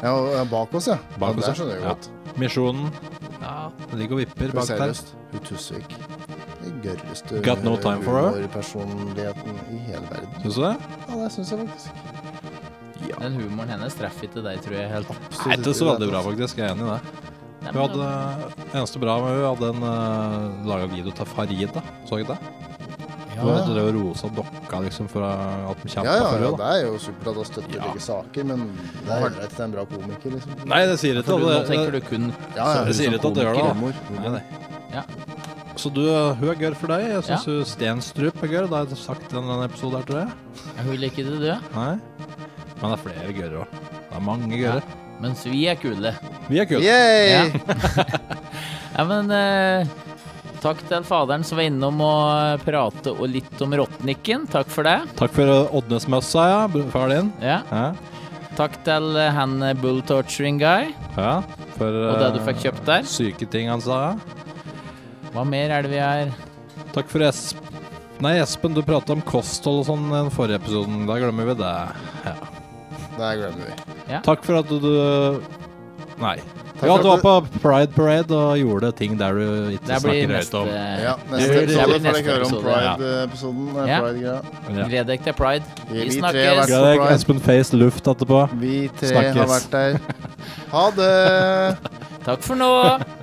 Ja, og, eh, bak oss, ja. Bak ja, oss, det ja. skjønner jeg Ja. godt. Misjonen Ja. den ligger og vipper Men bak der. seriøst, hun Tusvik Det er gørreste Got no time for her. personligheten i hele verden. Syns du det? Ja, det syns jeg faktisk. Den humoren hennes treffer ikke deg, tror jeg helt. Nei, det er så veldig bra, faktisk. Jeg er enig i det. Nei, Hun men hadde, eh, eneste bra med hun hadde en uh, laga video til Farida. Så ikke det? Hun ja. hadde drevet og rosa dokka liksom for eh, at de Ja, kjempa for ja, ja, henne. da. det er jo supert at hun støtter Ja. begge saker, men det er greit at det er en bra komiker, liksom. Nei, det sier ikke For du, nå at tenker det. du kun Ja, ja, Jeg sier hun som ikke at det gjør det, da. komiker, humor, humor. Nei, nei. Ja. Så du, eh, hun er gørr for deg. Jeg syns hun Stenstrup er gørr. Det har jeg sagt i en eller annen episode her, tror jeg. Jeg vil ikke det, du. Nei. Men det er flere gørrer òg. Det er mange gørrer. Mens vi er kule. Vi er kule. Ja. Yay! *laughs* ja, men eh, takk til faderen som var innom og eh, prate og litt om rottnikken. Takk for det. Takk for eh, Oddnesmøssa, ja. br- Far din. Ja. Ja. Takk til eh, han eh, bull torturing guy. ja. For, Og det du eh, fikk kjøpt der? Syke ting han sa, ja. Hva mer er det vi er? Takk for Esp... Nei, Espen, du prata om kosthold og sånn i den forrige episoden. Da glemmer vi det. Det glemmer vi. Takk for at du Nei. Takk ja, for du var at på Pride Parade og gjorde ting der du ikke Det blir snakker høyt neste eh, om. Ja, det neste blir episode får neste dere høre om episode, ja. Pride-episoden. eh, Ja. Pride-greia. Ja. Gled deg til pride. Vi Vi tre har snakkes. vært- Skal jeg Pride. Espen Face luft etterpå? Vi tre har Snakkes. vært der. Ha det! Takk for nå.